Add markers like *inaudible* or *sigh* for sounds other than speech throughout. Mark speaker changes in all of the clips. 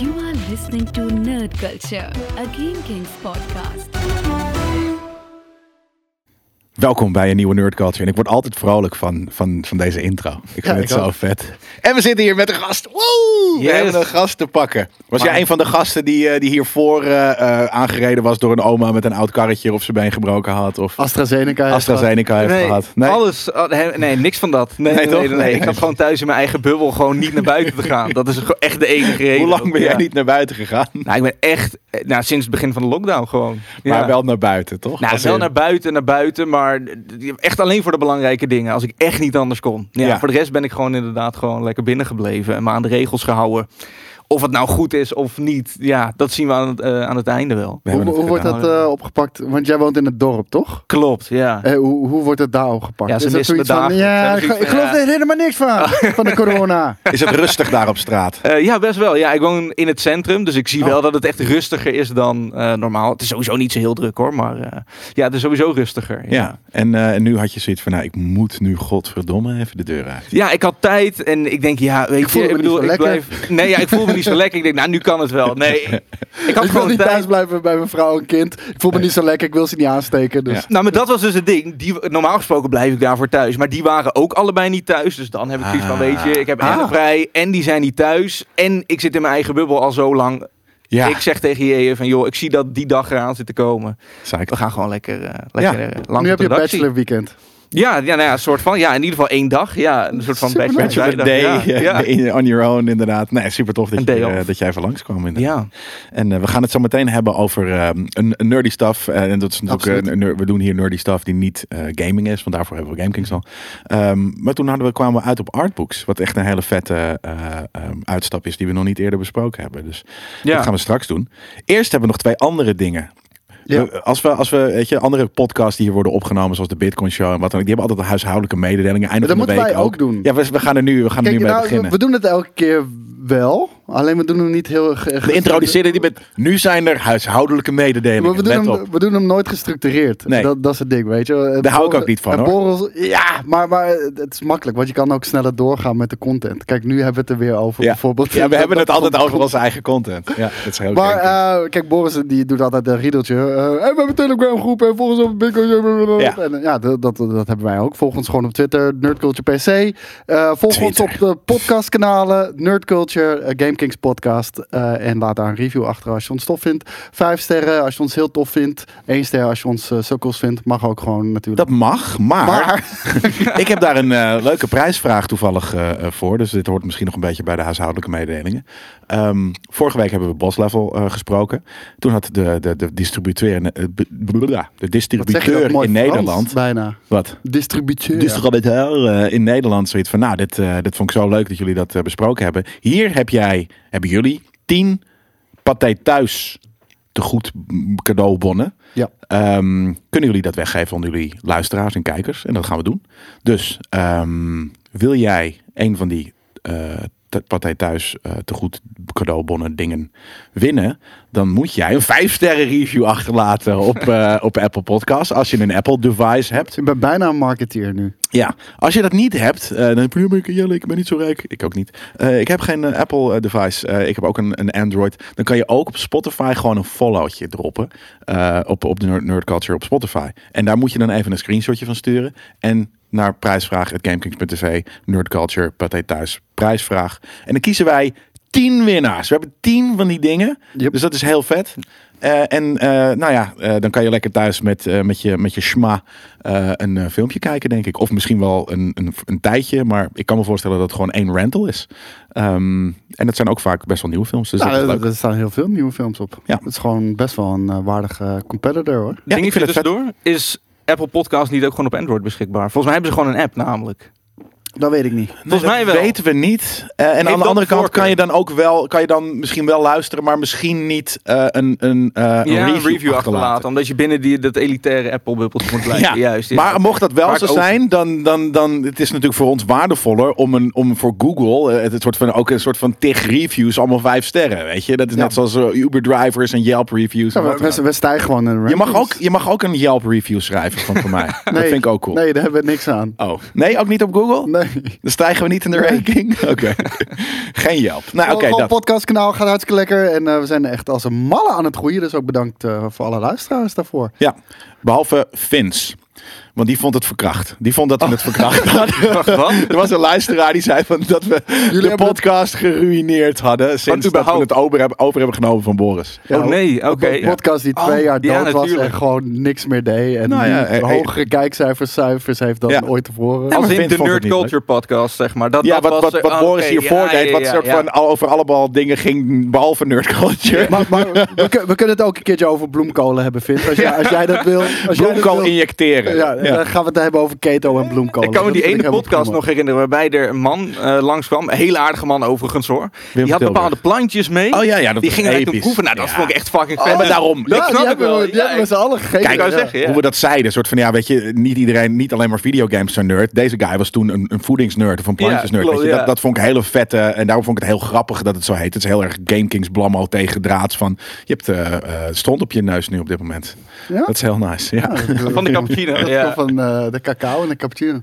Speaker 1: You are listening to Nerd Culture, a Game Kings podcast.
Speaker 2: Welkom bij een nieuwe Nerd Culture. En ik word altijd vrolijk van, van, van deze intro. Ik vind het
Speaker 3: ik
Speaker 2: zo
Speaker 3: ook.
Speaker 2: vet. En we zitten hier met een gast. Woe!
Speaker 3: Yes.
Speaker 2: We hebben een gast te pakken. Was jij een van de gasten die, eh, die hiervoor eh, eh, aangereden was door een oma met een oud karretje of zijn been gebroken had? Of
Speaker 3: AstraZeneca. heeft
Speaker 2: AstraZeneca heeft gehad? Nee.
Speaker 4: alles. oh, he- nee, niks van dat. Nee,
Speaker 2: Nee,
Speaker 4: nee,
Speaker 2: toch?
Speaker 4: nee, nee.
Speaker 2: Nee.
Speaker 4: Ik had gewoon thuis in mijn eigen bubbel gewoon niet naar buiten te gaan. Dat is gewoon echt de enige reden.
Speaker 2: Hoe lang ben jij
Speaker 4: Ja.
Speaker 2: niet naar buiten gegaan?
Speaker 4: Nou, ik ben echt... eh, Nou, sinds het begin van de lockdown gewoon. Ja.
Speaker 2: Maar wel naar buiten, toch?
Speaker 4: Nou,
Speaker 2: Als
Speaker 4: wel
Speaker 2: in-
Speaker 4: naar buiten, naar buiten, maar d- echt alleen voor de belangrijke dingen. Als ik echt niet anders kon. Ja,
Speaker 2: Ja.
Speaker 4: Voor de rest ben ik gewoon inderdaad gewoon lekker binnengebleven en me aan de regels gehouden. Of het nou goed is of niet, ja, dat zien we aan het, eh, aan het einde wel.
Speaker 2: We
Speaker 3: Hoe,
Speaker 2: hebben het
Speaker 3: hoe wordt
Speaker 2: gedaan.
Speaker 3: dat eh, opgepakt? Want jij woont in het dorp, toch?
Speaker 4: Klopt, ja.
Speaker 3: Eh, hoe, hoe wordt het daar opgepakt?
Speaker 4: Ja, ze
Speaker 3: Is dat
Speaker 4: missen
Speaker 3: zoiets
Speaker 4: me
Speaker 3: van,
Speaker 4: dagelijks. Ze
Speaker 3: Ja,
Speaker 4: hebben
Speaker 3: ik,
Speaker 4: zoiets
Speaker 3: ik
Speaker 4: van,
Speaker 3: geloof
Speaker 4: ja.
Speaker 3: er helemaal niks
Speaker 2: *laughs*
Speaker 3: van. Van de corona.
Speaker 2: Is het rustig daar op straat?
Speaker 4: Eh, ja, best wel. Ja, ik woon in het centrum, dus ik zie
Speaker 3: Oh.
Speaker 4: wel dat het echt rustiger is dan eh, normaal. Het is sowieso niet zo heel druk hoor, maar eh, ja, het is sowieso rustiger.
Speaker 2: *laughs* Ja. En, eh, en nu had je zoiets van, nou, ik moet nu godverdomme even de deur uit.
Speaker 4: Ja, ik had tijd en ik denk, ja, weet
Speaker 3: Ik voelde
Speaker 4: je,
Speaker 3: me
Speaker 4: ik bedoel,
Speaker 3: niet zo
Speaker 4: ik
Speaker 3: lekker.
Speaker 4: blijf. Nee, ja, ik voel me niet zo lekker. Ik denk, nou, nu kan het
Speaker 3: *laughs*
Speaker 4: wel. Nee, ik had
Speaker 3: ik wil
Speaker 4: gewoon
Speaker 3: niet
Speaker 4: tijd.
Speaker 3: thuis blijven bij mijn vrouw en kind. Ik voel me niet zo lekker. Ik wil ze niet aansteken. Dus.
Speaker 4: Nou, maar dat was dus het ding. Die, normaal gesproken blijf ik daarvoor thuis. Maar die waren ook allebei niet thuis. Dus dan heb ik zoiets van,
Speaker 2: Ah.
Speaker 4: weet je, ik heb en
Speaker 3: Ah.
Speaker 4: vrij. En die zijn niet thuis. En ik zit in mijn eigen bubbel al zo lang.
Speaker 2: Ja,
Speaker 4: Ik zeg tegen je van, joh, ik zie dat die dag eraan zit te komen.
Speaker 2: zei ik.
Speaker 4: We gaan gewoon lekker, eh, lekker eh, lang
Speaker 3: nu heb
Speaker 4: op de
Speaker 3: je
Speaker 4: redactie.
Speaker 3: bachelor weekend.
Speaker 4: Ja, ja, nou ja, een soort van. Ja, in ieder geval één dag. Ja, een soort van
Speaker 3: Super
Speaker 4: bachelor.
Speaker 3: nice.
Speaker 2: Bachelor
Speaker 4: vrijdag,
Speaker 2: Day, eh,
Speaker 4: Ja,
Speaker 2: *laughs*
Speaker 4: *laughs* ja.
Speaker 2: in- on your own inderdaad. Nee, super tof dat,
Speaker 4: Een
Speaker 2: je,
Speaker 4: day
Speaker 2: eh,
Speaker 4: off.
Speaker 2: dat jij even langskwam. Inderdaad.
Speaker 4: Ja.
Speaker 2: En eh, we gaan het zo meteen hebben over eh, een, een nerdy stuff. Eh, en dat is natuurlijk,
Speaker 3: Absoluut.
Speaker 2: eh, een ner- we doen hier nerdy stuff die niet eh, gaming is, want daarvoor hebben we GameKings al. Ehm, maar toen hadden we, kwamen we uit op Artbooks, wat echt een hele vette eh, ehm, uitstap is die we nog niet eerder besproken hebben. Dus dat gaan we straks doen. Eerst hebben we nog twee andere dingen.
Speaker 3: Ja.
Speaker 2: We- als we, als we weet je, andere podcasts die hier worden opgenomen, zoals de Bitcoin Show en wat dan ook, die hebben altijd huishoudelijke mededelingen. Eind
Speaker 3: Maar
Speaker 2: van
Speaker 3: dat
Speaker 2: de week
Speaker 3: moeten wij ook doen.
Speaker 2: Ja, we, we gaan er nu, we gaan er
Speaker 3: Kijk,
Speaker 2: nu mee
Speaker 3: nou, we-
Speaker 2: beginnen.
Speaker 3: we doen het elke keer wel. Alleen we doen hem niet heel... ge-
Speaker 2: We introduceren die met. Nu zijn er huishoudelijke mededelingen.
Speaker 3: Maar we doen,
Speaker 2: Let
Speaker 3: hem,
Speaker 2: op.
Speaker 3: we doen hem nooit gestructureerd.
Speaker 2: Nee.
Speaker 3: Dat, dat is het ding, weet je. Het
Speaker 2: Daar hou ik
Speaker 3: borrel-
Speaker 2: ook niet van,
Speaker 3: het
Speaker 2: hoor.
Speaker 3: borrel- ja, maar, maar het is makkelijk, want je kan ook sneller doorgaan met de content. Kijk, nu hebben we het er weer over,
Speaker 2: Ja. Ja,
Speaker 3: bijvoorbeeld.
Speaker 2: we
Speaker 3: *laughs* Dat-
Speaker 2: hebben het
Speaker 3: dat-
Speaker 2: altijd over onze eigen content. Ja, dat is heel
Speaker 3: Maar
Speaker 2: gek.
Speaker 3: eh, kijk, Boris die doet altijd een riedeltje. eh, en we hebben een Telegram groep en volgens op Bitcoin.
Speaker 2: Ja.
Speaker 3: Ja, en, eh, ja dat, dat, dat hebben wij ook. Volg ons gewoon op Twitter, Nerdculture PC. Eh, volg ons
Speaker 2: Twitter.
Speaker 3: op de podcastkanalen, Nerdculture, eh, GameKings podcast. eh, en laat daar een review achter als je ons tof vindt. Vijf sterren als je ons heel tof vindt. Eén ster als je ons eh, sukkels vindt. Mag ook gewoon natuurlijk.
Speaker 2: dat mag, maar,
Speaker 3: maar
Speaker 2: *laughs* ik heb daar een eh, leuke prijsvraag toevallig eh, eh, voor. Dus dit hoort misschien nog een beetje bij de huishoudelijke mededelingen. Ehm, vorige week hebben we Boss Level eh, gesproken. Toen had de, de, de distributeur, in- eh, b- blablabla, de
Speaker 3: wat zeg je dat
Speaker 2: distributeur
Speaker 3: mooi
Speaker 2: in
Speaker 3: Frans
Speaker 2: Nederland.
Speaker 3: Bijna.
Speaker 2: Wat?
Speaker 3: Distributeur.
Speaker 2: Dus distributeur eh, in Nederland zoiets van, nou, dit, eh, dit vond ik zo leuk dat jullie dat eh, besproken hebben. Hier heb jij, hebben jullie tien partij thuis te goed m, cadeaubonnen.
Speaker 3: Ja.
Speaker 2: Ehm, kunnen jullie dat weggeven aan jullie luisteraars en kijkers? En dat gaan we doen. Dus ehm, wil jij een van die eh, t- partij thuis eh, te goed cadeaubonnen dingen winnen, dan moet jij een 5 sterren review achterlaten op, eh, op Apple Podcasts. Als je een Apple device hebt.
Speaker 3: Ik ben bijna een marketeer nu.
Speaker 2: Ja, als je dat niet hebt, eh, dan heb je "Ja, ik, Jelle, ik ben niet zo rijk. Ik ook niet. Eh, ik heb geen eh, Apple eh, device. Eh, ik heb ook een, een Android. Dan kan je ook op Spotify gewoon een followtje droppen. eh, op, op de Nerd, Nerd Culture op Spotify. En daar moet je dan even een screenshotje van sturen. En naar prijsvraag.gamekings.tv, Nerd Culture, Pathé Thuis, prijsvraag. En dan kiezen wij tien winnaars. We hebben tien van die dingen.
Speaker 3: Yep.
Speaker 2: Dus dat is heel vet. Eh, en eh, nou ja, eh, dan kan je lekker thuis met, eh, met, je, met je schma eh, een eh, filmpje kijken, denk ik. Of misschien wel een, een, een tijdje. Maar ik kan me voorstellen dat het gewoon één rental is. Ehm, en dat zijn ook vaak best wel nieuwe films. Dus dat is
Speaker 3: Nou,
Speaker 2: leuk.
Speaker 3: er, er staan heel veel nieuwe films op.
Speaker 2: Ja.
Speaker 3: Het is gewoon best wel een eh, waardige competitor hoor.
Speaker 2: Ja, ik
Speaker 4: Dingetje
Speaker 2: vind het vet.
Speaker 4: tussendoor. Is Apple Podcast niet ook gewoon op Android beschikbaar? Volgens mij hebben ze gewoon een app namelijk.
Speaker 3: Dat weet ik niet.
Speaker 4: Volgens
Speaker 2: Nee,
Speaker 4: mij
Speaker 2: dat
Speaker 4: wel.
Speaker 2: weten we niet. Eh, en aan
Speaker 4: dan
Speaker 2: de andere kant
Speaker 4: voorkeur.
Speaker 2: kan je dan ook wel, kan je dan misschien wel luisteren, maar misschien niet eh, een, een, eh, een
Speaker 4: ja,
Speaker 2: review, achterlaten.
Speaker 4: Omdat je binnen die, dat elitaire Apple-bubbels moet blijven.
Speaker 2: Ja,
Speaker 4: juist. ja.
Speaker 2: Maar mocht dat wel
Speaker 4: Vaak
Speaker 2: zo
Speaker 4: over.
Speaker 2: zijn, dan, dan, dan het is natuurlijk voor ons waardevoller om, een, om voor Google eh, het, het soort van, ook een soort van tig reviews, allemaal vijf sterren. Weet je, dat is
Speaker 3: Ja.
Speaker 2: net zoals eh, Uber drivers en Yelp reviews. en
Speaker 3: Ja,
Speaker 2: wat
Speaker 3: we,
Speaker 2: dan
Speaker 3: we,
Speaker 2: ook.
Speaker 3: we stijgen gewoon in de
Speaker 2: je, mag ook,
Speaker 3: rankings.
Speaker 2: je mag
Speaker 3: *laughs*
Speaker 2: ook een Yelp review schrijven van, van mij. Dat
Speaker 3: Nee.
Speaker 2: vind ik ook cool.
Speaker 3: Nee, daar hebben we niks aan.
Speaker 2: Oh. nee, ook niet op Google?
Speaker 3: Nee. Nee.
Speaker 2: Dan stijgen we niet in de
Speaker 3: *laughs*
Speaker 2: ranking. Oké. *laughs* Geen Yelp. Nou, oké.
Speaker 3: Gewoon
Speaker 2: dat.
Speaker 3: podcastkanaal gaat hartstikke lekker. En eh, we zijn echt als een malle aan het groeien. Dus ook bedankt eh, voor alle luisteraars daarvoor.
Speaker 2: ja. Behalve Vince. Want die vond het verkracht. Die vond dat we het verkracht
Speaker 4: *laughs*
Speaker 2: hadden.
Speaker 4: Wacht, Oh. wat?
Speaker 2: Er was een luisteraar die zei van dat we de
Speaker 3: hebben
Speaker 2: podcast geruineerd hadden. Sinds dat we
Speaker 4: überhaupt?
Speaker 2: het over hebben, over hebben genomen van Boris.
Speaker 3: Ja,
Speaker 4: oh nee, oké.
Speaker 3: Een podcast die twee
Speaker 4: Oh,
Speaker 3: jaar dood
Speaker 4: ja,
Speaker 3: was en
Speaker 4: natuurlijk.
Speaker 3: gewoon niks meer deed. En
Speaker 2: Nou ja,
Speaker 3: die
Speaker 2: eh, eh,
Speaker 3: hogere kijkcijfers cijfers heeft dan
Speaker 2: Ja.
Speaker 3: ooit tevoren.
Speaker 2: Ja, maar
Speaker 4: Als in
Speaker 2: Vint
Speaker 4: de
Speaker 2: vond het
Speaker 4: Nerd
Speaker 2: niet leuk.
Speaker 4: Culture podcast, zeg maar. Dat,
Speaker 2: Ja,
Speaker 4: dat
Speaker 2: wat,
Speaker 4: was,
Speaker 2: wat, wat
Speaker 4: oh,
Speaker 2: Boris
Speaker 4: oké,
Speaker 2: hiervoor
Speaker 4: ja,
Speaker 2: deed,
Speaker 4: ja,
Speaker 2: wat
Speaker 4: ja,
Speaker 2: soort
Speaker 4: ja.
Speaker 2: van al- over allemaal dingen ging, behalve nerd culture. *laughs*
Speaker 3: Maar, maar we, kun- we kunnen het ook een keertje over bloemkolen hebben, Vint. Als, jij- als jij dat wil. Als jij dat
Speaker 2: Bloemkool
Speaker 3: wil.
Speaker 2: injecteren.
Speaker 3: Ja, dan gaan we het hebben over keto en bloemkolen.
Speaker 4: Ik kan me
Speaker 3: Oh, Dat
Speaker 4: die
Speaker 3: vind
Speaker 4: ene
Speaker 3: helemaal
Speaker 4: podcast
Speaker 3: prima.
Speaker 4: nog herinneren waarbij er een man eh, langskwam. Een hele aardige man overigens hoor. die had
Speaker 2: Tilburg.
Speaker 4: bepaalde plantjes mee.
Speaker 2: Oh ja, ja, dat
Speaker 4: die
Speaker 2: was
Speaker 4: ging hij toen
Speaker 2: episch.
Speaker 4: proeven. Nou, dat
Speaker 2: Ja.
Speaker 4: vond ik echt fucking
Speaker 2: Oh,
Speaker 4: vet.
Speaker 2: maar daarom. Ik
Speaker 3: Ja,
Speaker 4: snap
Speaker 3: die
Speaker 4: het
Speaker 3: hebben
Speaker 4: wel.
Speaker 3: we, die
Speaker 4: Ja,
Speaker 3: hebben we
Speaker 4: ik-
Speaker 3: z'n allen gegeten.
Speaker 4: Ik wou
Speaker 3: nou Ja.
Speaker 4: zeggen, ja.
Speaker 2: eh, hoe we dat zeiden. Een soort van, ja, weet je, niet iedereen, niet alleen maar videogames zijn nerd. Deze guy was toen een, een voedingsnerd of een plantjesnerd.
Speaker 4: Ja,
Speaker 2: weet je.
Speaker 4: klopt,
Speaker 2: dat,
Speaker 4: ja.
Speaker 2: dat vond ik hele vette en daarom vond ik het heel grappig dat het zo heet. Het is heel erg Game Kings blammo tegen draads van, je hebt eh, eh, stront op je neus nu op dit moment.
Speaker 3: Ja?
Speaker 2: Dat is heel nice, ja. ja. *laughs*
Speaker 4: Van
Speaker 3: *laughs*
Speaker 4: de cappuccino.
Speaker 3: Dat
Speaker 4: ja.
Speaker 3: komt van eh, de cacao en de cappuccino.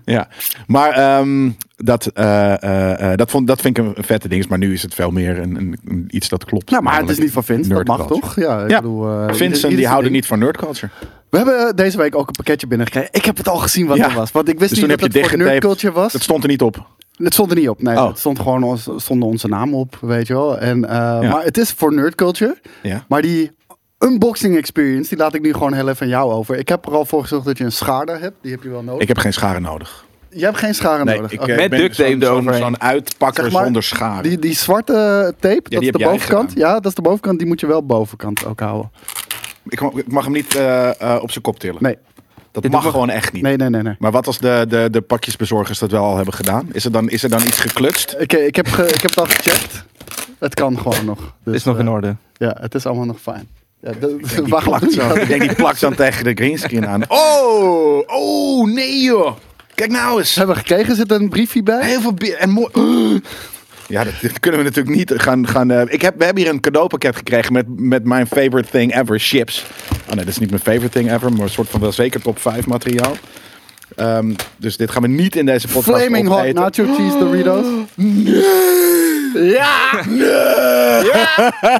Speaker 2: maar ehm, dat, eh, eh, eh, dat, vond, dat vind ik een vette ding. Maar nu is het veel meer een, een, een- iets dat klopt.
Speaker 3: Nou, maar het is
Speaker 2: Namelijk
Speaker 3: niet van Vince, dat
Speaker 2: nerd
Speaker 3: mag
Speaker 2: culture.
Speaker 3: toch? Ja, ik
Speaker 2: Ja,
Speaker 3: bedoel, eh, ieder-
Speaker 2: Vincent,
Speaker 3: ieder
Speaker 2: die
Speaker 3: zijn
Speaker 2: houden
Speaker 3: ding.
Speaker 2: niet van nerd culture.
Speaker 3: We hebben eh, deze week ook een pakketje binnengekregen. Ik heb het al gezien wat
Speaker 2: Ja.
Speaker 3: er was. Want ik wist
Speaker 2: Dus
Speaker 3: niet
Speaker 2: toen
Speaker 3: dat
Speaker 2: heb je
Speaker 3: het voor
Speaker 2: dichtgetaped.
Speaker 3: nerd culture was.
Speaker 2: Dat stond er niet op.
Speaker 3: Het stond er niet op. Nee,
Speaker 2: Oh.
Speaker 3: het stond gewoon ons, stonden onze namen op, weet je wel. En, eh, Maar het is voor nerd culture.
Speaker 2: Ja.
Speaker 3: Maar die unboxing experience, die laat ik nu gewoon heel even aan jou over. Ik heb er al voor gezorgd dat je een schaarder hebt. Die heb je wel nodig.
Speaker 2: Ik heb geen scharen nodig.
Speaker 3: Je hebt geen scharen
Speaker 2: Nee,
Speaker 3: nodig.
Speaker 2: ik,
Speaker 3: Oké.
Speaker 2: eh,
Speaker 4: Met
Speaker 2: ben
Speaker 4: duct tape
Speaker 2: zo'n-
Speaker 4: eroverheen.
Speaker 2: Zo'n uitpakker
Speaker 3: Zeg maar,
Speaker 2: zonder scharen.
Speaker 3: Die, die zwarte eh, tape,
Speaker 2: die
Speaker 3: dat is
Speaker 2: heb
Speaker 3: de
Speaker 2: jij
Speaker 3: bovenkant.
Speaker 2: gedaan.
Speaker 3: Ja, dat is de bovenkant. Die moet je wel bovenkant ook houden.
Speaker 2: Ik, mag- ik mag hem niet eh, eh, op zijn kop tillen.
Speaker 3: Nee,
Speaker 2: dat
Speaker 4: Dit
Speaker 2: mag
Speaker 4: mag-
Speaker 2: gewoon echt niet.
Speaker 3: nee, nee, nee. nee.
Speaker 2: Maar wat als de, de, de pakjesbezorgers dat wel al hebben gedaan? Is er dan, is er dan iets geklutst?
Speaker 3: Oké, ik, heb ge- ik heb het al gecheckt. Het kan gewoon nog. Dus,
Speaker 4: Het is nog
Speaker 3: eh,
Speaker 4: in orde.
Speaker 3: Ja, het is allemaal nog fijn. Ja, dat,
Speaker 2: Die
Speaker 3: waarom
Speaker 2: plakt
Speaker 3: doe je *laughs*
Speaker 2: zo. Ik
Speaker 3: dat?
Speaker 2: denk die plakt dan tegen de greenscreen aan. Oh, oh nee joh. Kijk nou eens.
Speaker 3: Ze hebben gekregen, zit er een briefje bij.
Speaker 2: Heel veel bier en mooi. *gasps* Ja, dat, dit kunnen we natuurlijk niet gaan. gaan eh, ik heb, we hebben hier een cadeaupakket gekregen met, met mijn favorite thing ever, chips. Oh nee, dat is niet mijn favorite thing ever, maar een soort van wel zeker top 5 materiaal. Ehm, dus dit gaan we niet in deze podcast
Speaker 3: Flaming hot nou,
Speaker 2: opeten.
Speaker 3: nacho cheese Doritos.
Speaker 2: Ja! *laughs*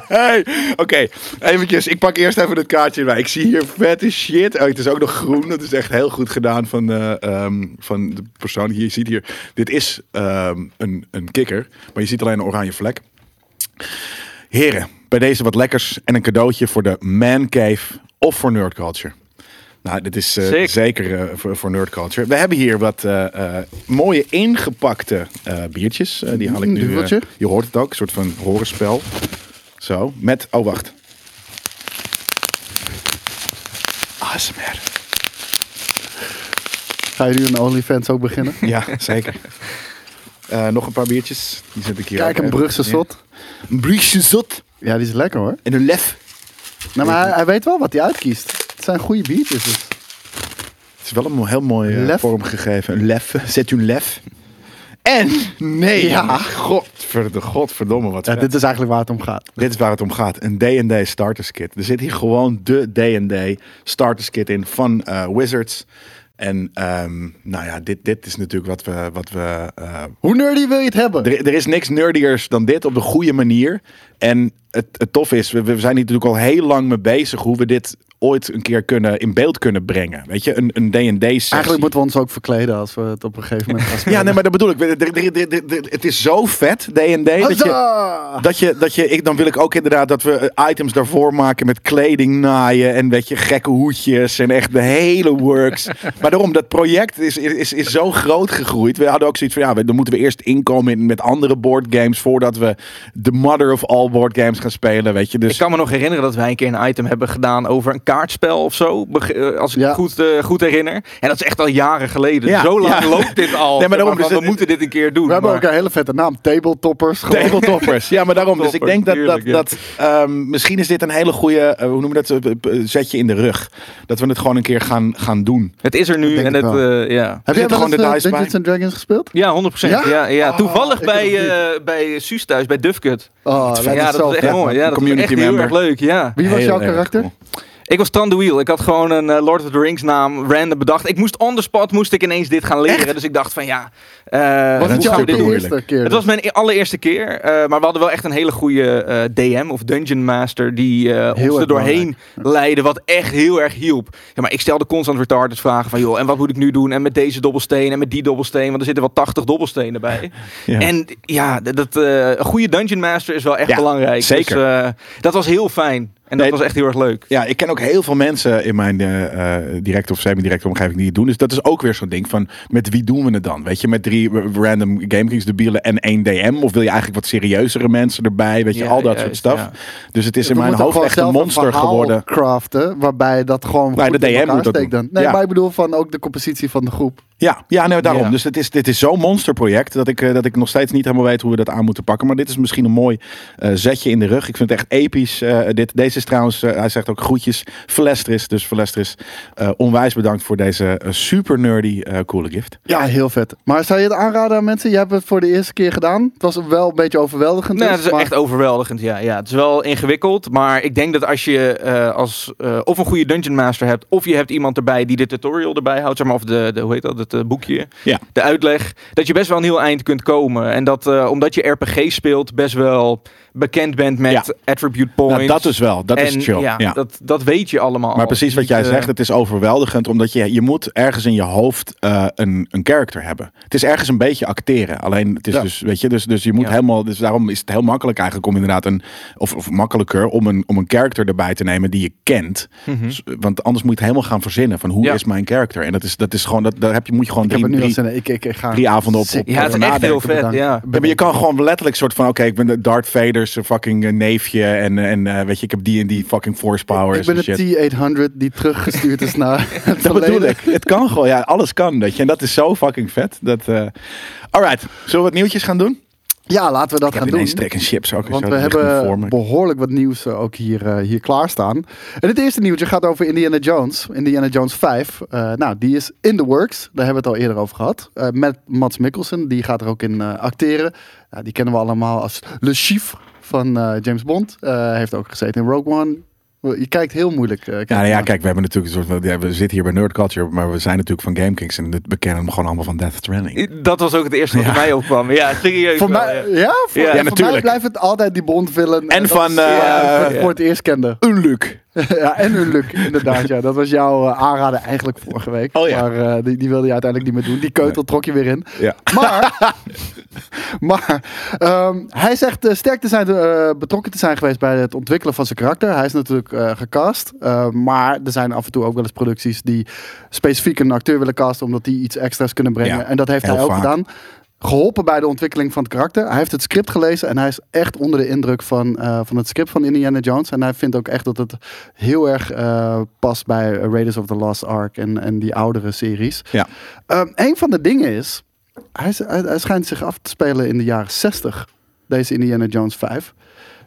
Speaker 2: Nee! Oké, eventjes. Ik pak eerst even het kaartje erbij. Ik zie hier vette shit. Oh, het is ook nog groen. Dat is echt heel goed gedaan van, eh, ehm, van de persoon. Hier, je ziet hier, dit is ehm, een, een kikker. Maar je ziet alleen een oranje vlek. Heren, bij deze wat lekkers en een cadeautje voor de man cave of voor nerd culture. Nou, dit is eh,
Speaker 4: Sick.
Speaker 2: zeker eh, voor, voor nerd culture. We hebben hier wat eh, eh, mooie ingepakte eh, biertjes. Eh, die haal ik nu. eh,
Speaker 3: duveltje.
Speaker 2: je hoort het ook, een soort van horenspel. Zo, met... Oh, wacht. ASMR.
Speaker 3: *gasps* Ga je nu een OnlyFans ook beginnen?
Speaker 2: Ja, *laughs* zeker. Eh, nog een paar biertjes. Die zet ik hier
Speaker 3: Kijk,
Speaker 2: ook
Speaker 3: een
Speaker 2: even
Speaker 3: Brugse
Speaker 2: neer.
Speaker 3: zot.
Speaker 2: Een Brugse zot.
Speaker 3: Ja, die is lekker hoor.
Speaker 2: En een lef.
Speaker 3: Nou, maar hij, hij weet wel wat hij uitkiest. Het zijn goede biertjes dus.
Speaker 2: Het is wel een mo- heel mooi eh,
Speaker 3: Lef.
Speaker 2: vormgegeven. Een lef. Zet u een lef. En nee.
Speaker 3: Ja.
Speaker 2: Godverde, godverdomme wat.
Speaker 3: Ja,
Speaker 2: vet.
Speaker 3: dit is eigenlijk waar het om gaat.
Speaker 2: Dit is waar het om gaat. Een D&D starters kit. Er zit hier gewoon de D&D starters kit in van eh, Wizards. En ehm, nou ja, dit, dit is natuurlijk wat we... Wat we eh,
Speaker 3: Hoe nerdy wil je het hebben?
Speaker 2: er, er is niks nerdiers dan dit op de goede manier. En het, het tof is, we, we zijn hier natuurlijk al heel lang mee bezig... hoe we dit ooit een keer kunnen, in beeld kunnen brengen. Weet je, een, een D&D-sessie.
Speaker 3: Eigenlijk moeten we ons ook verkleden als we het op een gegeven moment *laughs* gaan spelen.
Speaker 2: Ja, nee, maar dat bedoel ik. Er- er- er- er- er- Het is zo vet, D&D, dat je...
Speaker 3: Huzzah!
Speaker 2: Dat je, dat je, ik, dan wil ik ook inderdaad dat we eh, items daarvoor maken met kleding naaien en weet je, gekke hoedjes en echt de hele works. maar daarom, dat project is, is, is zo groot gegroeid. We hadden ook zoiets van, ja, we- dan moeten we eerst inkomen in, met andere boardgames voordat we de mother of all boardgames gaan spelen, weet je. Dus
Speaker 4: Ik kan me nog herinneren dat wij een keer een item hebben gedaan over een kaartspel of zo. beg- eh, Als ik
Speaker 3: Ja.
Speaker 4: het goed, eh, goed herinner. En dat is echt al jaren geleden.
Speaker 2: Ja,
Speaker 4: Zo lang
Speaker 2: ja.
Speaker 4: loopt
Speaker 3: *laughs*
Speaker 4: dit
Speaker 2: Nee,
Speaker 4: al.
Speaker 2: maar
Speaker 4: maar
Speaker 2: daarom, dus
Speaker 4: van,
Speaker 2: het-
Speaker 4: we moeten dit een keer doen.
Speaker 3: We hebben
Speaker 4: maar-
Speaker 3: ook een hele vette naam. Tabletoppers. Gewoon.
Speaker 2: Tabletoppers. Ja, maar daarom. Dus ik denk dat, dat,
Speaker 4: Tuurlijk, ja.
Speaker 2: dat ehm, misschien is dit een hele goede, eh, hoe noem je dat, eh, p- p- zetje in de rug. Dat we het gewoon een keer gaan, gaan doen.
Speaker 4: Het is er nu
Speaker 3: denk
Speaker 4: en
Speaker 3: het
Speaker 4: het,
Speaker 3: wel.
Speaker 4: eh, ja.
Speaker 3: Heb
Speaker 2: Er zit
Speaker 3: jij wel
Speaker 2: gewoon
Speaker 3: eens
Speaker 2: de dice
Speaker 3: eh, Dungeons
Speaker 2: bij.
Speaker 3: and Dragons gespeeld?
Speaker 4: Ja, 100%.
Speaker 3: Ja?
Speaker 4: Ja? Ja,
Speaker 3: Oh,
Speaker 4: Toevallig
Speaker 3: ik
Speaker 4: bij,
Speaker 3: heb het
Speaker 4: eh bij Suus thuis, bij Dufkut.
Speaker 3: Oh, lijkt me
Speaker 4: ja, dat
Speaker 3: zo
Speaker 4: was echt
Speaker 3: vet,
Speaker 4: mooi.
Speaker 3: man.
Speaker 4: Ja, dat was
Speaker 2: Community
Speaker 4: echt heel
Speaker 2: member.
Speaker 4: erg leuk. Ja.
Speaker 3: Wie was
Speaker 2: Heel
Speaker 3: jouw
Speaker 2: erg
Speaker 3: karakter?
Speaker 2: cool.
Speaker 4: Ik was Tran de Wheel. Ik had gewoon een eh, Lord of the Rings naam random bedacht. Ik moest on the spot moest ik ineens dit gaan leren. Dus ik dacht van ja, eh
Speaker 3: Was
Speaker 4: hoe
Speaker 3: het
Speaker 2: is
Speaker 4: gaan
Speaker 3: jouw
Speaker 4: we dit doen?
Speaker 2: moeilijk.
Speaker 3: eerste keer?
Speaker 4: Het was mijn e- allereerste keer, eh, maar we hadden wel echt een hele goede eh, DM of Dungeon Master die eh, ons
Speaker 3: erg
Speaker 4: er doorheen leidde, wat echt heel erg hielp. Ja, maar ik stelde constant retarded vragen van, joh, en wat moet ik nu doen? En met deze dobbelsteen en met die dobbelsteen, want er zitten wel 80 dobbelstenen bij.
Speaker 2: Ja.
Speaker 4: En ja, d- dat, eh, een goede Dungeon Master is wel echt
Speaker 2: Ja,
Speaker 4: belangrijk.
Speaker 2: zeker.
Speaker 4: Dus, eh, dat was heel fijn en dat
Speaker 2: Nee,
Speaker 4: was echt heel erg leuk.
Speaker 2: Ja, ik ken ook heel veel mensen in mijn eh, eh, directe of semi-directe omgeving die het doen. Dus dat is ook weer zo'n ding van met wie doen we het dan? Weet je, met drie r- random GameKings debielen en één DM? Of wil je eigenlijk wat serieuzere mensen erbij? Weet je,
Speaker 4: Ja,
Speaker 2: al dat soort
Speaker 4: juist,
Speaker 2: stuff.
Speaker 4: ja.
Speaker 2: Dus het is in
Speaker 3: We
Speaker 2: mijn
Speaker 3: moeten
Speaker 2: hoofd
Speaker 3: gewoon
Speaker 2: echt een
Speaker 3: zelf
Speaker 2: monster
Speaker 3: verhaal
Speaker 2: geworden.
Speaker 3: craften, waarbij dat gewoon
Speaker 2: Nee,
Speaker 3: goed
Speaker 2: de
Speaker 3: in
Speaker 2: DM
Speaker 3: elkaar
Speaker 2: moet dat
Speaker 3: steekt
Speaker 2: doen.
Speaker 3: dan. Nee,
Speaker 2: Ja.
Speaker 3: maar ik bedoel van ook de compositie van de groep.
Speaker 2: Ja, ja nee, daarom.
Speaker 4: Ja.
Speaker 2: Dus het is, dit is zo'n monsterproject dat ik, eh, dat ik nog steeds niet helemaal weet hoe we dat aan moeten pakken. Maar dit is misschien een mooi eh, zetje in de rug. Ik vind het echt episch. eh, dit. Deze is trouwens, eh, hij zegt ook groetjes, Velestris. Dus Velestris, eh, onwijs bedankt voor deze eh, super nerdy eh, coole gift.
Speaker 3: Ja, heel vet. Maar zou je het aanraden aan mensen? Je hebt het voor de eerste keer gedaan. Het was wel een beetje overweldigend.
Speaker 4: Nee,
Speaker 3: dus,
Speaker 4: het is
Speaker 3: maar-
Speaker 4: echt overweldigend. Ja, ja, het is wel ingewikkeld. Maar ik denk dat als je eh, als, eh, of een goede Dungeon Master hebt. of je hebt iemand erbij die de tutorial erbij houdt. Zeg maar, of de, de, hoe heet dat? Het eh, boekje.
Speaker 2: Ja.
Speaker 4: De uitleg. Dat je best wel een heel eind kunt komen. En dat eh, omdat je RPG speelt. best wel bekend bent met
Speaker 2: Ja.
Speaker 4: attribute points.
Speaker 2: Nou, dat is wel, dat
Speaker 4: en,
Speaker 2: is chill.
Speaker 4: Ja,
Speaker 2: Ja.
Speaker 4: Dat, dat weet je allemaal.
Speaker 2: Maar
Speaker 4: al.
Speaker 2: precies wat
Speaker 4: Niet,
Speaker 2: jij
Speaker 3: Oh,
Speaker 4: eh,
Speaker 2: zegt, het is overweldigend, omdat je, je moet ergens in je hoofd eh, een, een character hebben. Het is ergens een beetje acteren. Alleen het is
Speaker 3: Ja.
Speaker 2: dus, weet je, dus, dus je moet
Speaker 4: Ja.
Speaker 2: helemaal, dus daarom is het heel makkelijk eigenlijk om inderdaad een, of, of makkelijker om een, om een character erbij te nemen die je kent.
Speaker 4: mhm.
Speaker 2: Dus, Want anders moet je het helemaal gaan verzinnen van hoe
Speaker 4: Ja.
Speaker 2: is mijn character. En dat is, dat is gewoon, dat, daar heb je, moet je gewoon
Speaker 3: Ik heb
Speaker 2: drie,
Speaker 3: het nu al
Speaker 2: drie,
Speaker 3: zin in. Ik, ik, ik ga
Speaker 2: drie avonden op,
Speaker 3: Sick.
Speaker 2: op
Speaker 4: Ja, het is echt
Speaker 2: nadenken.
Speaker 4: heel vet.
Speaker 3: bedankt.
Speaker 4: Ja.
Speaker 2: Ja, maar je kan gewoon letterlijk soort van, oké, ik ben de Darth Vader's fucking eh, neefje en, eh, en eh, weet je, ik heb die en die fucking force powers
Speaker 3: Ik ben
Speaker 2: en shit.
Speaker 3: de T800 die teruggestuurd is
Speaker 2: *laughs*
Speaker 3: naar het
Speaker 2: Dat
Speaker 3: verleden.
Speaker 2: bedoel ik. Het kan gewoon. Ja, alles kan. Weet je. En dat is zo fucking vet. Dat, eh Alright. Zullen we wat nieuwtjes gaan doen?
Speaker 3: Ja, laten we dat
Speaker 2: Ik
Speaker 3: gaan
Speaker 2: heb
Speaker 3: doen.
Speaker 2: ineens trek en chips ook.
Speaker 3: Want
Speaker 2: Zo, dat
Speaker 3: we
Speaker 2: ligt nu voor
Speaker 3: hebben
Speaker 2: me.
Speaker 3: behoorlijk wat nieuws eh, ook hier, eh, hier klaarstaan. En het eerste nieuwtje gaat over Indiana Jones. Indiana Jones 5. Eh, nou, die is in the works. Daar hebben we het al eerder over gehad. Eh, met Mats Mikkelsen. Die gaat er ook in eh, acteren. Ja, die kennen we allemaal als Le Chief van eh, James Bond. Eh, Hij heeft ook gezeten in Rogue One. Je kijkt heel moeilijk. eh,
Speaker 2: Ja, nou ja,
Speaker 3: naar.
Speaker 2: kijk, we hebben natuurlijk een soort van- ja, we zitten hier bij Nerd Culture, maar we zijn natuurlijk van GameKings en we kennen hem gewoon allemaal van Death Stranding.
Speaker 4: Dat was ook het eerste wat bij mij opkwam. Ja, serieus.
Speaker 3: Voor
Speaker 4: wel,
Speaker 3: mij,
Speaker 4: ja.
Speaker 3: ja, voor,
Speaker 4: Ja,
Speaker 3: voor
Speaker 2: natuurlijk.
Speaker 3: mij blijft het altijd die Bond-villain. eh,
Speaker 2: En
Speaker 3: dat
Speaker 2: van,
Speaker 3: is, eh,
Speaker 2: eh,
Speaker 3: wat ik voor het eerst kende.
Speaker 2: Een Luc.
Speaker 3: *laughs* ja, en hun luck, inderdaad. Ja. Dat was jouw eh, aanrader eigenlijk vorige week.
Speaker 2: Oh ja.
Speaker 3: Maar eh, die, die wilde je uiteindelijk niet meer doen. Die keutel trok je weer in.
Speaker 2: Ja.
Speaker 3: Maar,
Speaker 2: *laughs*
Speaker 3: maar ehm, hij zegt eh, sterk te zijn, eh, betrokken te zijn geweest bij het ontwikkelen van zijn karakter. Hij is natuurlijk eh, gecast. eh, maar er zijn af en toe ook wel eens producties die specifiek een acteur willen casten. Omdat die iets extra's kunnen brengen.
Speaker 2: Ja,
Speaker 3: en dat heeft
Speaker 2: heel
Speaker 3: hij ook
Speaker 2: vaak.
Speaker 3: gedaan. Geholpen bij de ontwikkeling van het karakter. Hij heeft het script gelezen en hij is echt onder de indruk van, eh, van het script van Indiana Jones. En hij vindt ook echt dat het heel erg eh, past bij Raiders of the Lost Ark en, en die oudere series.
Speaker 2: Ja.
Speaker 3: Ehm, een van de dingen is, hij, is- hij, hij schijnt zich af te spelen in de jaren 60, deze Indiana Jones 5.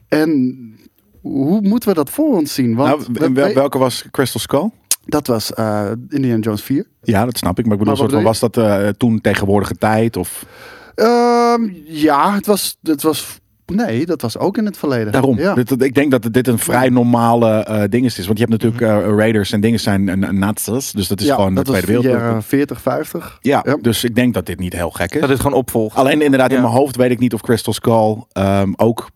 Speaker 3: En hoe moeten we dat voor ons zien?
Speaker 2: Nou,
Speaker 3: Want
Speaker 2: en
Speaker 3: we-
Speaker 2: wel- welke was Crystal Skull?
Speaker 3: dat was eh, Indiana Jones 4.
Speaker 2: Ja, dat snap ik. Maar ik bedoel,
Speaker 3: Maar wat
Speaker 2: soort van,
Speaker 3: bedoel
Speaker 2: was dat eh, toen tegenwoordige tijd? Of...
Speaker 3: Ehm, ja, het was, het was. Nee, dat was ook in het verleden.
Speaker 2: Daarom.
Speaker 3: Ja.
Speaker 2: Dit- dit- ik denk dat dit een vrij normale eh ding is. Want je hebt natuurlijk eh, Raiders en dingen zijn een een nazi's. Dus dat is
Speaker 3: Mhm. Ja,
Speaker 2: gewoon
Speaker 3: dat
Speaker 2: de Tweede
Speaker 3: was
Speaker 2: Wereldoorlog.
Speaker 3: jaren 40, 50.
Speaker 2: Ja,
Speaker 3: Ja.
Speaker 2: dus ik denk dat dit niet heel gek is.
Speaker 4: Dat is gewoon opvolgt.
Speaker 2: Alleen inderdaad, in
Speaker 4: Ja.
Speaker 2: mijn hoofd weet ik niet of Crystal Skull ehm, ook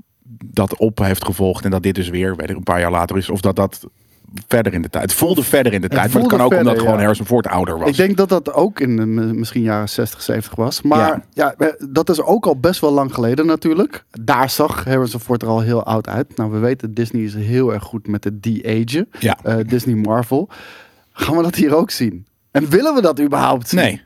Speaker 2: dat op heeft gevolgd. En dat dit dus weer, weet ik, een paar jaar later is. Of dat dat verder in de tijd. Het voelde verder in de tijd. Maar het
Speaker 3: voelde
Speaker 2: kan ook
Speaker 3: verder,
Speaker 2: omdat gewoon
Speaker 3: ja.
Speaker 2: Harrison Ford ouder was.
Speaker 3: Ik denk dat dat ook in de, m- misschien jaren 60, 70 was. Maar ja. dat is ook al best wel lang geleden natuurlijk. Daar zag Harrison Ford er al heel oud uit. Nou, we weten Disney is heel erg goed met de de-agen.
Speaker 2: Ja.
Speaker 3: Eh, Disney Marvel. Gaan we dat hier ook zien? En willen we dat überhaupt zien?
Speaker 2: Nee.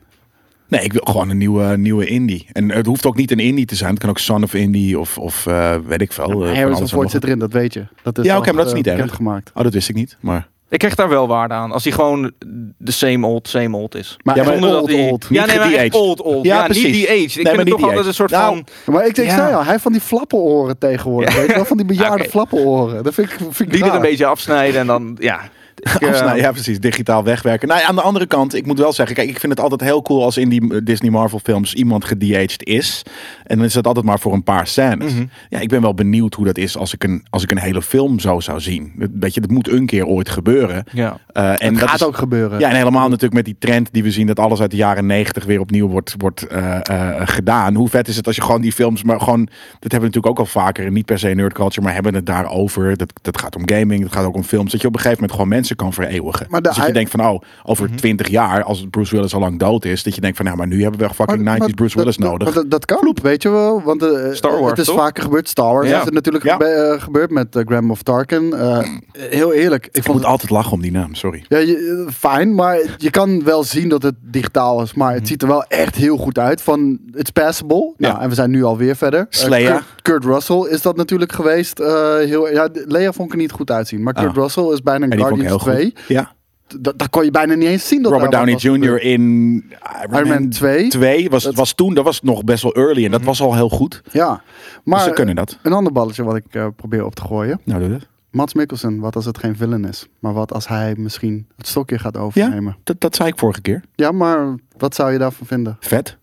Speaker 2: Nee, ik wil gewoon een nieuwe, nieuwe indie. En het hoeft ook niet een indie te zijn. Het kan ook Son of Indie of, of eh, weet ik veel. eh, van
Speaker 3: Harrison
Speaker 2: alles
Speaker 3: Ford
Speaker 2: en nog
Speaker 3: zit erin, dat weet je. Dat is
Speaker 2: Ja,
Speaker 3: al,
Speaker 2: oké, maar dat is
Speaker 3: eh,
Speaker 2: niet erg.
Speaker 3: bekendgemaakt.
Speaker 2: wat. Oh, dat wist ik niet. Maar
Speaker 4: Ik krijg daar wel waarde aan. Als hij gewoon de same old, same old is.
Speaker 3: Maar,
Speaker 2: Ja, maar
Speaker 3: echt
Speaker 4: Zonder dat
Speaker 3: old,
Speaker 4: hij-
Speaker 3: old.
Speaker 4: Ja,
Speaker 2: Niet
Speaker 4: nee, maar echt
Speaker 2: gedeaged.
Speaker 4: old, old.
Speaker 2: Ja,
Speaker 4: Ja, niet
Speaker 2: precies.
Speaker 4: die age. Ik
Speaker 2: Nee,
Speaker 4: vind
Speaker 2: maar
Speaker 4: het
Speaker 2: niet
Speaker 4: toch altijd
Speaker 2: de-aged.
Speaker 4: een soort
Speaker 2: Nou,
Speaker 4: van...
Speaker 3: Maar ik denk,
Speaker 4: Ja.
Speaker 3: zei al, hij heeft van die flappenoren tegenwoordig. Weet je wel, van die bejaarde
Speaker 4: Oké.
Speaker 3: flappenoren. Dat vind ik, vind ik
Speaker 4: Die er
Speaker 3: raar.
Speaker 4: een beetje afsnijden en dan... Ja, Ik, eh,
Speaker 2: Afsnijden, nou ja, precies. Digitaal wegwerken. Nou, ja, aan de andere kant, ik moet wel zeggen, kijk, ik vind het altijd heel cool als in die eh, Disney Marvel films iemand gedaged is. En dan is dat altijd maar voor een paar scènes.
Speaker 4: Mhm.
Speaker 2: Ja, ik ben wel benieuwd hoe dat is als ik een, als ik een hele film zo zou zien. Dat- Weet je, dat moet een keer ooit gebeuren.
Speaker 4: ja.
Speaker 2: Eh, en
Speaker 3: Het
Speaker 2: dat
Speaker 3: gaat
Speaker 2: is-
Speaker 3: ook gebeuren.
Speaker 2: Ja, en helemaal natuurlijk met die trend die we zien dat alles uit de jaren negentig weer opnieuw wordt, wordt eh, eh, gedaan. Hoe vet is het als je gewoon die films, maar gewoon, dat hebben we natuurlijk ook al vaker, niet per se nerd culture, maar hebben het daarover. Dat, dat gaat om gaming, dat gaat ook om films, dat je op een gegeven moment gewoon mensen kan vereeuwigen.
Speaker 3: Maar de
Speaker 2: dus dat je
Speaker 3: ei- Mhm.
Speaker 2: denkt van, oh, over twintig jaar, als Bruce Willis al lang dood is, dat je denkt van, nou, maar nu hebben we fucking 90s Bruce Willis
Speaker 3: dat,
Speaker 2: nodig.
Speaker 3: Dat, dat kan, weet je wel. Want eh,
Speaker 4: Star Wars,
Speaker 3: het is
Speaker 4: toch?
Speaker 3: vaker gebeurd. Star Wars
Speaker 4: Ja.
Speaker 3: is het natuurlijk
Speaker 2: Ja.
Speaker 3: gebe- eh, gebeurd met eh, Grand Moff Tarkin. Eh, heel eerlijk, ik
Speaker 2: ik
Speaker 3: vond
Speaker 2: moet
Speaker 3: het...
Speaker 2: altijd lachen om die naam, sorry.
Speaker 3: Ja, je- eh, fijn, maar je kan wel zien dat het digitaal is. Maar het ziet er wel echt heel goed uit. Van, it's passable.
Speaker 2: Ja.
Speaker 3: Nou, en we zijn nu alweer verder. Eh,
Speaker 2: Slayer.
Speaker 3: Kurt, Kurt Russell is dat natuurlijk geweest. eh, heel, ja, Leia vond ik er niet goed uitzien. Maar Kurt
Speaker 2: Ah.
Speaker 3: Russell is bijna
Speaker 2: En
Speaker 3: een
Speaker 2: die vond ik heel
Speaker 3: Guardians 2.
Speaker 2: goed. Ja.
Speaker 3: Dat, dat kon je bijna niet eens zien. Dat
Speaker 2: Robert
Speaker 3: daar wat
Speaker 2: Downey
Speaker 3: was gebeurd.
Speaker 2: Jr. in uh,
Speaker 3: Iron Man 2.
Speaker 2: 2 was, was toen, dat was nog best wel early en dat was al heel goed.
Speaker 3: Ja, maar
Speaker 2: Maar, ze kunnen dat.
Speaker 3: een ander balletje wat ik eh, probeer op te gooien.
Speaker 2: Nou, doe dat.
Speaker 3: Mats Mikkelsen, wat als het geen villain is? Maar wat als hij misschien het stokje gaat overnemen?
Speaker 2: Dat, dat zei ik vorige keer.
Speaker 3: Ja, maar wat zou je daarvan vinden?
Speaker 2: Vet.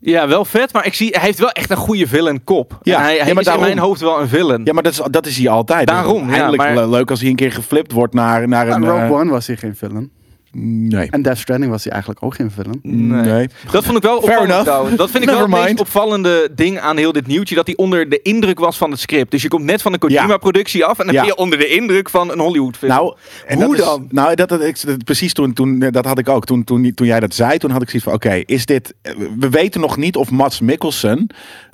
Speaker 4: ja, wel vet, maar ik zie, hij heeft wel echt een goede villain kop.
Speaker 2: Ja,
Speaker 4: En hij,
Speaker 2: ja,
Speaker 4: hij
Speaker 2: maar
Speaker 4: is
Speaker 2: daarom-
Speaker 4: in mijn hoofd wel een villain.
Speaker 2: Ja, maar dat is, dat is hij altijd.
Speaker 4: Daarom, ja,
Speaker 2: Eindelijk
Speaker 4: maar-
Speaker 2: le- leuk als hij een keer geflipt wordt naar, naar
Speaker 3: En
Speaker 2: een...
Speaker 3: Rogue
Speaker 2: eh,
Speaker 3: One was hij geen villain.
Speaker 2: nee.
Speaker 3: En Death Stranding was hij eigenlijk ook geen villain.
Speaker 2: Nee.
Speaker 4: Dat vond ik wel
Speaker 2: Fair
Speaker 4: opvallend
Speaker 2: enough.
Speaker 4: trouwens. Dat vind ik
Speaker 2: *laughs*
Speaker 4: wel
Speaker 2: Never
Speaker 4: het meest
Speaker 2: mind.
Speaker 4: opvallende ding aan heel dit nieuwtje. Dat hij onder de indruk was van het script. Dus je komt net van een
Speaker 2: Ja.
Speaker 4: Kojima-productie af. En dan
Speaker 2: Ja.
Speaker 4: ben je onder de indruk van een Hollywood-film.
Speaker 2: Nou, en
Speaker 4: Hoe
Speaker 2: dat is-
Speaker 4: dan?
Speaker 2: nou, dat, dat, ik, dat- precies toen, toen, dat had ik ook. Toen, toen, toen jij dat zei, toen had ik zoiets van... Oké, is dit... eh, We weten nog niet of Mats Mikkelsen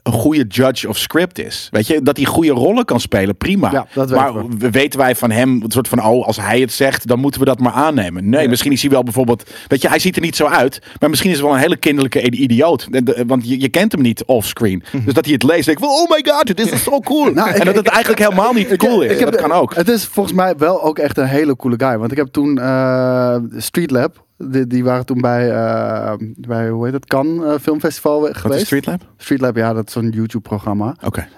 Speaker 2: een goede judge of script is. Weet je, dat hij goede rollen kan spelen, prima.
Speaker 3: Ja, dat weten
Speaker 2: maar we- weten wij van hem, het soort van... Oh, als hij het zegt, dan moeten we dat maar aannemen. Nee,
Speaker 4: Ja.
Speaker 2: misschien is hij wel bijvoorbeeld... Weet je, hij ziet er niet zo uit. Maar misschien is hij wel een hele kinderlijke i- idioot. En de- Want je, je kent hem niet
Speaker 3: *laughs*
Speaker 2: offscreen. Dus dat hij het leest, denk ik... Oh my god, dit is zo cool.
Speaker 3: Mhm. Nou, ik-
Speaker 2: en dat het
Speaker 3: ik-
Speaker 2: eigenlijk helemaal niet cool is.
Speaker 3: Ik heb
Speaker 2: dat
Speaker 3: de-
Speaker 2: kan ook.
Speaker 3: Het is volgens mij wel ook echt een hele coole guy. Want ik heb toen eh, Street Lab, die, die waren toen bij, eh, bij hoe heet het, Cannes eh, Filmfestival geweest.
Speaker 2: Wat is Streetlab? Oké.
Speaker 3: Street Lab, ja, dat is zo'n YouTube-programma.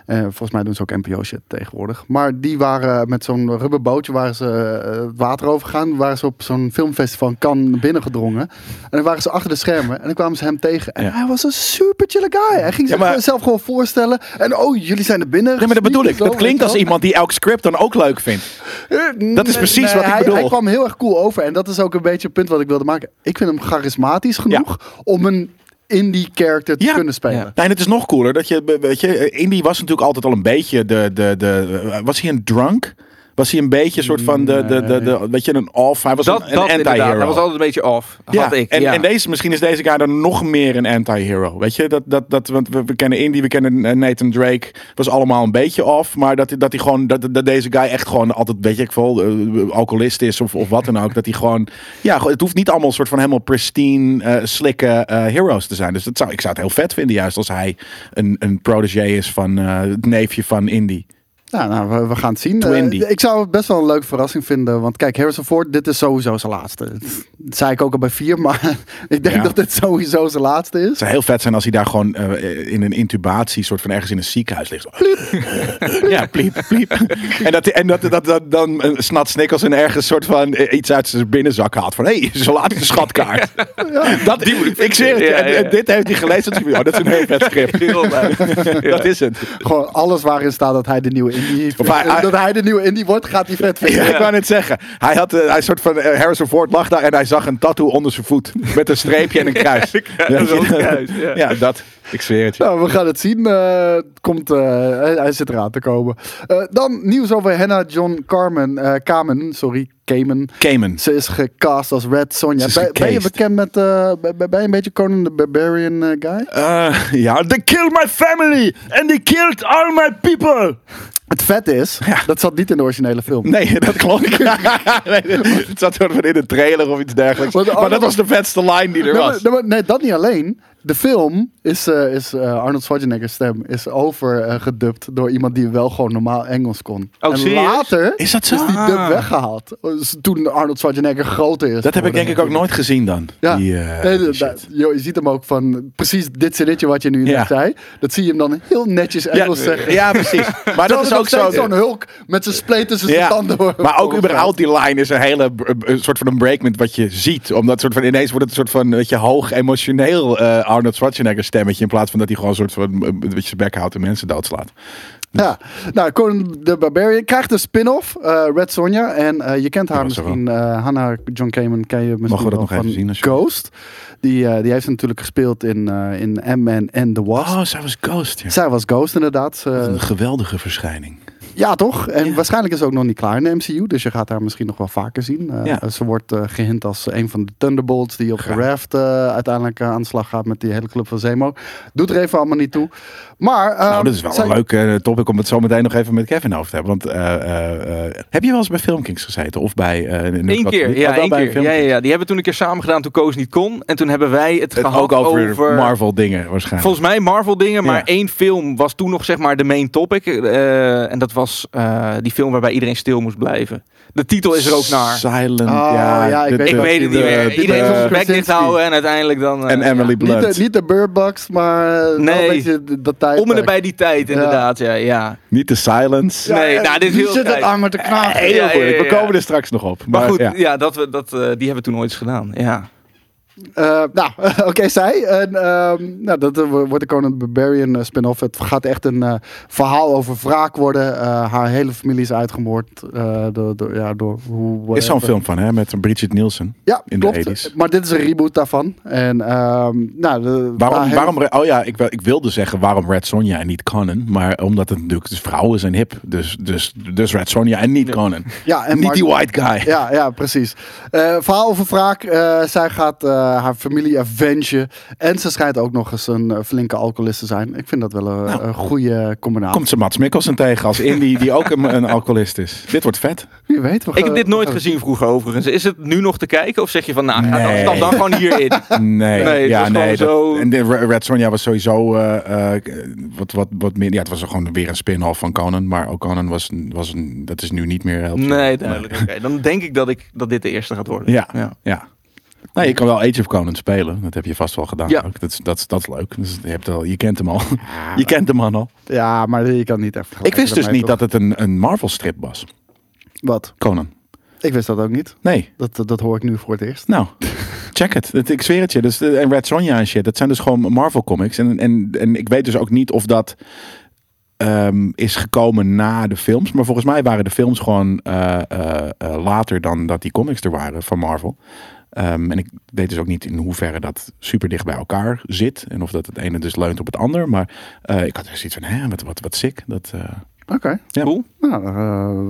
Speaker 3: Eh, volgens mij doen ze ook NPO-shit tegenwoordig. Maar die waren met zo'n rubberbootje waar ze eh, het water over gaan. Waren ze op zo'n filmfestival in Cannes binnengedrongen. En dan waren ze achter de schermen. En dan kwamen ze hem tegen. En
Speaker 2: Ja.
Speaker 3: hij was een super chille guy. Hij ging
Speaker 2: Ja, maar-
Speaker 3: zichzelf gewoon voorstellen. En oh, jullie zijn er binnen.
Speaker 2: Nee, maar dat bedoel ik.
Speaker 3: Zo,
Speaker 2: Dat
Speaker 3: weet je
Speaker 2: klinkt als
Speaker 3: wel.
Speaker 2: iemand die elk script dan ook leuk vindt.
Speaker 3: Eh,
Speaker 2: dat is
Speaker 3: nee,
Speaker 2: precies
Speaker 3: nee,
Speaker 2: wat ik
Speaker 3: hij,
Speaker 2: bedoel.
Speaker 3: Hij kwam heel erg cool over. En dat is ook een beetje het punt wat ik wilde maken. Ik vind hem charismatisch genoeg om een indie character te
Speaker 2: Ja.
Speaker 3: kunnen spelen.
Speaker 4: Ja.
Speaker 2: Nee, en het is nog cooler dat je, weet je, eh, Indy was natuurlijk altijd al een beetje de, de, de eh, was hij een drunk? Was hij een beetje een soort van de, de, de, de weet je, een off? Hij was
Speaker 4: dat,
Speaker 2: een,
Speaker 4: dat
Speaker 2: een
Speaker 4: inderdaad. Hij was
Speaker 2: anti-hero.
Speaker 4: altijd een beetje off.
Speaker 2: Ja,
Speaker 4: Had ik.
Speaker 2: en,
Speaker 4: ja.
Speaker 2: en deze, misschien is deze guy dan nog meer een anti-hero. Weet je, dat, dat, dat, want we, we kennen Indy, we kennen eh, Nathan Drake. Was allemaal een beetje off, maar dat, dat, hij gewoon, dat, dat deze guy echt gewoon altijd, weet je, ik veel, eh, alcoholist is of, of wat dan ook. dat hij gewoon, ja, gewoon- het hoeft niet allemaal een soort van helemaal pristine, eh, slikke eh, heroes te zijn. Dus dat zou, ik zou het heel vet vinden, juist als hij een, een protege is van eh, het neefje van Indy.
Speaker 3: Nou, nou we, we gaan het zien.
Speaker 2: Twenty.
Speaker 3: Eh, ik zou het best wel een leuke verrassing vinden. Want kijk, Harrison Ford, dit is sowieso zijn laatste. Dat zei ik ook al bij vier, *laughs* maar ik denk
Speaker 2: Ja.
Speaker 3: dat dit sowieso zijn laatste is.
Speaker 2: Het zou heel vet zijn als hij daar gewoon eh, in een intubatie, soort van ergens in een ziekenhuis
Speaker 4: *laughs*
Speaker 2: ligt. Zo, pliep. ja, pliep, pliep. En dat, en dat, dat, dat dan eh, Snat Snikkels ergens soort van eh, iets uit zijn binnenzak haalt. Van, hé, hey, zo laat is de schatkaart. dat, die ik, zeg het je,
Speaker 4: Ja,
Speaker 2: en-
Speaker 4: ja.
Speaker 2: en dit heeft hij gelezen. Dat, is- oh, dat is een heel vet script.
Speaker 4: *laughs* Heel leuk.
Speaker 2: *laughs* Dat is het.
Speaker 3: Gewoon alles waarin staat dat hij de nieuwe indie, *laughs*
Speaker 2: Of hij- hij-
Speaker 3: dat hij de nieuwe indie wordt, gaat hij vet vinden.
Speaker 2: Ja, ik wou net zeggen. Hij had eh, hij soort van eh, Harrison Ford lag daar en hij zag een tattoo onder zijn voet. Met een streepje en een kruis.
Speaker 4: *laughs* Ja, zo'n kruis, ja.
Speaker 2: ja, dat. Ik zweer het je.
Speaker 3: Nou, we gaan het zien. Eh, het komt, eh, hij, hij zit eraan te komen. Eh, dan nieuws over Hannah John Carmen, eh, Kamen. Sorry, Kamen.
Speaker 2: Cayman.
Speaker 3: Ze is gecast als Red
Speaker 2: Ze
Speaker 3: Sonja.
Speaker 2: is
Speaker 3: Ben, ben je
Speaker 2: gecast.
Speaker 3: bekend met... eh, ben- ben ben je een beetje Conan the Barbarian eh, guy?
Speaker 2: Eh, ja, they killed my family and they killed all my people.
Speaker 3: Het vet is, dat zat niet in de originele film.
Speaker 2: Nee, *laughs* dat klopt
Speaker 3: *laughs*
Speaker 2: ik. nee, het zat soort van in de trailer of iets dergelijks.
Speaker 3: Want de
Speaker 2: Maar dat
Speaker 3: andere-
Speaker 2: was de vetste line die er
Speaker 3: Nee, maar-
Speaker 2: was.
Speaker 3: nee, maar- nee, dat niet alleen. De film is is, eh, is eh, Arnold Schwarzenegger's stem is overgedubt door iemand die wel gewoon normaal Engels kon.
Speaker 4: Oh,
Speaker 3: en
Speaker 4: serieus?
Speaker 3: later
Speaker 2: Is dat zo?
Speaker 3: is die
Speaker 4: Ah.
Speaker 3: dub weggehaald. Dus Toen Arnold Schwarzenegger groter is.
Speaker 2: Dat heb ik
Speaker 3: geworden.
Speaker 2: denk ik ook nooit gezien dan.
Speaker 3: Ja,
Speaker 2: Die, eh,
Speaker 3: Nee,
Speaker 2: die
Speaker 3: dat-
Speaker 2: shit.
Speaker 3: dat- joh, je ziet hem ook van precies dit zinnetje wat je nu
Speaker 2: Ja.
Speaker 3: net zei. Dat zie je hem dan heel netjes Engels zeggen.
Speaker 2: ja, precies.
Speaker 3: *laughs*
Speaker 2: Maar dat is ook zo.
Speaker 3: Zo'n hulk met zijn spleet tussen zijn
Speaker 2: Ja,
Speaker 3: tanden. hoor.
Speaker 2: maar ook überhaupt die line is een hele b- b- een soort van een break met wat je ziet. Omdat soort van, ineens wordt het een soort van weet je, hoog emotioneel eh, Arnold Schwarzenegger stemmetje. In plaats van dat hij gewoon een soort van eh, een beetje zijn bek houdt en mensen doodslaat.
Speaker 3: Ja, nou, Conan the Barbarian krijgt een spin-off, eh, Red Sonja. En eh, je kent haar
Speaker 2: dat is er
Speaker 3: misschien, eh, Hannah John Kamen ken je misschien
Speaker 2: Mogen we dat
Speaker 3: wel
Speaker 2: nog even
Speaker 3: van
Speaker 2: zien, alsjeblieft?
Speaker 3: Ghost. Die, eh, die heeft natuurlijk gespeeld in, eh, in Ant-Man en The Wasp.
Speaker 2: Oh, zij was Ghost. ja.
Speaker 3: Zij was Ghost inderdaad. Ze-
Speaker 4: Ehm,
Speaker 2: Een geweldige verschijning.
Speaker 3: ja, toch? En waarschijnlijk is ze ook nog niet klaar in de MCU. Dus je gaat haar misschien nog wel vaker zien. Eh,
Speaker 2: Ja.
Speaker 3: Ze wordt eh, gehint als een van de Thunderbolts die op de
Speaker 2: Graag.
Speaker 3: raft eh, uiteindelijk eh, aan de slag gaat met die hele club van Zemo. Doet er even allemaal niet toe. Maar,
Speaker 2: nou,
Speaker 3: ehm,
Speaker 2: dat is wel
Speaker 3: zij-
Speaker 2: een leuk eh, topic om het zo meteen nog even met Kevin over te hebben. Want eh, eh, eh, heb je wel eens bij Filmkings gezeten? Of bij... eh, in- in-
Speaker 4: Eén
Speaker 2: wat-
Speaker 4: keer,
Speaker 2: Oh,
Speaker 4: ja,
Speaker 2: wel
Speaker 4: één
Speaker 2: bij
Speaker 4: keer. Ja,
Speaker 2: Filmkings.
Speaker 4: ja, ja, die hebben we toen een keer samen gedaan toen Koos niet kon. En toen hebben wij het,
Speaker 2: Het
Speaker 4: gehad
Speaker 2: ook over, Marvel dingen waarschijnlijk.
Speaker 4: Volgens mij Marvel dingen, maar
Speaker 2: Ja.
Speaker 4: één film was toen nog zeg maar de main topic. eh, en dat was eh, die film waarbij iedereen stil moest blijven. De titel is er ook naar.
Speaker 2: Silent,
Speaker 3: Ah,
Speaker 2: ja. eh,
Speaker 3: ja, ik
Speaker 2: de-
Speaker 3: weet
Speaker 2: de-
Speaker 4: Ik weet het
Speaker 2: de-
Speaker 4: niet meer.
Speaker 2: de-
Speaker 4: Iedereen
Speaker 2: de-
Speaker 4: moest zijn bek
Speaker 3: Krasinski.
Speaker 4: dicht houden en uiteindelijk dan... eh,
Speaker 2: eh, en Emily
Speaker 3: Niet
Speaker 2: Blunt.
Speaker 3: de, niet de Bird Box, maar eh, wel
Speaker 4: Nee.
Speaker 3: een beetje de- dat tijd.
Speaker 4: Om en bij die tijd,
Speaker 3: Ja.
Speaker 4: inderdaad. Ja, ja.
Speaker 2: Niet de silence.
Speaker 4: Nee, nou, dit is heel
Speaker 3: zit het
Speaker 4: tijd.
Speaker 3: aan met de knaag.
Speaker 4: Ja, ja, ja,
Speaker 2: We
Speaker 4: ja.
Speaker 2: komen er straks nog op.
Speaker 4: Maar goed,
Speaker 2: ja.
Speaker 4: ja. dat we, dat, eh, die hebben we toen ooit eens gedaan. Ja.
Speaker 3: Eh, nou, *laughs* oké, zij. En, ehm, nou, dat eh, wordt de Conan the Barbarian eh, spin-off. Het gaat echt een eh, verhaal over wraak worden. Eh, haar hele familie is uitgemoord eh, door, door, ja, door hoe...
Speaker 2: is zo'n
Speaker 3: whatever.
Speaker 2: film van, hè? Met Bridget Nielsen.
Speaker 3: Ja,
Speaker 2: in de
Speaker 3: klopt.
Speaker 2: 80s.
Speaker 3: Maar dit is een reboot daarvan. En, ehm, nou, de-
Speaker 2: Waarom,
Speaker 3: waar-
Speaker 2: waarom, oh ja, ik, wil- ik wilde zeggen waarom Red Sonja en niet Conan. Maar omdat het natuurlijk dus vrouwen zijn hip. Dus, dus, dus Red Sonja en niet Conan.
Speaker 3: Ja, en
Speaker 2: niet
Speaker 3: Mark-
Speaker 2: die white guy.
Speaker 3: Ja, ja, precies. Eh, verhaal over wraak. Eh, zij gaat eh, haar familie avengen. En ze schijnt ook nog eens een eh, flinke alcoholist te zijn. Ik vind dat wel een, een goede combinatie.
Speaker 2: Nou. Komt ze Mats Mikkelsen tegen als indie die ook een, een alcoholist is. Dit wordt vet.
Speaker 3: Wie weet. we
Speaker 4: Ik
Speaker 3: gaan-
Speaker 4: heb dit
Speaker 3: we
Speaker 2: Oh.
Speaker 4: nooit
Speaker 3: gaan-
Speaker 4: gezien vroeger overigens. Is het nu nog te kijken? Of zeg je van, nou, ga dan,
Speaker 2: Nee.
Speaker 4: stap dan gewoon hierin.
Speaker 2: *laughs* Nee,
Speaker 4: Nee, het
Speaker 2: ja,
Speaker 4: was
Speaker 2: nee.
Speaker 4: gewoon
Speaker 2: dat-
Speaker 4: zo-
Speaker 2: En de Re- Red Sonja was sowieso eh, eh, wat, wat, wat meer. Ja, het was gewoon weer een spin-off van Conan. Maar ook Conan was, een- was een. Dat is nu niet meer heel.
Speaker 4: Nee, duidelijk. Oké, Dan denk ik dat, ik dat dit de eerste gaat worden.
Speaker 2: Ja.
Speaker 4: ja.
Speaker 2: Ja. Nou, je kan wel Age of Conan spelen. Dat heb je vast wel gedaan.
Speaker 4: Ja.
Speaker 2: Ook. Dat, is- dat, is- dat is leuk. Dus je, hebt al, je kent hem al. *laughs* je kent hem al.
Speaker 3: Ja, maar je kan niet echt.
Speaker 2: Ik wist dus niet dat het een, een Marvel-strip was.
Speaker 3: Wat?
Speaker 2: Conan.
Speaker 3: Ik wist dat ook niet.
Speaker 2: Nee.
Speaker 3: Dat, dat, dat hoor ik nu voor het eerst.
Speaker 2: Nou, check het. Dat- Ik zweer het je. Dus, eh, en Red Sonja en shit. Dat zijn dus gewoon Marvel comics. En, en, en ik weet dus ook niet of dat ehm, is gekomen na de films. Maar volgens mij waren de films gewoon eh, eh, eh, later dan dat die comics er waren van Marvel. Ehm, en ik weet dus ook niet in hoeverre dat super dicht bij elkaar zit. En of dat het ene dus leunt op het ander. Maar eh, ik had dus iets van, hè, wat, wat, wat sick. Dat, eh,
Speaker 3: Oké.
Speaker 2: Ja.
Speaker 4: Cool.
Speaker 3: Nou, eh,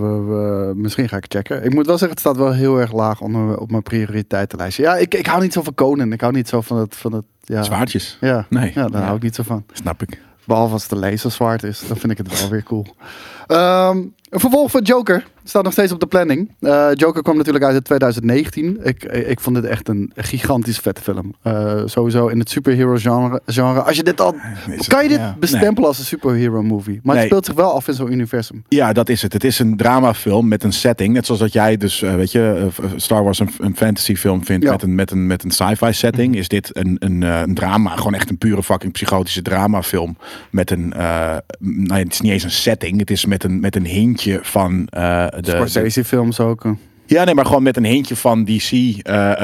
Speaker 3: we- we- misschien ga ik checken. Ik moet wel zeggen, het staat wel heel erg laag onder, op mijn prioriteitenlijstje. Ja, ik, ik hou niet zo van Conan. Ik hou niet zo van het. Van het ja.
Speaker 2: Zwaardjes,
Speaker 3: Ja,
Speaker 2: Nee.
Speaker 3: ja, daar
Speaker 2: Ja.
Speaker 3: hou ik niet zo van.
Speaker 2: snap ik.
Speaker 3: Behalve als de laser zwart is, dan vind ik het wel weer cool. Ehm, een vervolg van Joker staat nog steeds op de planning. Eh, Joker kwam natuurlijk uit in 2019. Ik, ik vond dit echt een gigantisch vette film. Eh, sowieso in het superhero genre, genre. Als je dit al,
Speaker 2: is
Speaker 3: kan je
Speaker 2: het-
Speaker 3: dit
Speaker 2: ja.
Speaker 3: bestempelen als een superhero movie? Maar
Speaker 2: Nee.
Speaker 3: het speelt zich wel af in zo'n universum.
Speaker 2: Ja, dat is het. Het is een dramafilm met een setting. Net zoals dat jij dus, eh, weet je, eh, Star Wars een, een fantasyfilm vindt
Speaker 3: Ja. Mhm.
Speaker 2: met een, met een, met een sci-fi setting. Is dit een, een, eh, een drama, gewoon echt een pure fucking psychotische dramafilm. Met een, eh, m, nou ja, het is niet eens een setting. Het is met een, met een hintje van eh, de- de,
Speaker 3: Scorsese films ook. eh.
Speaker 2: ja, nee, maar gewoon met een hintje van DC, eh,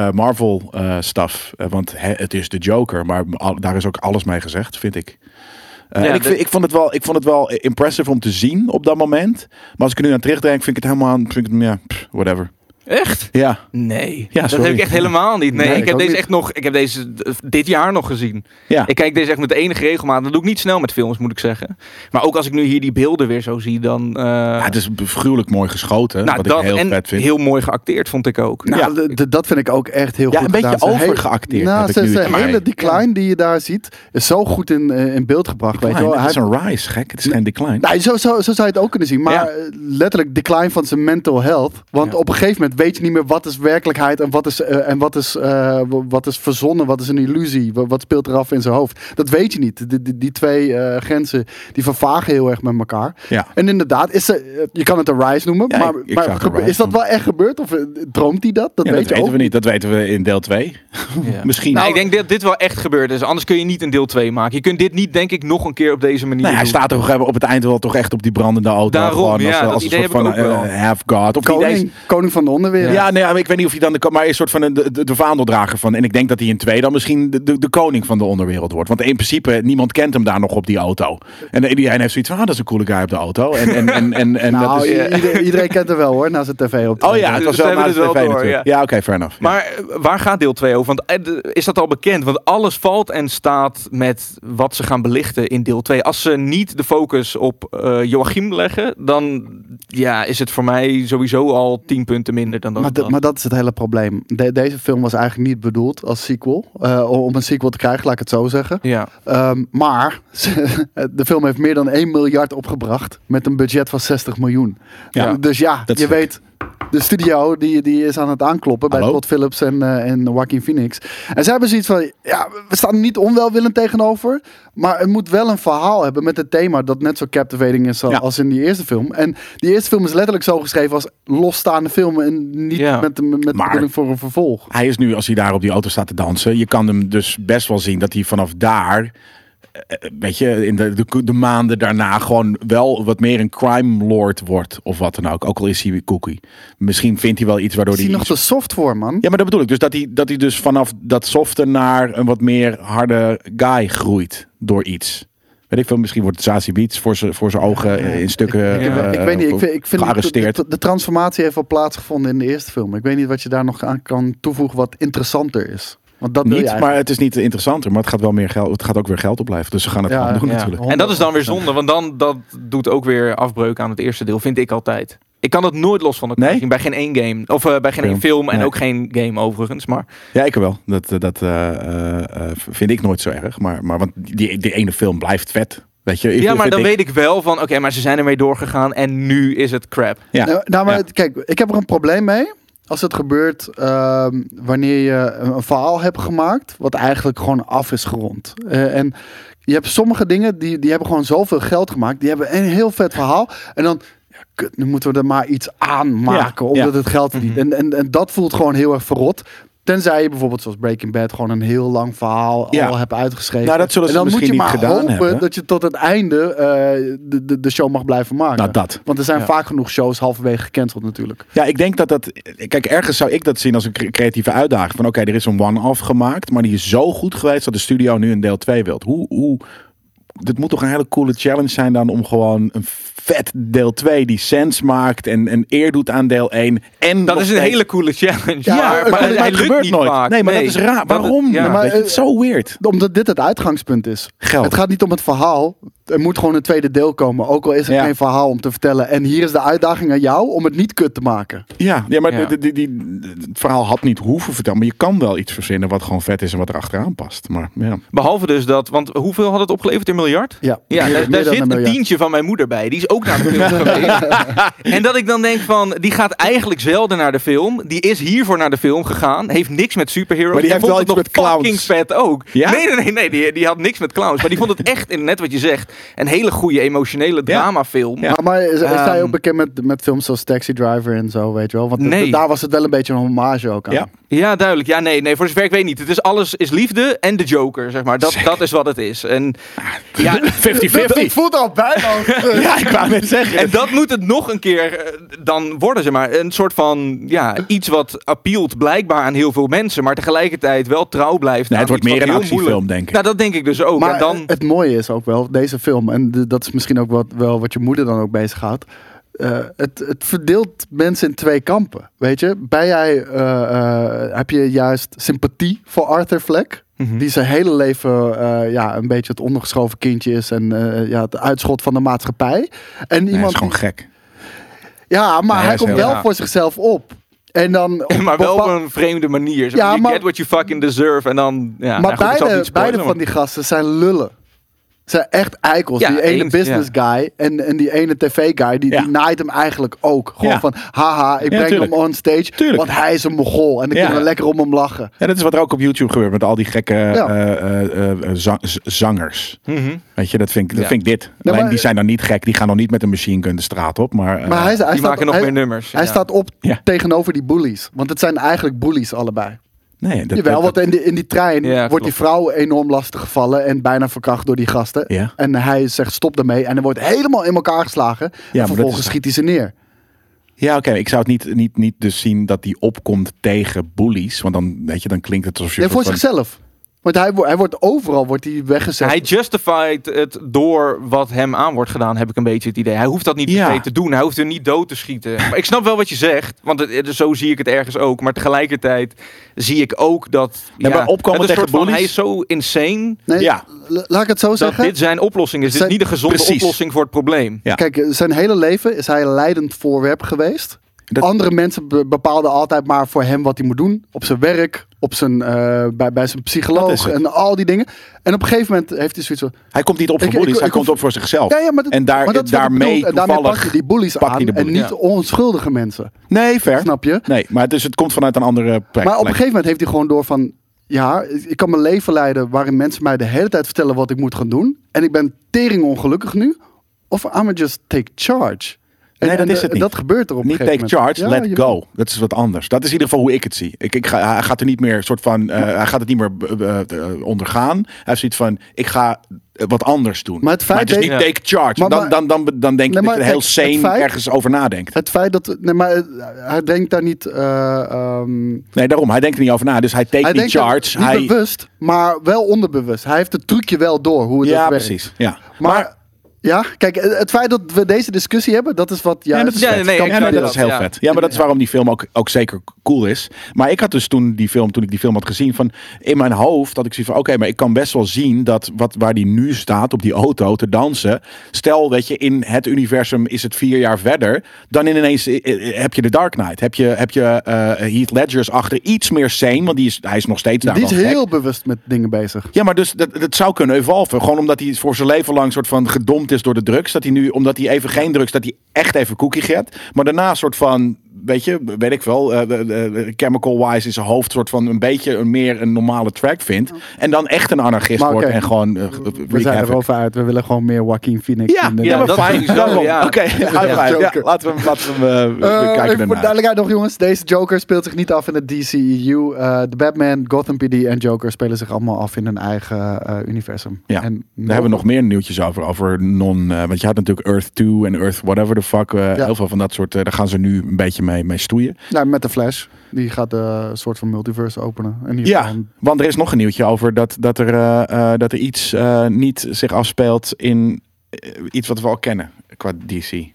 Speaker 2: eh, Marvel eh stuff. Eh, want hè, het is de Joker, maar al- daar is ook alles mee gezegd, vind ik. Eh,
Speaker 4: Ja,
Speaker 2: en ik,
Speaker 4: de-
Speaker 2: vind- ik, vond het wel, ik vond het wel impressive om te zien op dat moment. Maar als ik er nu aan terugdenk, vind ik het helemaal... Vind ik het, ja, pff, whatever.
Speaker 4: Echt?
Speaker 2: Ja,
Speaker 4: Nee.
Speaker 2: Ja,
Speaker 4: dat
Speaker 2: sorry.
Speaker 4: heb ik echt helemaal niet. Nee,
Speaker 3: Nee,
Speaker 4: ik
Speaker 3: ik
Speaker 4: heb
Speaker 3: ook
Speaker 4: deze
Speaker 3: niet.
Speaker 4: echt nog. Ik heb deze eh, dit jaar nog gezien.
Speaker 2: ja.
Speaker 4: Ik kijk deze echt met enige regelmaat. Dat doe ik niet snel met films, moet ik zeggen. Maar ook als ik nu hier die beelden weer zo zie, dan. eh,
Speaker 2: Ja, het is gruwelijk mooi geschoten,
Speaker 4: nou,
Speaker 2: wat
Speaker 4: dat
Speaker 2: ik heel
Speaker 4: en
Speaker 2: vet vind.
Speaker 4: heel mooi geacteerd, vond ik ook.
Speaker 3: Nou,
Speaker 2: Ja.
Speaker 3: d- d- dat vind ik ook echt heel
Speaker 2: Ja,
Speaker 3: goed
Speaker 2: een beetje
Speaker 3: gedaan. Ze hele-
Speaker 2: overgeacteerd heb
Speaker 3: Nou,
Speaker 2: ik
Speaker 3: ze-
Speaker 2: nu
Speaker 3: ze
Speaker 2: het idee.
Speaker 3: hele decline die je daar ziet, is zo goed in, eh, in beeld gebracht.
Speaker 2: Decline,
Speaker 3: weet je wel.
Speaker 2: het
Speaker 3: Hij-
Speaker 2: is een rise, gek. Het is geen decline.
Speaker 3: Nou, zo, zo, zo zou je het ook kunnen zien. Maar
Speaker 2: Ja.
Speaker 3: eh, letterlijk decline van zijn mental health. Want
Speaker 4: Ja.
Speaker 3: op een gegeven moment moment weet je niet meer wat is werkelijkheid en wat is, eh, en wat is, eh, w- wat is verzonnen, wat is een illusie, wa- wat speelt er af in zijn hoofd. Dat weet je niet. Die, die, die twee eh, grenzen die vervagen heel erg met elkaar.
Speaker 2: Ja.
Speaker 3: En inderdaad, is ze, eh, je kan het een rise noemen,
Speaker 2: Ja,
Speaker 3: maar,
Speaker 2: ik- ik
Speaker 3: maar
Speaker 2: zou het
Speaker 3: gebe-
Speaker 2: een rise
Speaker 3: is dat wel echt gebeurd of eh, droomt hij dat? Dat
Speaker 2: Ja,
Speaker 3: weet
Speaker 2: dat
Speaker 3: je ook
Speaker 2: weten we niet. Dat weten we in deel 2. *laughs*
Speaker 4: Ja.
Speaker 2: Misschien.
Speaker 4: Nou, ik denk dat dit wel echt gebeurd is. Anders kun je niet een deel 2 maken. Je kunt dit niet, denk ik, nog een keer op deze manier
Speaker 2: Nee, hij
Speaker 4: doen.
Speaker 2: staat toch eh, op het eind wel toch echt op die brandende auto.
Speaker 4: Daarom,
Speaker 2: gewoon
Speaker 4: ja,
Speaker 2: als, eh,
Speaker 4: dat
Speaker 2: als een
Speaker 4: idee
Speaker 2: soort
Speaker 4: heb
Speaker 2: van
Speaker 4: ik ook wel.
Speaker 2: eh, half-guard. Of niet eens-
Speaker 3: Koning, koning van de onderwereld.
Speaker 2: Ja, nee, maar ik weet niet of hij dan de, ko- maar hij is een soort van een- de, de, de vaandeldrager van. En ik denk dat hij in twee dan misschien de, de, de koning van de onderwereld wordt. Want in principe, niemand kent hem daar nog op die auto. En iedereen heeft zoiets van, ah, dat is een coole guy op de auto. En, en, en, en, en
Speaker 3: nou,
Speaker 2: dat is,
Speaker 3: ieder- iedereen, kent hem wel hoor, na zijn tv op.
Speaker 2: Oh ja, het was
Speaker 4: Dus we
Speaker 2: wel
Speaker 4: hebben
Speaker 2: na de
Speaker 4: het wel
Speaker 2: tv
Speaker 4: door,
Speaker 2: natuurlijk. Ja,
Speaker 4: ja.
Speaker 2: oké, fair enough.
Speaker 4: Maar eh, waar gaat deel 2 over? Want eh, de- is dat al bekend? Want alles valt en staat met wat ze gaan belichten in deel 2. Als ze niet de focus op eh, Joachim leggen, dan ja, is het voor mij sowieso al 10 punten minder dan dat.
Speaker 3: Maar, dat- maar dat is het hele probleem. De- deze film was eigenlijk niet bedoeld als sequel. eh, om een sequel te krijgen, laat ik het zo zeggen.
Speaker 4: ja.
Speaker 3: Ehm, maar *laughs* de film heeft meer dan 1 miljard opgebracht. Met een budget van 60 miljoen.
Speaker 2: Ja.
Speaker 3: Dus ja,
Speaker 2: Dat is
Speaker 3: je
Speaker 2: het.
Speaker 3: weet. De studio die, die is aan het aankloppen bij
Speaker 2: Hallo?
Speaker 3: Todd Phillips en, eh, en Joaquin Phoenix. En zij hebben zoiets van, ja, we staan er niet onwelwillend tegenover. Maar het moet wel een verhaal hebben met het thema dat net zo captivating is al-
Speaker 2: Ja.
Speaker 3: als in die eerste film. En die eerste film is letterlijk zo geschreven als losstaande film. En niet
Speaker 4: Ja.
Speaker 3: met, de- met de
Speaker 2: Maar-
Speaker 3: bedoeling voor een vervolg.
Speaker 2: Hij is nu, als hij daar op die auto staat te dansen, je kan hem dus best wel zien dat hij vanaf daar, eh, weet je, in de, de, de maanden daarna gewoon wel wat meer een crime lord wordt of wat dan ook. Ook al is hij cookie. Misschien vindt hij wel iets waardoor
Speaker 3: Is
Speaker 2: hij...
Speaker 3: die nog
Speaker 2: iets-
Speaker 3: te soft voor, man?
Speaker 2: Ja, maar dat bedoel ik. Dus dat hij, dat hij dus vanaf dat softe naar een wat meer harde guy groeit door iets. Weet ik veel, misschien wordt Zazie Beats voor zijn voor zijn ogen eh, in stukken
Speaker 4: ik-
Speaker 2: eh,
Speaker 3: ik weet niet, ik vind, ik vind
Speaker 2: gearresteerd.
Speaker 3: De, de- de transformatie heeft wel plaatsgevonden in de eerste film. Ik weet niet wat je daar nog aan kan toevoegen wat interessanter is. Want dat wil je
Speaker 2: Niet, maar
Speaker 3: eigenlijk.
Speaker 2: het is niet interessanter. Maar het gaat wel meer geld. Het gaat ook weer geld opleveren. Dus ze gaan het
Speaker 3: Ja,
Speaker 2: gewoon doen
Speaker 4: Ja.
Speaker 2: natuurlijk.
Speaker 4: En dat is dan weer zonde, want dan dat doet ook weer afbreuk aan het eerste deel, vind ik altijd. Ik kan dat nooit los van elkaar
Speaker 2: Nee?
Speaker 4: zien bij geen één game. Of eh, bij geen één
Speaker 2: Film.
Speaker 4: film en
Speaker 2: Nee.
Speaker 4: ook geen game overigens. Maar
Speaker 2: Ja, ik wel. Dat, eh, dat eh, eh, eh, vind ik nooit zo erg. Maar, maar want die, die ene film blijft vet. Weet je? Ik-
Speaker 4: ja, maar
Speaker 2: vind
Speaker 4: dan
Speaker 2: ik-
Speaker 4: weet ik wel van, oké, maar ze zijn ermee doorgegaan en nu is het crap.
Speaker 2: Ja.
Speaker 3: Nou, nou, maar
Speaker 2: Ja.
Speaker 3: het- kijk, ik heb er een probleem mee. Als het gebeurt ehm, wanneer je een, een verhaal hebt gemaakt, wat eigenlijk gewoon af is gerond. Eh, en je hebt sommige dingen, die, die hebben gewoon zoveel geld gemaakt. Die hebben een heel vet verhaal. En dan, ja, kut, nu moeten we er maar iets aan maken,
Speaker 2: Ja,
Speaker 3: omdat
Speaker 2: ja. Mhm.
Speaker 3: het geld verdient. En, en, en dat voelt gewoon heel erg verrot. Tenzij je bijvoorbeeld zoals Breaking Bad gewoon een heel lang verhaal
Speaker 2: Ja.
Speaker 3: al hebt uitgeschreven.
Speaker 2: Nou, dat zullen ze
Speaker 3: en dan moet je
Speaker 2: misschien
Speaker 3: maar
Speaker 2: niet gedaan
Speaker 3: hopen
Speaker 2: hebben.
Speaker 3: dat je tot het einde eh, de, de, de show mag blijven maken.
Speaker 2: Nou, dat.
Speaker 3: Want er zijn
Speaker 4: Ja.
Speaker 3: vaak genoeg shows halverwege gecanceld natuurlijk.
Speaker 2: Ja, ik denk dat dat. Kijk, ergens zou ik dat zien als een cre- creatieve uitdaging. Van oké, er is een one-off gemaakt. Maar die is zo goed geweest dat de studio nu een deel 2 wilt. Hoe. hoe dit moet toch een hele coole challenge zijn dan om gewoon een vet deel 2 die sens maakt en, en eer doet aan deel 1. En
Speaker 4: Dat
Speaker 2: nog
Speaker 4: is een
Speaker 2: steeds-
Speaker 4: hele coole challenge.
Speaker 3: Ja, maar het- maar het
Speaker 4: lukt
Speaker 2: gebeurt
Speaker 4: niet
Speaker 2: nooit.
Speaker 4: vaak.
Speaker 2: Nee, maar dat is raar.
Speaker 4: Dat-
Speaker 2: Waarom?
Speaker 4: ja.
Speaker 2: Ja,
Speaker 3: maar,
Speaker 2: weet je,
Speaker 3: eh,
Speaker 2: het is zo weird.
Speaker 3: Omdat dit het uitgangspunt is.
Speaker 2: Geld.
Speaker 3: Het gaat niet om het verhaal. Er moet gewoon een tweede deel komen. Ook al is er
Speaker 2: Ja.
Speaker 3: geen verhaal om te vertellen. En hier is de uitdaging aan jou om het niet kut te maken.
Speaker 2: Ja, ja maar
Speaker 4: Ja.
Speaker 2: Die, die, die- het verhaal had niet hoeven vertellen. Maar je kan wel iets verzinnen wat gewoon vet is en wat er achteraan past. Maar ja.
Speaker 4: Behalve dus dat, want hoeveel had het opgeleverd in miljard?
Speaker 3: Ja,
Speaker 4: Ja,
Speaker 3: meer-
Speaker 4: daar,
Speaker 3: meer
Speaker 4: daar
Speaker 3: dan
Speaker 4: zit
Speaker 3: een
Speaker 4: een,
Speaker 3: miljard.
Speaker 4: tientje van mijn moeder bij. Die is ook naar de
Speaker 2: *laughs*
Speaker 4: film geweest. En dat ik dan denk van, die gaat eigenlijk zelden naar de film. Die is hiervoor naar de film gegaan. Heeft niks met superheroes.
Speaker 2: Maar die
Speaker 4: en
Speaker 2: heeft
Speaker 4: vond
Speaker 2: wel
Speaker 4: het
Speaker 2: iets met
Speaker 4: nog
Speaker 2: clowns.
Speaker 4: fucking vet ook.
Speaker 2: Ja?
Speaker 4: Nee, nee, nee. nee die, die had niks met clowns. Maar die vond het echt, in net wat je zegt, een hele goede emotionele dramafilm.
Speaker 2: Ja.
Speaker 3: Maar, maar is, is hij
Speaker 4: Ehm.
Speaker 3: ook bekend met, met films zoals Taxi Driver en zo, weet je wel? Want de-
Speaker 4: Nee.
Speaker 3: daar was het wel een beetje een hommage ook aan.
Speaker 2: Ja.
Speaker 4: Ja, duidelijk. Ja, nee, nee, voor zover ik weet niet. Het is alles is liefde en de Joker, zeg maar. Dat,
Speaker 2: Zeker. Ah,
Speaker 4: dat is wat het is. En,
Speaker 2: *laughs*
Speaker 4: ja,
Speaker 2: 50-50.
Speaker 3: voelt al bijna.
Speaker 2: *laughs*
Speaker 3: *laughs*
Speaker 2: Ja, ik wou net zeggen.
Speaker 4: en dat moet het nog een keer eh, dan worden, zeg maar. Een soort van, ja, iets wat appealt blijkbaar aan heel veel mensen, maar tegelijkertijd wel trouw blijft.
Speaker 2: Nee,
Speaker 4: aan
Speaker 2: het wordt
Speaker 4: iets
Speaker 2: meer
Speaker 4: wat
Speaker 2: een
Speaker 4: heel
Speaker 2: actiefilm,
Speaker 4: moeilijk-
Speaker 2: denk ik.
Speaker 4: Nou, dat denk ik dus ook.
Speaker 3: Maar eh,
Speaker 4: en dan,
Speaker 3: het mooie is ook wel, deze film, en de- dat is misschien ook wat, wel wat je moeder dan ook bezighoudt. eh het, het verdeelt mensen in twee kampen. Weet je, ben jij, eh, eh, heb je juist sympathie voor Arthur Fleck?
Speaker 2: Mhm.
Speaker 3: Die zijn hele leven eh, ja, een beetje het ondergeschoven kindje is en eh, ja, het uitschot van de maatschappij. En
Speaker 2: Nee, hij is
Speaker 3: iemand.
Speaker 2: gewoon
Speaker 3: die-
Speaker 2: gek.
Speaker 3: ja, maar
Speaker 2: hij
Speaker 3: hij
Speaker 2: is
Speaker 3: komt
Speaker 2: heel-
Speaker 3: wel
Speaker 4: ja.
Speaker 3: voor zichzelf op. En dan
Speaker 2: *laughs*
Speaker 3: op
Speaker 4: *laughs* maar wel op
Speaker 3: bepaal-
Speaker 4: een vreemde manier.
Speaker 3: eh,
Speaker 4: Zeg
Speaker 3: Ja,
Speaker 4: maar, you
Speaker 3: maar-
Speaker 4: get what you fucking deserve. En dan, ja, nou
Speaker 3: maar
Speaker 4: goed, ik zal het
Speaker 3: beide,
Speaker 4: niet spoilen,
Speaker 3: beide
Speaker 4: maar-
Speaker 3: van die gasten zijn lullen. Het zijn echt eikels.
Speaker 4: Ja,
Speaker 3: die ene
Speaker 4: eens,
Speaker 3: business guy en, en die ene tv-guy, die,
Speaker 2: Ja.
Speaker 3: die naait hem eigenlijk ook. Gewoon
Speaker 2: Ja.
Speaker 3: van, haha, ik breng
Speaker 2: tuurlijk.
Speaker 3: hem on stage,
Speaker 2: Tuurlijk.
Speaker 3: want hij is een mogol. En ik
Speaker 2: Ja.
Speaker 3: kan er lekker om hem lachen.
Speaker 2: En dat is wat er ook op YouTube gebeurt met al die gekke
Speaker 3: Ja.
Speaker 2: eh, eh, eh, za- z- zangers. Weet je, dat vind ik, dat
Speaker 4: Ja.
Speaker 2: vind ik dit. Alleen
Speaker 3: maar-
Speaker 2: die zijn dan niet gek, die gaan nog niet met een machine gun de straat op. Maar, eh,
Speaker 3: Maar hij, is- hij
Speaker 4: Die
Speaker 3: staat,
Speaker 4: maken nog
Speaker 3: hij,
Speaker 4: meer nummers.
Speaker 3: Hij
Speaker 4: ja.
Speaker 3: staat op
Speaker 2: Ja.
Speaker 3: tegenover die bullies. Want het zijn eigenlijk bullies allebei.
Speaker 2: nee, dat,
Speaker 3: Jawel,
Speaker 2: dat-
Speaker 3: want in die, in die trein
Speaker 4: Ja,
Speaker 3: wordt
Speaker 4: klopt.
Speaker 3: die vrouw enorm lastig gevallen en bijna verkracht door die gasten.
Speaker 2: Ja.
Speaker 3: En hij zegt stop daarmee en er wordt helemaal in elkaar geslagen.
Speaker 2: dat
Speaker 3: en
Speaker 2: is-
Speaker 3: vervolgens schiet hij ze neer.
Speaker 2: Ja, oké. Ik zou het niet, niet, niet dus zien dat die opkomt tegen bullies. Want dan, weet je, dan klinkt het alsof je...
Speaker 3: Ja, voor
Speaker 2: van-
Speaker 3: zichzelf. Want hij, wo- hij wordt overal wordt hij weggezet.
Speaker 4: Hij justified het door wat hem aan wordt gedaan, heb ik een beetje het idee. Hij hoeft dat niet
Speaker 2: Ja.
Speaker 4: per se te doen. Hij hoeft er niet dood te schieten. Maar ik snap wel wat je zegt, want het- het- zo zie ik het ergens ook. Maar tegelijkertijd zie ik ook dat...
Speaker 2: Nee, maar opkomen
Speaker 4: het is een
Speaker 2: tegen
Speaker 4: soort van,
Speaker 2: bullies-
Speaker 4: hij is zo insane
Speaker 3: nee,
Speaker 2: ja.
Speaker 3: la- Laat ik het zo
Speaker 4: dat
Speaker 3: zeggen.
Speaker 4: dit zijn oplossing is. Dit is
Speaker 3: Zijn-
Speaker 4: niet de gezonde
Speaker 2: Precies.
Speaker 4: oplossing voor het probleem.
Speaker 2: Ja.
Speaker 3: Kijk, eh, zijn hele leven is hij een leidend voorwerp geweest.
Speaker 2: Dat-
Speaker 3: Andere mensen be- bepaalden altijd maar voor hem wat hij moet doen. Op zijn werk, op zijn, eh, bij, bij zijn
Speaker 2: Dat is
Speaker 3: psycholoog
Speaker 2: het.
Speaker 3: en al die dingen. En op een gegeven moment heeft hij zoiets van...
Speaker 2: Hij komt niet op voor
Speaker 3: Ik- ik-
Speaker 2: bullies,
Speaker 3: ik-
Speaker 2: hij
Speaker 3: ik
Speaker 2: komt
Speaker 3: hoef-
Speaker 2: op voor zichzelf.
Speaker 3: Ja, ja, maar dat,
Speaker 2: Oh. en daar,
Speaker 3: maar dat is wat ik
Speaker 2: daarmee
Speaker 3: bedoel. En daarmee
Speaker 2: toevallig...
Speaker 3: pak je die bullies
Speaker 2: pak je
Speaker 3: aan
Speaker 2: de
Speaker 3: en
Speaker 2: bullies.
Speaker 3: niet onschuldige mensen.
Speaker 2: Nee, ver.
Speaker 3: Snap je?
Speaker 2: Nee, maar dus het komt vanuit een andere plek.
Speaker 3: Maar op een
Speaker 2: plek.
Speaker 3: gegeven moment heeft hij gewoon door van... Ja, ik kan mijn leven leiden waarin mensen mij de hele tijd vertellen wat ik moet gaan doen. En ik ben tering ongelukkig nu. Of I'm just take charge. En-
Speaker 2: Nee, dat
Speaker 3: en,
Speaker 2: is
Speaker 3: eh,
Speaker 2: het niet.
Speaker 3: Dat gebeurt er op
Speaker 2: Niet
Speaker 3: een
Speaker 2: take
Speaker 3: gegeven moment.
Speaker 2: charge,
Speaker 3: Ja,
Speaker 2: let
Speaker 3: jawel.
Speaker 2: go. Dat is wat anders. Dat is in ieder geval hoe ik het zie. Ik, ik ga, hij gaat er niet meer soort van, eh, hij gaat het niet meer eh, eh, ondergaan. Hij heeft zoiets van, ik ga eh, wat anders doen.
Speaker 3: Maar het feit
Speaker 2: het is niet
Speaker 4: dat-
Speaker 2: take charge.
Speaker 3: Maar-
Speaker 2: dan,
Speaker 3: maar-
Speaker 2: dan, dan, dan denk je dat
Speaker 3: Nee, maar
Speaker 2: je er heel
Speaker 3: kijk, het
Speaker 2: sane
Speaker 3: feit-
Speaker 2: ergens over nadenkt.
Speaker 3: Het feit dat... Nee, maar eh, hij denkt daar niet... eh, ehm,
Speaker 2: Nee, daarom. Hij denkt er niet over na. Dus hij take
Speaker 3: hij
Speaker 2: die
Speaker 3: denkt daar
Speaker 2: charge.
Speaker 3: niet
Speaker 2: Hij...
Speaker 3: bewust, maar wel onderbewust. Hij heeft het trucje wel door hoe het
Speaker 2: Ja,
Speaker 3: dat werkt.
Speaker 2: precies. Ja.
Speaker 3: Maar, ja, kijk, eh, het feit dat we deze discussie hebben, dat is wat
Speaker 2: Ja,
Speaker 3: juist...
Speaker 2: dat is,
Speaker 4: Ja,
Speaker 2: vet.
Speaker 4: nee,
Speaker 2: Kan-
Speaker 4: ik
Speaker 2: ja, nee,
Speaker 4: snap
Speaker 2: dat is
Speaker 4: dat,
Speaker 2: heel
Speaker 4: ja.
Speaker 2: vet. Ja, maar dat is waarom die film ook, ook zeker cool is. Maar ik had dus toen die film, toen ik die film had gezien, van in mijn hoofd had ik zoiets van: oké, maar ik kan best wel zien dat wat, waar die nu staat op die auto te dansen. Stel dat je in het universum is het vier jaar verder, dan ineens eh, eh, heb je de Dark Knight. Heb je, heb je eh, Heath Ledger's achter iets meer sane, want die is, hij is nog steeds daar.
Speaker 3: Die is
Speaker 2: wel gek.
Speaker 3: heel bewust met dingen bezig.
Speaker 2: Ja, maar dus dat, dat zou kunnen evolven. Gewoon omdat hij voor zijn leven lang soort van gedompt is door de drugs. Dat hij nu, omdat hij even geen drugs, dat hij echt even cookie gaat. Maar daarna een soort van, weet je, weet ik wel, eh, eh, eh, chemical-wise in zijn hoofd soort van een beetje een meer een normale track vindt. En dan echt een anarchist
Speaker 3: Maar
Speaker 2: wordt
Speaker 3: oké,
Speaker 2: en gewoon eh,
Speaker 3: We
Speaker 2: wreak
Speaker 3: zijn
Speaker 2: havoc.
Speaker 3: erover uit. We willen gewoon meer Joaquin Phoenix.
Speaker 2: Ja,
Speaker 3: in de-
Speaker 2: ja,
Speaker 4: Ja, dat
Speaker 2: maar fijn.
Speaker 4: sowieso,
Speaker 2: daarom.
Speaker 4: ja.
Speaker 2: Oké, high five.
Speaker 3: Joker.
Speaker 2: ja, laten we hem laten we hem, eh,
Speaker 3: Eh,
Speaker 2: we kijken
Speaker 3: even voor
Speaker 2: ernaar.
Speaker 3: duidelijkheid nog, jongens. Deze Joker speelt zich niet af in het DCEU. Eh de Batman, Gotham PD en Joker spelen zich allemaal af in hun eigen eh, universum.
Speaker 2: Ja,
Speaker 3: en
Speaker 2: Daar hebben we nog meer nieuwtjes over. Over non. eh, want je had natuurlijk Earth 2 en Earth whatever the fuck. eh,
Speaker 3: Ja.
Speaker 2: Heel veel van dat soort. eh, daar gaan ze nu een beetje mee, mee stoeien.
Speaker 3: Nou, met de Flash. Die gaat eh, een soort van multiverse openen. En die
Speaker 2: Ja, want er is nog een nieuwtje over dat, dat, er, eh, eh, dat er iets eh, niet zich afspeelt in eh, iets wat we al kennen qua DC.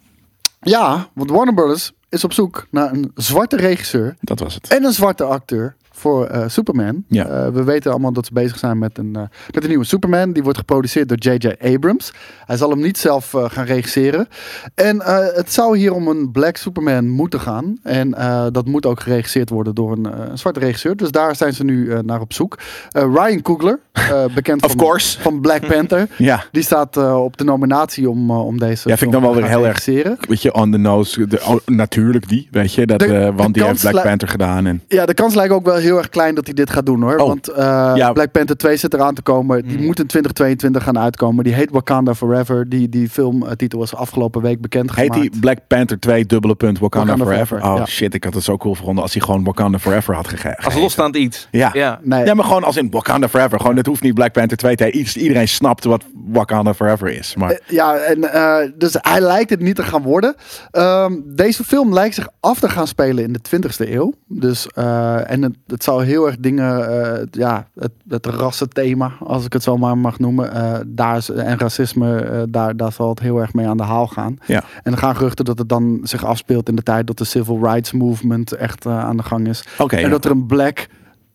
Speaker 3: ja, want Warner Brothers is op zoek naar een zwarte regisseur
Speaker 2: Dat was het.
Speaker 3: en een zwarte acteur voor eh, Superman.
Speaker 2: Ja.
Speaker 3: Eh, we weten allemaal dat ze bezig zijn met een, eh, met een nieuwe Superman. Die wordt geproduceerd door J.J. Abrams. Hij zal hem niet zelf eh, gaan regisseren. En eh, het zou hier om een Black Superman moeten gaan. En eh, dat moet ook geregisseerd worden door een eh, een zwarte regisseur. Dus daar zijn ze nu eh, naar op zoek. Eh, Ryan Coogler,
Speaker 2: *laughs*
Speaker 3: eh, bekend
Speaker 2: Of
Speaker 3: van,
Speaker 2: course.
Speaker 3: van Black Panther.
Speaker 2: *laughs* Ja,
Speaker 3: Die staat eh, op de nominatie om, eh, om deze.
Speaker 2: Ja, vind ik dan
Speaker 3: film
Speaker 2: wel weer
Speaker 3: te gaan
Speaker 2: heel erg-
Speaker 3: regisseren.
Speaker 2: weet je, on the nose. De, oh, natuurlijk die, weet je. Dat,
Speaker 3: De-
Speaker 2: eh,
Speaker 3: de
Speaker 2: want die heeft
Speaker 3: kans
Speaker 2: Black
Speaker 3: li-
Speaker 2: Panther gedaan. En,
Speaker 3: Ja, de kans lijkt ook wel heel erg klein dat hij dit gaat doen hoor.
Speaker 2: Oh.
Speaker 3: Want eh,
Speaker 2: Ja. Hmm.
Speaker 3: Black Panther 2 zit eraan te komen. Die
Speaker 4: Mm.
Speaker 3: moet in 2022 gaan uitkomen. Die heet Wakanda Forever. Die, die filmtitel was afgelopen week bekendgemaakt.
Speaker 2: heet die Black Panther 2 dubbele punt Wakanda,
Speaker 3: Wakanda
Speaker 2: Forever?
Speaker 3: Forever,
Speaker 2: Oh
Speaker 3: ja.
Speaker 2: shit, ik had het zo cool gevonden als hij gewoon Wakanda Forever had gegeven.
Speaker 4: Als losstaand iets.
Speaker 2: Ja.
Speaker 4: ja.
Speaker 3: Nee,
Speaker 2: Ja, maar gewoon als in Wakanda Forever. Gewoon, het hoeft niet Black Panther 2 te heet. Iedereen snapt wat Wakanda Forever is. Maar
Speaker 3: Eh, Ja, en, eh, dus hij lijkt het niet te gaan worden. Ehm, deze film lijkt zich af te gaan spelen in de 20e eeuw. Dus, eh, en het, het zou heel erg dingen, eh, ja, het, het rassenthema, als ik het zo maar mag noemen, eh, daar is, en racisme, eh, daar, daar zal het heel erg mee aan de haal gaan.
Speaker 2: ja.
Speaker 3: En er gaan geruchten dat het dan zich afspeelt in de tijd dat de Civil Rights Movement echt eh, aan de gang is.
Speaker 2: Oké,
Speaker 3: en
Speaker 2: ja.
Speaker 3: dat er een black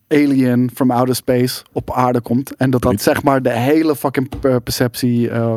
Speaker 3: alien from outer space op aarde komt. En dat dat
Speaker 2: Goed.
Speaker 3: zeg maar de hele fucking per- perceptie eh,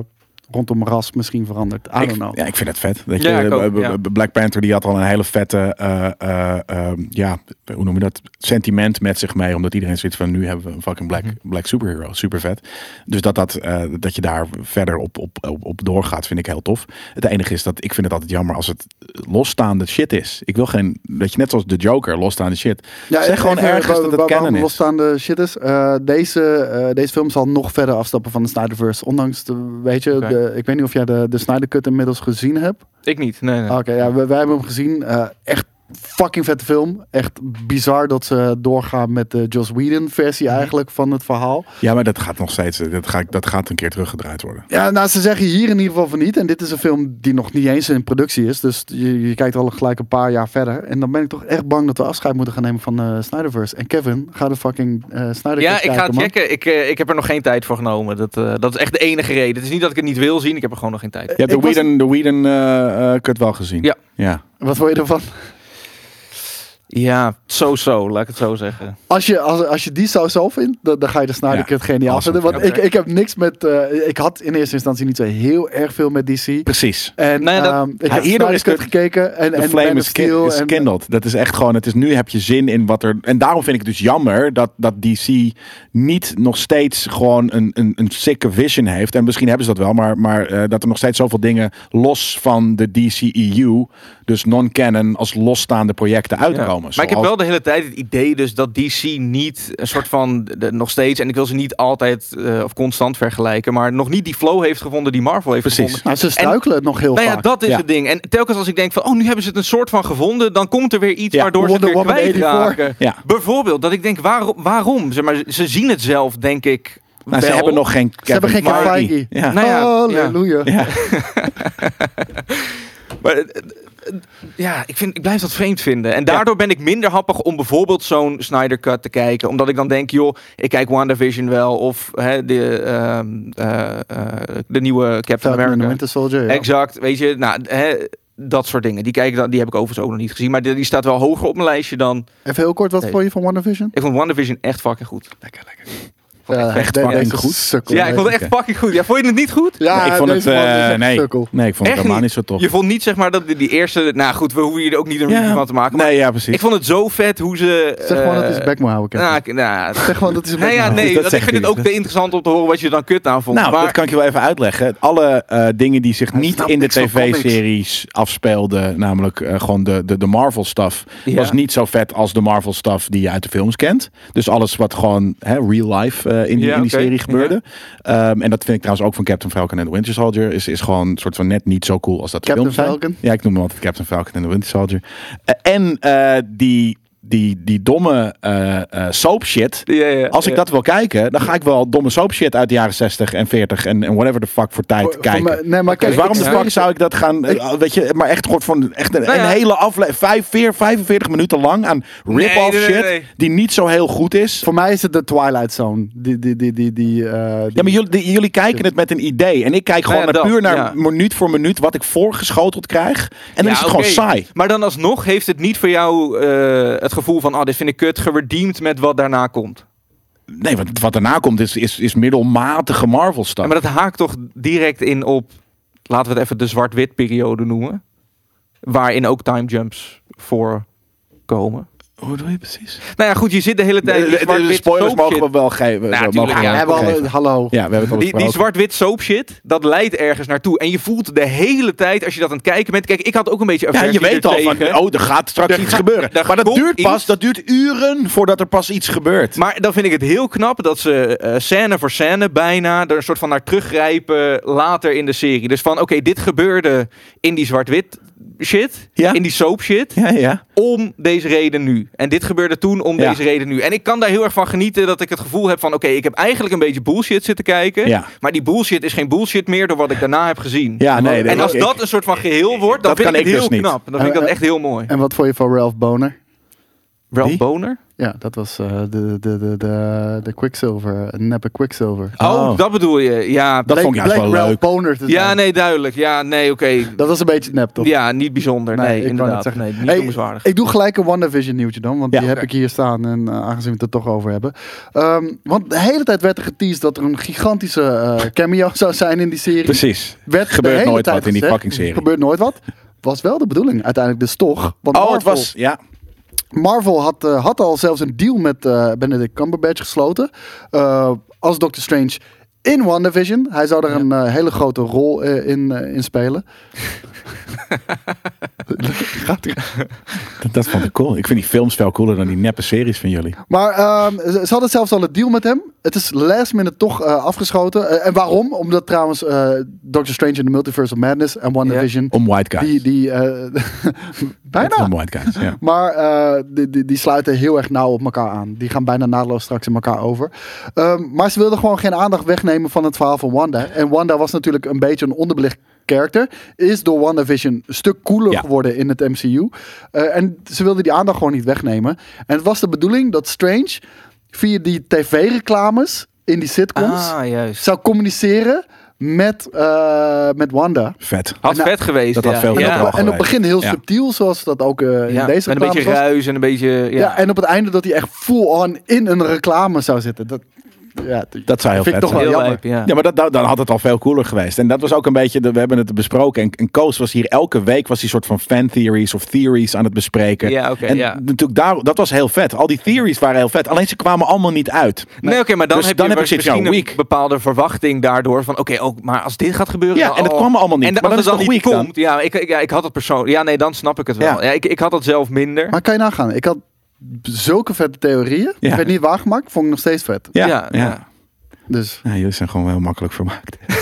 Speaker 3: rondom ras misschien verandert. I don't
Speaker 2: ik,
Speaker 3: know.
Speaker 2: Ja, ik vind het vet. Weet je,
Speaker 4: Ja, ik ook,
Speaker 2: eh, b-
Speaker 4: ja.
Speaker 2: b- Black Panther die had al een hele vette, eh, eh, ehm, ja, hoe noem je dat? Sentiment met zich mee. Omdat iedereen zoiets van, nu hebben we een fucking black,
Speaker 3: Mhm.
Speaker 2: black superhero. Super vet. Dus dat, dat, eh, dat je daar verder op, op, op, op doorgaat, vind ik heel tof. Het enige is dat ik vind het altijd jammer als het losstaande shit is. Ik wil geen, weet je, net zoals de Joker, losstaande shit.
Speaker 3: Ja,
Speaker 2: zeg
Speaker 3: even
Speaker 2: gewoon
Speaker 3: wa-
Speaker 2: ergens
Speaker 3: wa-
Speaker 2: dat het
Speaker 3: waarom
Speaker 2: canon is.
Speaker 3: losstaande shit is. Eh, deze, eh, deze film zal nog verder afstappen van de Snyderverse. Ondanks, de, weet je,
Speaker 4: Oké.
Speaker 3: de, ik weet niet of jij de, de Snyder Cut inmiddels gezien hebt. Ah,
Speaker 4: Ik niet, nee. nee.
Speaker 2: Oh,
Speaker 3: Oké, ja, we- wij hebben hem gezien. Eh, echt fucking vette film. Echt bizar dat ze doorgaan met de Joss Whedon versie
Speaker 2: Mhm.
Speaker 3: eigenlijk van het verhaal.
Speaker 2: Ja, maar dat gaat nog steeds, eh, dat, ga, ik- dat gaat een keer teruggedraaid worden.
Speaker 3: Ja, nou, ze zeggen hier in ieder geval van niet. En dit is een film die nog niet eens in productie is. Dus je, je kijkt al gelijk een paar jaar verder. En dan ben ik toch echt bang dat we afscheid moeten gaan nemen van eh Snyderverse. En Kevin, ga de fucking eh Snyder
Speaker 4: Ja,
Speaker 3: Cut
Speaker 4: ik ga
Speaker 3: kijken,
Speaker 4: het
Speaker 3: man.
Speaker 4: checken. Ik, eh, ik heb er nog geen tijd voor genomen. Dat, eh, dat is echt de enige reden. Het is niet dat ik het niet wil zien. Ik heb er gewoon nog geen tijd voor.
Speaker 2: Je hebt
Speaker 3: Ik
Speaker 2: de
Speaker 3: was-
Speaker 2: Whedon, de Whedon eh, eh, cut wel gezien.
Speaker 4: Ja.
Speaker 2: ja.
Speaker 3: Wat vond je ervan?
Speaker 4: Ja, zo-zo. Laat ik het zo zeggen.
Speaker 3: Als je, als, als je die zou zo vindt, dan, dan ga je de Snyder
Speaker 2: Ja,
Speaker 3: Cut geniaal
Speaker 2: awesome.
Speaker 3: vinden. Want
Speaker 4: Ja, oké.
Speaker 3: ik, ik heb niks met... eh, ik had in eerste instantie niet zo heel erg veel met DC.
Speaker 2: Precies.
Speaker 3: En
Speaker 4: Nee, dat-
Speaker 3: ehm, ik
Speaker 2: Ja,
Speaker 3: heb
Speaker 2: eerder
Speaker 3: Snyder
Speaker 2: is
Speaker 3: Cut
Speaker 2: de-
Speaker 3: gekeken. En,
Speaker 2: De
Speaker 3: en
Speaker 2: flame
Speaker 3: Man of
Speaker 2: is, ki-
Speaker 3: Steel
Speaker 2: is
Speaker 3: en-
Speaker 2: kindled. Dat is echt gewoon, het is nu heb je zin in wat er... En daarom vind ik het dus jammer dat, dat DC niet nog steeds gewoon een, een, een sicke vision heeft. En misschien hebben ze dat wel, maar, maar eh, dat er nog steeds zoveel dingen los van de DCEU, dus non-canon, als losstaande projecten
Speaker 4: Ja.
Speaker 2: uitkomen.
Speaker 4: Maar ik heb
Speaker 2: Zoals-
Speaker 4: wel de hele tijd het idee dus dat DC niet een soort van... de- nog steeds, en ik wil ze niet altijd eh, of constant vergelijken... maar nog niet die flow heeft gevonden die Marvel heeft
Speaker 2: Precies.
Speaker 4: gevonden.
Speaker 3: Nou, ze struikelen het nog heel
Speaker 4: Nou ja,
Speaker 3: vaak.
Speaker 4: dat is
Speaker 2: Ja.
Speaker 4: het ding. En telkens als ik denk van, oh, nu hebben ze het een soort van gevonden, dan komt er weer iets
Speaker 2: Ja,
Speaker 4: waardoor
Speaker 3: Wonder
Speaker 4: ze het weer
Speaker 3: Woman
Speaker 4: kwijt
Speaker 3: 84.
Speaker 4: raken.
Speaker 2: Ja.
Speaker 4: Bijvoorbeeld, dat ik denk, waarom? waarom? Zeg maar, ze zien het zelf, denk ik.
Speaker 2: Nou, ze
Speaker 4: wel.
Speaker 2: hebben nog geen
Speaker 3: Ze hebben geen
Speaker 2: Kevin
Speaker 3: Kevin
Speaker 2: Feige.
Speaker 3: Feige.
Speaker 2: Ja.
Speaker 4: Nou ja, ja.
Speaker 3: Halleluja. *laughs*
Speaker 2: Ja.
Speaker 4: Maar, eh, eh, ja, ik, vind, ik blijf dat vreemd vinden. En daardoor ben ik minder happig om bijvoorbeeld zo'n Snyder Cut te kijken. Omdat ik dan denk, joh, ik kijk WandaVision wel. Of hè, de, ehm, eh, eh, de nieuwe Captain
Speaker 3: Falcon and the
Speaker 4: America.
Speaker 3: Winter Soldier. ja.
Speaker 4: Exact, weet je, nou, hè, dat soort dingen. Die, kijk, ik dan- die heb ik overigens ook nog niet gezien. Maar die, die staat wel hoger op mijn lijstje dan...
Speaker 3: Even heel kort, wat
Speaker 4: Nee.
Speaker 3: vond je van WandaVision?
Speaker 4: Ik vond WandaVision echt fucking goed.
Speaker 2: Lekker, lekker.
Speaker 4: Vond ik
Speaker 3: Ja,
Speaker 2: echt
Speaker 3: de-
Speaker 2: fucking
Speaker 3: deze
Speaker 2: goed.
Speaker 3: sukkel.
Speaker 4: Ja, ik vond het echt fucking goed. Ja, vond je het niet goed?
Speaker 3: Ja,
Speaker 2: ik vond het...
Speaker 3: deze man is
Speaker 2: eh,
Speaker 3: echt
Speaker 2: nee.
Speaker 3: sukkel.
Speaker 2: nee, ik vond het
Speaker 4: Echt
Speaker 2: helemaal
Speaker 4: niet.
Speaker 2: niet zo tof.
Speaker 4: Je vond niet, zeg maar, dat die, die eerste... Nou goed, we hoeven hier ook niet een review
Speaker 2: Ja.
Speaker 4: van te maken. Maar
Speaker 2: Nee, ja, precies.
Speaker 4: ik vond het zo vet hoe ze...
Speaker 3: Zeg gewoon
Speaker 4: eh,
Speaker 3: dat hij zijn bek moet houden, Kevin.
Speaker 4: nou, ik-
Speaker 2: *laughs*
Speaker 4: nou,
Speaker 3: Zeg gewoon dat hij zijn
Speaker 4: nou
Speaker 3: bek
Speaker 4: ja,
Speaker 3: moet houden.
Speaker 4: *laughs* nee,
Speaker 2: dat
Speaker 4: dat ik
Speaker 2: zegt
Speaker 4: vind het
Speaker 2: hij.
Speaker 4: ook te interessant om te horen wat je dan kut aan vond.
Speaker 2: Nou,
Speaker 4: maar,
Speaker 2: dat kan ik je wel even uitleggen. Alle eh, dingen die zich
Speaker 3: Hij
Speaker 2: niet
Speaker 3: snapt
Speaker 2: in de
Speaker 3: niks van
Speaker 2: tv-series afspeelden, namelijk eh, gewoon de, de, de Marvel-stuff,
Speaker 4: Ja.
Speaker 2: was niet zo vet als de Marvel-stuff die je uit de films kent. Dus alles wat gewoon hè, real life eh, in, die,
Speaker 4: Ja,
Speaker 2: in die
Speaker 4: oké.
Speaker 2: serie gebeurde. Ehm, en dat vind ik trouwens ook van Captain Falcon en the Winter Soldier. Is, is gewoon een soort van net niet zo cool als dat de
Speaker 3: Captain
Speaker 2: films zijn.
Speaker 3: Falcon?
Speaker 2: Ja, ik noem hem altijd Captain Falcon en the Winter Soldier. Eh, en eh, die, die, die domme eh, eh, soap shit.
Speaker 4: Ja, ja,
Speaker 2: Als ik
Speaker 4: ja.
Speaker 2: dat wil kijken, dan ga ik wel domme soap shit uit de jaren 60 en 40 en, en whatever the fuck voor tijd
Speaker 3: Voor- voor
Speaker 2: kijken.
Speaker 3: mij- nee, maar kijk,
Speaker 2: dus waarom
Speaker 3: ik-
Speaker 2: de
Speaker 3: ik-
Speaker 2: fuck zou ik dat gaan, eh, weet je, maar echt, gewoon van, echt een,
Speaker 4: Nou ja.
Speaker 2: een hele aflevering, 45 minuten lang aan rip-off
Speaker 4: nee, nee,
Speaker 2: shit
Speaker 4: nee.
Speaker 2: die niet zo heel goed is.
Speaker 3: Voor mij is het de Twilight Zone. Die, die, die, die, die, eh, die-
Speaker 2: Ja, maar jullie, die- jullie kijken het met een idee. En ik kijk gewoon
Speaker 4: Nou ja,
Speaker 2: naar-
Speaker 4: dat,
Speaker 2: puur naar
Speaker 4: ja.
Speaker 2: minuut voor minuut wat ik voorgeschoteld krijg. En dan is het gewoon
Speaker 4: oké.
Speaker 2: saai.
Speaker 4: Maar dan alsnog heeft het niet voor jou eh, het gevoel van... ah, dit vind ik kut, geredeemd met wat daarna komt.
Speaker 2: Nee, want wat daarna komt is, is, is middelmatige Marvel-stuff.
Speaker 4: Ja, maar dat haakt toch direct in op... laten we het even de zwart-wit periode noemen. Waarin ook time jumps voorkomen.
Speaker 2: Hoe doe je precies?
Speaker 4: Nou ja, goed, je zit de hele tijd...
Speaker 2: Eh, De,
Speaker 4: Die
Speaker 2: de- de
Speaker 4: zwart-wit
Speaker 2: spoilers
Speaker 4: soap
Speaker 2: mogen
Speaker 4: shit-
Speaker 2: we wel geven.
Speaker 4: Ja,
Speaker 2: mogen
Speaker 4: tuurlijk,
Speaker 2: we
Speaker 3: Ja,
Speaker 4: ja.
Speaker 2: wel
Speaker 3: we hebben al-
Speaker 2: geven.
Speaker 3: hallo.
Speaker 2: Ja, we hebben het al
Speaker 4: Die, die
Speaker 2: besproken.
Speaker 4: zwart-wit soap shit, dat leidt ergens naartoe. En je voelt de hele tijd, als je dat aan het kijken bent... Kijk, ik had ook een beetje
Speaker 2: Ja,
Speaker 4: aversie
Speaker 2: je weet al van,
Speaker 4: ertegen.
Speaker 2: oh, er gaat straks
Speaker 4: Er
Speaker 2: iets
Speaker 4: gaat-
Speaker 2: gebeuren.
Speaker 4: er
Speaker 2: Maar dat
Speaker 4: komt
Speaker 2: duurt pas,
Speaker 4: iets.
Speaker 2: dat duurt uren voordat er pas iets gebeurt.
Speaker 4: Maar dan vind ik het heel knap dat ze eh, scène voor scène bijna er een soort van naar teruggrijpen later in de serie. Dus van oké, dit gebeurde in die zwart-wit shit,
Speaker 2: Ja.
Speaker 4: in die soap shit,
Speaker 2: Ja, ja.
Speaker 4: om deze reden nu. En dit gebeurde toen om
Speaker 2: Ja.
Speaker 4: deze reden nu. En ik kan daar heel erg van genieten dat ik het gevoel heb van oké, ik heb eigenlijk een beetje bullshit zitten kijken.
Speaker 2: Ja.
Speaker 4: Maar die bullshit is geen bullshit meer door wat ik daarna heb gezien.
Speaker 2: Ja, nee.
Speaker 4: en als
Speaker 2: ik-
Speaker 4: dat een soort van geheel wordt, dan
Speaker 2: dat
Speaker 4: vind
Speaker 2: kan ik
Speaker 4: ik het
Speaker 2: dus
Speaker 4: heel
Speaker 2: niet.
Speaker 4: knap. Dan vind ik dat echt heel mooi.
Speaker 3: En wat vond je van Ralph Boner?
Speaker 4: Ralph
Speaker 2: Wie?
Speaker 4: Boner?
Speaker 3: Ja, dat was eh, de, de, de, de, de Quicksilver, een neppe Quicksilver.
Speaker 4: Oh,
Speaker 2: Oh.
Speaker 4: dat bedoel je. Ja,
Speaker 2: Dat vond ik juist wel
Speaker 3: Ralph
Speaker 2: leuk.
Speaker 3: Boner te
Speaker 4: ja
Speaker 3: zijn.
Speaker 4: nee, duidelijk. Ja, nee, oké.
Speaker 3: Dat was een beetje nep, toch?
Speaker 4: Ja, niet bijzonder.
Speaker 3: Nee,
Speaker 4: Nee,
Speaker 3: ik wou net
Speaker 4: inderdaad.
Speaker 3: zeggen.
Speaker 4: Nee, niet
Speaker 3: Hey,
Speaker 4: noemenswaardig.
Speaker 3: Ik doe gelijk een WandaVision nieuwtje dan, want
Speaker 2: Ja.
Speaker 3: die heb ik hier staan en eh, aangezien we het er toch over hebben. Ehm, want de hele tijd werd er geteased dat er een gigantische eh, cameo *laughs* zou zijn in die serie.
Speaker 2: Precies.
Speaker 3: Werd de
Speaker 2: Gebeurt
Speaker 3: hele
Speaker 2: nooit
Speaker 3: tijd
Speaker 2: wat in die
Speaker 3: gezegd,
Speaker 2: fucking serie.
Speaker 3: Gebeurt nooit wat. Was wel de bedoeling uiteindelijk dus toch. Want
Speaker 2: Oh,
Speaker 3: Marvel,
Speaker 2: het was... Ja.
Speaker 3: Marvel had, eh, had al zelfs een deal met eh, Benedict Cumberbatch gesloten. eh, als Doctor Strange in WandaVision. Hij zou daar een eh, hele grote rol eh, in, eh, in
Speaker 2: *laughs*
Speaker 3: spelen. Gaat er-
Speaker 2: Dat, dat vond ik cool. Ik vind die films veel cooler dan die neppe series van jullie.
Speaker 3: Maar ehm, ze, ze hadden zelfs al een deal met hem. Het is last minute toch eh, afgeschoten. Eh, en waarom? Omdat trouwens eh Doctor Strange in the Multiverse of Madness en WandaVision...
Speaker 2: Om white guys.
Speaker 3: Die, die, eh, *laughs* bijna.
Speaker 2: Om white guys, ja.
Speaker 3: Maar eh, die, die, die sluiten heel erg nauw op elkaar aan. Die gaan bijna naadloos straks in elkaar over. Ehm, maar ze wilden gewoon geen aandacht wegnemen van het verhaal van Wanda. En Wanda was natuurlijk een beetje een onderbelicht karakter. Is door WandaVision een stuk cooler
Speaker 2: Ja.
Speaker 3: geworden in het MCU. Eh, en ze wilden die aandacht gewoon niet wegnemen. En het was de bedoeling dat Strange via die tv-reclames in die sitcoms
Speaker 4: Ah, juist.
Speaker 3: zou communiceren met, eh, met Wanda.
Speaker 2: Vet.
Speaker 4: Had
Speaker 3: Nou,
Speaker 4: vet geweest.
Speaker 2: dat
Speaker 4: ja.
Speaker 2: had veel
Speaker 4: ja.
Speaker 2: meer
Speaker 3: En op- en op het
Speaker 2: geweest.
Speaker 3: begin heel
Speaker 2: Ja.
Speaker 3: subtiel, zoals dat ook eh, in
Speaker 4: Ja,
Speaker 3: deze
Speaker 4: met een beetje
Speaker 3: reclames was.
Speaker 4: ruis en een beetje... Ja,
Speaker 3: Ja. en op het einde dat hij echt full on in een reclame zou zitten. Dat, ja,
Speaker 2: Dat zou heel
Speaker 3: vind
Speaker 2: vet
Speaker 3: ik toch
Speaker 2: zijn.
Speaker 3: wel
Speaker 4: heel
Speaker 3: jammer.
Speaker 4: lijp, ja.
Speaker 2: Ja, maar dat, dat- dan had het al veel cooler geweest. En dat was ook een beetje, de, we hebben het besproken. En, en Koos was hier elke week was die soort van fan theories of theories aan het bespreken.
Speaker 4: Ja, oké,
Speaker 2: en
Speaker 4: ja.
Speaker 2: natuurlijk daar, dat was heel vet. Al die theories waren heel vet. Alleen ze kwamen allemaal niet uit.
Speaker 4: Nee, oké, maar dan
Speaker 2: Dus
Speaker 4: heb
Speaker 2: dan
Speaker 4: je
Speaker 2: heb ik zoiets, ja,
Speaker 4: misschien een
Speaker 2: weak.
Speaker 4: bepaalde verwachting daardoor van, oké, ook, maar als dit gaat gebeuren...
Speaker 2: Ja,
Speaker 4: dan-
Speaker 2: en dat
Speaker 4: oh.
Speaker 2: kwam allemaal niet.
Speaker 4: En
Speaker 2: Maar
Speaker 4: als
Speaker 2: dat
Speaker 4: het
Speaker 2: is
Speaker 4: dan
Speaker 2: toch
Speaker 4: niet
Speaker 2: weak dan?
Speaker 4: komt, ja, ik, ik- ja, ik had het persoonlijk... Ja, nee, dan snap ik het wel.
Speaker 2: Ja.
Speaker 4: Ja. ik, ik had dat zelf minder.
Speaker 3: Maar kan je nagaan, ik had zulke vette theorieën.
Speaker 2: Ja.
Speaker 3: Ik werd niet waargemaakt, vond ik nog steeds vet.
Speaker 2: Ja, ja.
Speaker 4: Ja, ja.
Speaker 3: Dus.
Speaker 2: Ja, jullie zijn gewoon heel makkelijk
Speaker 4: *laughs*
Speaker 2: vermaakt. ik,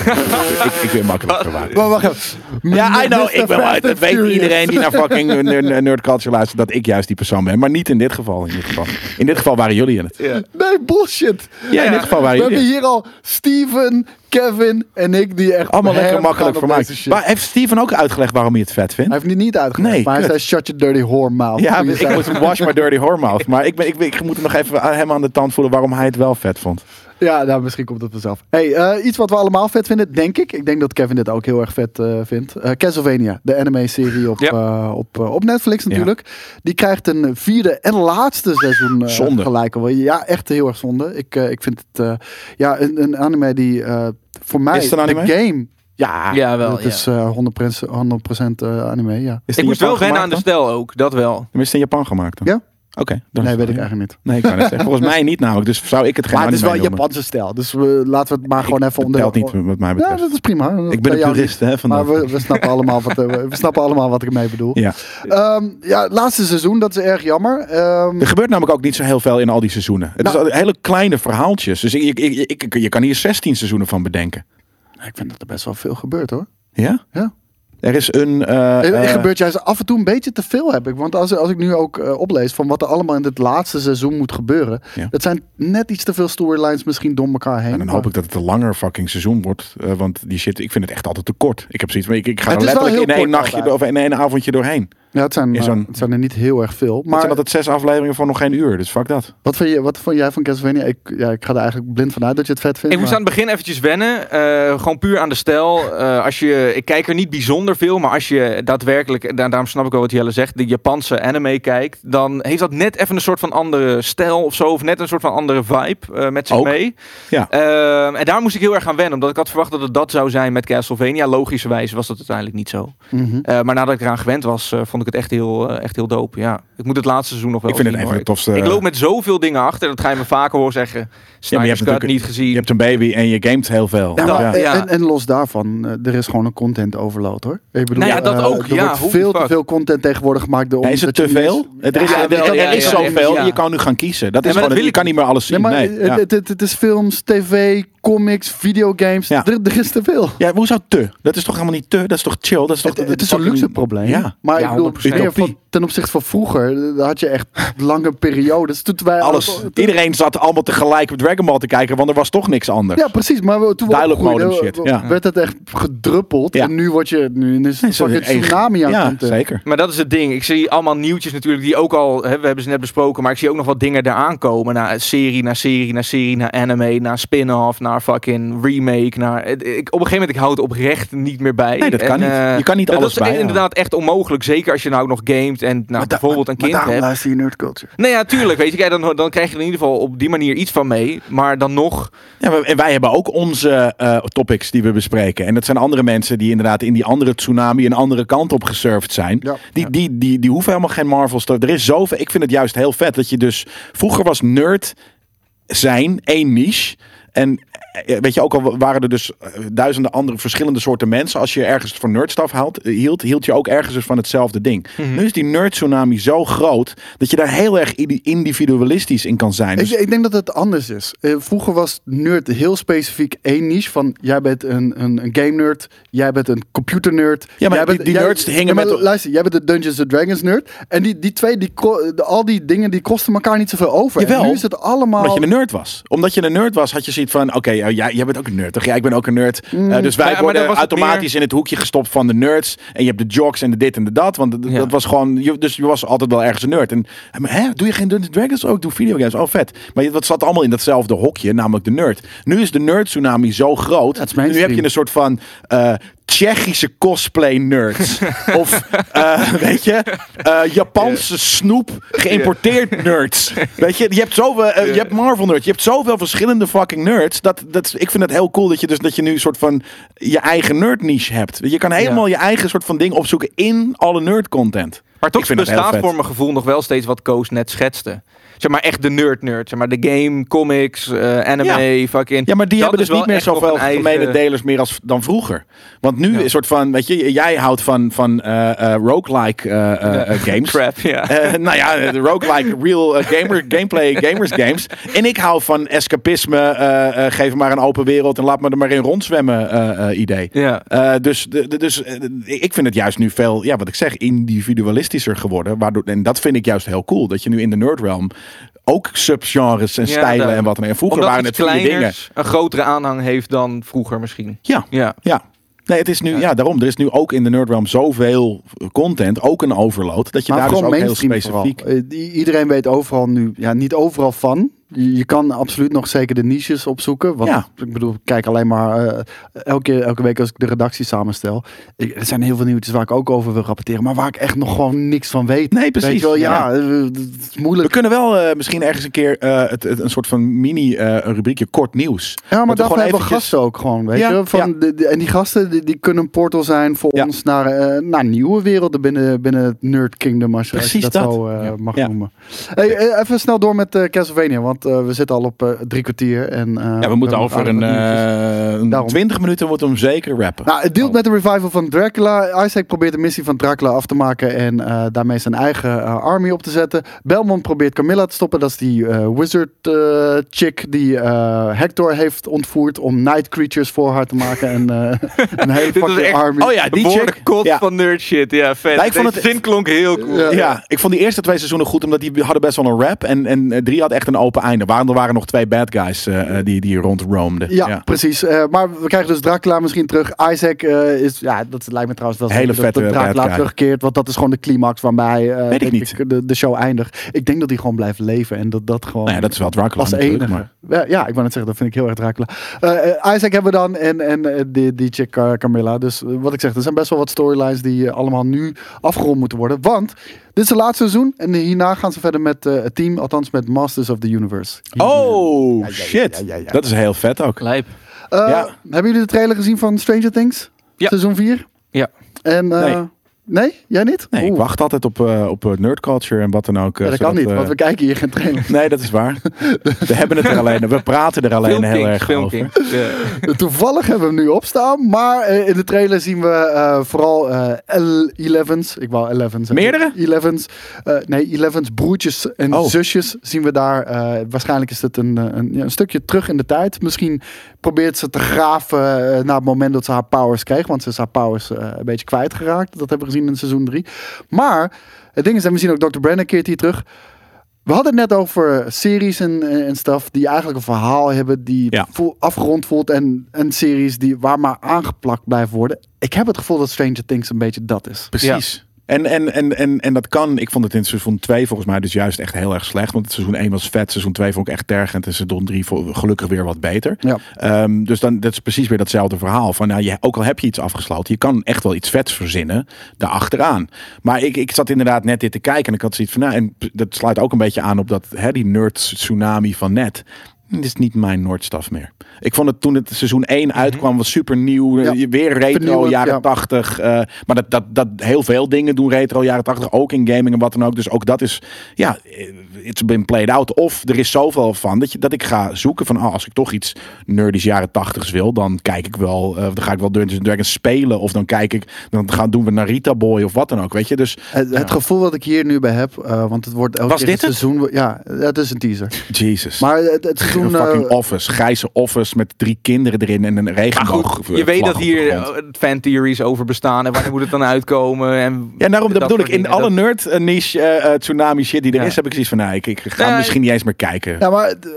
Speaker 2: ik ben makkelijk vermaakt.
Speaker 3: Maar wacht even.
Speaker 2: Ja, I know.
Speaker 3: Mr.
Speaker 2: Ik ben,
Speaker 3: Fast
Speaker 2: wel- dat
Speaker 3: and
Speaker 2: weet
Speaker 3: Furious.
Speaker 2: iedereen die naar fucking ner- ner- Nerd Culture luistert, dat ik juist die persoon ben. Maar niet in dit geval. In dit geval, in dit geval waren jullie in het.
Speaker 4: Ja.
Speaker 3: Nee, bullshit.
Speaker 2: Ja, in dit geval waren
Speaker 3: We hebben
Speaker 2: jullie.
Speaker 3: hier al Steven, Kevin en ik die echt
Speaker 2: Allemaal
Speaker 3: ham
Speaker 2: lekker
Speaker 3: gaan
Speaker 2: makkelijk
Speaker 3: op deze
Speaker 2: vermaakt.
Speaker 3: shit.
Speaker 2: Maar heeft Steven ook uitgelegd waarom hij het vet vindt?
Speaker 3: Hij heeft niet niet uitgelegd,
Speaker 2: Nee,
Speaker 3: maar hij
Speaker 2: kut.
Speaker 3: zei shut your dirty whore mouth.
Speaker 2: Ja,
Speaker 3: Toen je
Speaker 2: ik
Speaker 3: zei-
Speaker 2: moet wash my dirty whore mouth. Maar ik, ben, ik, ben- ik moet hem nog even aan hem aan de tand voelen waarom hij het wel vet vond.
Speaker 3: Ja, nou, misschien komt het vanzelf. Hey, eh, iets wat we allemaal vet vinden, denk ik. Ik denk dat Kevin dit ook heel erg vet eh, vindt. Eh, Castlevania, de anime-serie op,
Speaker 4: Ja.
Speaker 3: eh, op, eh, op Netflix natuurlijk. Die krijgt een vierde en laatste seizoen eh,
Speaker 2: Zonde.
Speaker 3: gelijk. alweer. Ja, echt heel erg zonde. Ik, eh, ik vind het eh, ja, een, een anime die eh, voor mij
Speaker 2: Is het een
Speaker 3: de
Speaker 2: anime?
Speaker 3: game... Ja,
Speaker 4: Ja, wel,
Speaker 3: Het
Speaker 4: ja.
Speaker 3: is eh, 100%, 100% eh, anime, ja.
Speaker 2: Is het
Speaker 4: Ik
Speaker 2: in
Speaker 4: moest wel
Speaker 2: Japan
Speaker 4: wennen aan
Speaker 2: gemaakt
Speaker 4: de stijl ook, dat wel.
Speaker 2: dan? Is het in Japan gemaakt dan?
Speaker 3: Ja.
Speaker 2: Oké. dan is
Speaker 3: Nee,
Speaker 2: het
Speaker 3: weet ik
Speaker 2: wel, ja.
Speaker 3: eigenlijk niet.
Speaker 2: Nee, ik kan
Speaker 3: *laughs*
Speaker 2: het zeggen. Volgens mij niet namelijk. Dus zou ik het geen
Speaker 3: Maar het is wel
Speaker 2: anime noemen.
Speaker 3: Japanse stijl. Dus we, laten we het maar gewoon even onder...
Speaker 2: Telt niet wat mij
Speaker 3: Ja,
Speaker 2: betreft.
Speaker 3: dat is prima.
Speaker 2: ik ben een
Speaker 3: jurist.
Speaker 2: purist hè, vandaag.
Speaker 3: Maar we, we, snappen allemaal wat, eh, we snappen allemaal wat ik ermee bedoel.
Speaker 2: Ja.
Speaker 3: Ehm, ja, het laatste seizoen, dat is erg jammer. Ehm,
Speaker 2: Er gebeurt namelijk ook niet zo heel veel in al die seizoenen. Het
Speaker 3: Nou.
Speaker 2: is al- hele kleine verhaaltjes. Dus ik, ik, ik, ik- je kan hier 16 seizoenen van bedenken.
Speaker 3: ik vind dat er best wel veel gebeurt hoor.
Speaker 2: Ja?
Speaker 3: Ja.
Speaker 2: Er is een... eh,
Speaker 3: Er, er
Speaker 2: eh,
Speaker 3: gebeurt juist af en toe een beetje te veel heb ik. Want als, als ik nu ook eh, oplees van wat er allemaal in dit laatste seizoen moet gebeuren.
Speaker 2: Ja.
Speaker 3: Dat zijn net iets te veel storylines misschien door elkaar heen.
Speaker 2: En dan hoop ik dat het een langer fucking seizoen wordt. eh, want die shit, ik vind het echt altijd te kort. Ik heb zoiets van, ik, ik ga
Speaker 3: Het
Speaker 2: er
Speaker 3: is wel
Speaker 2: letterlijk in
Speaker 3: heel
Speaker 2: één
Speaker 3: kort
Speaker 2: nachtje
Speaker 3: altijd.
Speaker 2: of in één avondje doorheen.
Speaker 3: Ja, het, zijn,
Speaker 2: Is
Speaker 3: eh,
Speaker 2: zo'n-
Speaker 3: het zijn er niet heel erg veel.
Speaker 2: Maar
Speaker 3: Maar
Speaker 2: zijn altijd zes afleveringen voor nog geen uur. Dus fuck dat.
Speaker 3: wat, vind je, wat vond jij van Castlevania? Ik, ja, ik ga er eigenlijk blind vanuit dat je het vet vindt.
Speaker 4: Ik moest
Speaker 3: maar-
Speaker 4: aan het begin eventjes wennen. eh, gewoon puur aan de stijl. Eh, als je, ik kijk er niet bijzonder veel, maar als je daadwerkelijk, en daar, daarom snap ik wel wat Jelle zegt, de Japanse anime kijkt, dan heeft dat net even een soort van andere stijl of zo, of net een soort van andere vibe eh, met zich
Speaker 2: Ook.
Speaker 4: mee.
Speaker 2: Ja.
Speaker 4: Eh, en daar moest ik heel erg aan wennen, omdat ik had verwacht dat het dat zou zijn met Castlevania. Logischerwijs was dat uiteindelijk niet zo.
Speaker 3: Mhm.
Speaker 4: Eh, maar nadat ik eraan gewend was, eh, vond ik het echt heel, eh, echt heel dope. Ja. Ik moet het laatste seizoen nog wel
Speaker 2: ik vind het
Speaker 4: zien,
Speaker 2: een van de
Speaker 4: hoor.
Speaker 2: tofste...
Speaker 4: Ik loop met zoveel dingen achter, dat ga je me vaker horen zeggen. Snyder's Cut
Speaker 2: natuurlijk-
Speaker 4: niet gezien.
Speaker 2: Je hebt een baby en je gamet heel veel.
Speaker 3: Ja, maar
Speaker 4: Nou,
Speaker 2: ja.
Speaker 4: eh, ja.
Speaker 3: En, en los daarvan, eh, er is gewoon een content overload hoor. Ik bedoel,
Speaker 4: Nou ja, dat
Speaker 3: eh,
Speaker 4: ook.
Speaker 3: Er
Speaker 4: Ja,
Speaker 3: wordt
Speaker 4: holy
Speaker 3: veel te
Speaker 4: fuck.
Speaker 3: veel content tegenwoordig gemaakt door
Speaker 2: Nee, is
Speaker 3: ons,
Speaker 2: het
Speaker 3: dat
Speaker 2: te
Speaker 3: je dus- niet eens-
Speaker 2: veel? Er is,
Speaker 4: Ja,
Speaker 2: er, er
Speaker 4: ja,
Speaker 2: is
Speaker 4: ja,
Speaker 2: zoveel.
Speaker 4: ja.
Speaker 2: Je kan nu gaan kiezen. Dat
Speaker 4: Ja,
Speaker 2: is gewoon,
Speaker 4: maar dat
Speaker 2: het-
Speaker 4: wil
Speaker 2: je
Speaker 4: ik
Speaker 2: kan niet meer alles zien.
Speaker 3: Nee, maar
Speaker 2: Nee,
Speaker 3: het,
Speaker 2: ja.
Speaker 3: het, het is films, tv, comics, videogames.
Speaker 2: Ja.
Speaker 3: Er, er is te veel.
Speaker 2: Ja, hoezo te? Dat is toch helemaal niet te? Dat is toch chill? Dat is toch
Speaker 3: Het, het is een
Speaker 2: fucking-
Speaker 3: luxe probleem.
Speaker 2: Ja.
Speaker 3: Maar
Speaker 4: Ja,
Speaker 3: ik bedoel,
Speaker 4: 100%.
Speaker 3: meer van, ten opzichte van vroeger, eh, daar had je echt *laughs* lange periodes. Toen wij
Speaker 2: Alles.
Speaker 3: toen-
Speaker 2: Iedereen zat allemaal tegelijk op Dragon Ball te kijken, want er was toch niks anders.
Speaker 3: Ja, precies. Maar we- toen we
Speaker 2: Dialog
Speaker 3: opgroeiden,
Speaker 2: modem shit,
Speaker 3: we-
Speaker 2: ja.
Speaker 3: werd het echt gedruppeld.
Speaker 2: Ja.
Speaker 3: En nu word je nu is
Speaker 2: Nee,
Speaker 3: het
Speaker 2: zo-
Speaker 3: een fucking
Speaker 2: één-
Speaker 3: tsunami aan
Speaker 2: Ja,
Speaker 3: het komen.
Speaker 2: zeker.
Speaker 4: Maar dat is het ding. Ik zie allemaal nieuwtjes natuurlijk die ook al, hè, we hebben ze net besproken, maar ik zie ook nog wat dingen daar aankomen. Na serie, na serie, na serie, na anime, na spin-off, naar fucking remake. Naar, het- ik, op een gegeven moment, ik houd het oprecht niet meer bij.
Speaker 2: Nee, dat kan niet.
Speaker 4: eh,
Speaker 2: Je kan niet
Speaker 4: dat
Speaker 2: alles
Speaker 4: is e-
Speaker 2: bijhouden.
Speaker 4: inderdaad echt onmogelijk. Zeker als je nou ook nog gamet en nou, bijvoorbeeld een kind hebt.
Speaker 3: luister je nerdculture.
Speaker 4: Nee, ja, tuurlijk. Weet je, kijk, dan, dan krijg je er in ieder geval op die manier iets van mee. Maar dan nog,
Speaker 2: Ja, maar- en wij hebben ook onze eh, topics die we bespreken. En dat zijn andere mensen die inderdaad in die andere tsunami een andere kant op gesurfd zijn.
Speaker 3: Ja.
Speaker 2: Die, die, die, die hoeven helemaal geen Marvels te... Er is zoveel... Ik vind het juist heel vet dat je dus... Vroeger was nerd zijn één niche. En eh, weet je, ook al waren er dus eh, duizenden andere verschillende soorten mensen. Als je ergens voor nerdstaf haalt, eh, hield, hield je ook ergens dus van hetzelfde ding.
Speaker 3: Mhm.
Speaker 2: Nu is die nerd tsunami zo groot dat je daar heel erg indi- individualistisch in kan zijn. Dus
Speaker 3: Ik, ik denk dat het anders is. Eh, vroeger was nerd heel specifiek één niche. Van jij bent een, een, een game nerd, jij bent een computer nerd.
Speaker 2: Ja, maar
Speaker 3: jij
Speaker 2: die-
Speaker 3: bent,
Speaker 2: die
Speaker 3: jij-
Speaker 2: nerds hingen
Speaker 3: Ja, maar
Speaker 2: met-
Speaker 3: Luister, jij bent de Dungeons and Dragons nerd. En die, die twee, die, ko- de- al die dingen, die kosten elkaar niet zoveel over. En
Speaker 2: Jawel,
Speaker 3: nu is het allemaal...
Speaker 2: Omdat je een nerd was. Omdat je een nerd was, had je zoiets van: oké, eh, ja, jij, jij bent ook een nerd. Toch? Ja, ik ben ook een nerd. Eh, dus wij
Speaker 4: maar dan
Speaker 2: worden
Speaker 4: was het
Speaker 2: automatisch in het hoekje gestopt van de nerds. En je hebt de jocks en de dit en de dat. Want d-
Speaker 4: Ja.
Speaker 2: dat was gewoon. Je, dus je was altijd wel ergens een nerd. En eh, maar hè, doe je geen Dungeons Dragons ook? Doe videogames. Oh, vet. Maar je- dat zat allemaal in datzelfde hokje, namelijk de nerd. Nu is de nerd tsunami zo groot.
Speaker 3: Dat is
Speaker 2: nu
Speaker 3: mainstream.
Speaker 2: heb je een soort van. eh, Tsjechische cosplay
Speaker 4: *laughs*
Speaker 2: nerds. of eh, weet je, eh, Japanse snoep geïmporteerd
Speaker 4: *laughs*
Speaker 2: nerds. Weet je, je hebt zoveel, eh, je hebt Marvel nerds, je hebt zoveel verschillende fucking nerds. Dat, dat, ik vind het heel cool dat je dus dat je nu een soort van je eigen nerd niche hebt. Je kan helemaal je eigen soort van ding opzoeken in alle nerd content.
Speaker 4: Maar
Speaker 2: Ik
Speaker 4: toch dus
Speaker 2: vind dat heel
Speaker 4: bestaat
Speaker 2: vet.
Speaker 4: voor mijn gevoel nog wel steeds wat Koos net schetste. Zeg maar echt de nerd-nerd. Zeg maar de game, comics, eh, anime, fucking...
Speaker 2: Ja, maar die
Speaker 4: Dat
Speaker 2: hebben
Speaker 4: is
Speaker 2: dus niet
Speaker 4: wel
Speaker 2: meer
Speaker 4: echt nog
Speaker 2: zoveel
Speaker 4: een eigen-
Speaker 2: gemene delers meer als dan vroeger. Want nu is een soort van, weet je, jij houdt van, van eh, eh, roguelike eh, eh, eh, games.
Speaker 4: Crap, *laughs* ja.
Speaker 2: Eh, *laughs* nou ja, de roguelike real eh, gamer, gameplay gamers games. En ik hou van escapisme, eh, eh, geef me maar een open wereld en laat me er maar in rondzwemmen eh, eh, idee.
Speaker 4: Ja.
Speaker 2: Eh, dus de- de- dus eh, de- ik vind het juist nu veel, ja, wat ik zeg, individualistischer geworden. Waardoor, en dat vind ik juist heel cool. Dat je nu in de nerd realm ook subgenres en
Speaker 4: Ja,
Speaker 2: stijlen
Speaker 4: daar-
Speaker 2: en wat dan. En vroeger
Speaker 4: Omdat
Speaker 2: waren het
Speaker 4: iets
Speaker 2: vier dingen.
Speaker 4: kleiners een grotere aanhang heeft dan vroeger misschien.
Speaker 2: Ja,
Speaker 4: Ja.
Speaker 2: ja. Nee, het is nu, ja. daarom. Er is nu ook in de nerd realm zoveel eh, content, ook een overload, dat je
Speaker 3: Maar
Speaker 2: daar dus
Speaker 3: vooral
Speaker 2: ook heel
Speaker 3: mainstream
Speaker 2: specifiek...
Speaker 3: vooral. Eh, die, iedereen weet overal nu, ja, niet overal van. Je, je kan absoluut nog zeker de niches opzoeken. Want
Speaker 2: Ja.
Speaker 3: ik bedoel, ik kijk alleen maar eh, elke, elke week als ik de redactie samenstel. Ik- er zijn heel veel nieuwtjes waar ik ook over wil rapporteren, maar waar ik echt nog gewoon niks van weet.
Speaker 2: Nee, precies.
Speaker 3: Weet je wel, ja,
Speaker 2: Ja.
Speaker 3: eh, het is
Speaker 2: We
Speaker 3: moeilijk.
Speaker 2: kunnen wel eh, misschien ergens een keer eh, het, het- een soort van mini-rubriekje kort nieuws.
Speaker 3: Ja,
Speaker 2: we
Speaker 3: maar daarvoor
Speaker 2: gewoon
Speaker 3: hebben we
Speaker 2: eventjes-
Speaker 3: gasten ook gewoon, weet
Speaker 2: Ja,
Speaker 3: je. Van
Speaker 2: ja.
Speaker 3: de- de- en die gasten, die, die kunnen een portal zijn voor
Speaker 2: Ja.
Speaker 3: ons naar, eh, naar nieuwe werelden binnen, binnen het nerd kingdom, als je, als je
Speaker 2: Precies
Speaker 3: dat,
Speaker 2: dat.
Speaker 3: zo eh, mag
Speaker 2: Ja.
Speaker 3: noemen. Hey, eh, even snel door met eh, Castlevania, want eh, we zitten al op eh, drie kwartier. En, eh,
Speaker 2: Ja, we moeten over een,
Speaker 3: aardig wat nieuwtjes.
Speaker 2: eh, een
Speaker 3: Daarom.
Speaker 2: 20 minuten moeten we hem zeker rappen.
Speaker 3: Nou, het deelt met de revival van Dracula. Isaac probeert de missie van Dracula af te maken en eh, daarmee zijn eigen eh, army op te zetten. Belmont probeert Camilla te stoppen. Dat is die eh, wizard eh, chick die eh, Hector heeft ontvoerd om night creatures voor haar te maken. En eh, een hele
Speaker 4: Dit was
Speaker 3: fucking
Speaker 4: echt-
Speaker 3: army.
Speaker 2: oh ja, die chick.
Speaker 4: Woordenkot
Speaker 2: Ja.
Speaker 4: van nerd shit. Ja, vet.
Speaker 2: Maar ik vond
Speaker 4: Deze
Speaker 2: het-
Speaker 4: zin klonk heel cool.
Speaker 3: Ja.
Speaker 2: Ja, ik vond die eerste twee seizoenen goed, omdat die hadden best wel een rap. En, en eh, drie had echt een open einde. Waarom er waren nog twee bad guys eh, eh, die, die rond roamden.
Speaker 3: Ja, precies. Eh, maar we krijgen dus Dracula misschien terug. Isaac eh, is, ja, dat lijkt me trouwens wel
Speaker 2: Hele
Speaker 3: zeker dat-
Speaker 2: vette
Speaker 3: dat
Speaker 2: bad
Speaker 3: Dracula
Speaker 2: guy.
Speaker 3: terugkeert. Want dat is gewoon de climax waarmee eh
Speaker 2: Weet ik
Speaker 3: denk
Speaker 2: niet.
Speaker 3: de, de show eindigt. Ik denk dat hij gewoon blijft leven en dat dat gewoon.
Speaker 2: Nou ja, dat is wel Dracula
Speaker 3: Als
Speaker 2: natuurlijk,
Speaker 3: enige.
Speaker 2: maar-
Speaker 3: Ja, ja, ik wou net zeggen, dat vind ik heel erg Dracula. Eh, eh, Isaac hebben we dan en, en eh, die, die chick eh, Camilla. Dus eh, wat ik zeg, er zijn best wel wat storylines die eh, allemaal nu afgerond moeten worden. Want dit is het laatste seizoen en hierna gaan ze verder met eh, het team. Althans met Masters of the Universe.
Speaker 2: Oh,
Speaker 3: ja,
Speaker 2: shit.
Speaker 3: ja, ja, ja.
Speaker 2: Dat is heel vet ook.
Speaker 4: Lijp.
Speaker 3: Eh,
Speaker 2: Ja.
Speaker 3: Hebben jullie de trailer gezien van Stranger Things?
Speaker 4: Ja.
Speaker 3: Seizoen 4?
Speaker 4: Ja.
Speaker 3: En eh,
Speaker 2: Nee.
Speaker 3: Nee? Jij niet?
Speaker 2: Nee, ik
Speaker 3: Oeh.
Speaker 2: wacht altijd op, eh, op eh, nerd culture en wat dan ook. eh,
Speaker 3: Ja, dat kan
Speaker 2: zodat,
Speaker 3: niet,
Speaker 2: eh,
Speaker 3: want we kijken hier geen trailer.
Speaker 2: Nee, dat is
Speaker 3: *laughs*
Speaker 2: waar. We hebben het er alleen. We praten er alleen heel
Speaker 4: Filmkings,
Speaker 2: erg over.
Speaker 4: Filmkings. Ja.
Speaker 3: *laughs* Toevallig hebben we hem nu opstaan, maar eh, in de trailer zien we eh, vooral eh L11's. Ik wou 11's. zeggen.
Speaker 2: Meerdere?
Speaker 3: 11's. eh, nee, 11's, broertjes en
Speaker 2: Oh.
Speaker 3: zusjes zien we daar. eh, waarschijnlijk is het een, eh, een, ja, een stukje terug in de tijd. Misschien probeert ze te graven eh, naar het moment dat ze haar powers kreeg, want ze is haar powers eh, een beetje kwijtgeraakt. Dat hebben we gezien in seizoen 3. Maar het ding is, en we zien ook Dr. Brenner keert hier terug. We hadden het net over series en, en en stuff die eigenlijk een verhaal hebben die
Speaker 2: Ja.
Speaker 3: vo- afgerond voelt en, en series die waar maar aangeplakt blijven worden. Ik heb het gevoel dat Stranger Things een beetje dat is.
Speaker 2: Precies. En, en, en, en, en dat kan, ik vond het in seizoen 2 volgens mij dus juist echt heel erg slecht. Want het seizoen 1 was vet, seizoen 2 vond ik echt tergend en seizoen 3 gelukkig weer wat beter.
Speaker 3: Ja.
Speaker 2: Ehm, dus dan, dat is precies weer datzelfde verhaal. Van, nou, je, ook al heb je iets afgesloten, je kan echt wel iets vets verzinnen daarachteraan. Maar ik, ik zat inderdaad net dit te kijken en ik had zoiets van, nou, en p- dat sluit ook een beetje aan op dat, hè, die nerd tsunami van net. Dit is niet mijn Noordstaf meer. Ik vond het toen het seizoen 1 uitkwam, was super nieuw.
Speaker 3: Mhm. Ja.
Speaker 2: eh, Weer retro,
Speaker 3: Vernieuwend,
Speaker 2: jaren
Speaker 3: ja.
Speaker 2: 80. eh, maar dat, dat, dat heel veel dingen doen retro jaren 80. Ook in gaming en wat dan ook. Dus ook dat is, ja, eh, it's been played out. Of er is zoveel van dat, je, dat ik ga zoeken van, ah, als ik toch iets nerdies jaren 80s wil, dan kijk ik wel, eh, dan ga ik wel Dungeons and Dragons spelen. Of dan kijk ik, dan gaan, doen we Narita Boy of wat dan ook, weet je. Dus,
Speaker 3: Het, het gevoel dat ik hier nu bij heb, eh, want het wordt elke
Speaker 2: Was
Speaker 3: keer
Speaker 2: dit
Speaker 3: een
Speaker 2: het?
Speaker 3: seizoen. Ja, het is een teaser.
Speaker 2: Jesus.
Speaker 3: Maar het,
Speaker 2: *laughs*
Speaker 3: het
Speaker 2: een
Speaker 3: seizoen.
Speaker 2: fucking
Speaker 3: eh,
Speaker 2: office, grijze office met drie kinderen erin en een
Speaker 4: Maar
Speaker 2: regenboog.
Speaker 4: goed, je weet dat hier eh, fan theories over bestaan en wanneer moet het dan uitkomen. En
Speaker 2: Ja, daarom dat
Speaker 4: dat
Speaker 2: bedoel ik.
Speaker 4: soort
Speaker 2: In
Speaker 4: dingen.
Speaker 2: alle nerd eh, niche eh, eh, tsunami shit die er
Speaker 4: Ja.
Speaker 2: is, heb ik zoiets van, nou, ik, ik ga
Speaker 4: Nee.
Speaker 2: misschien niet eens meer kijken.
Speaker 3: Ja, maar d-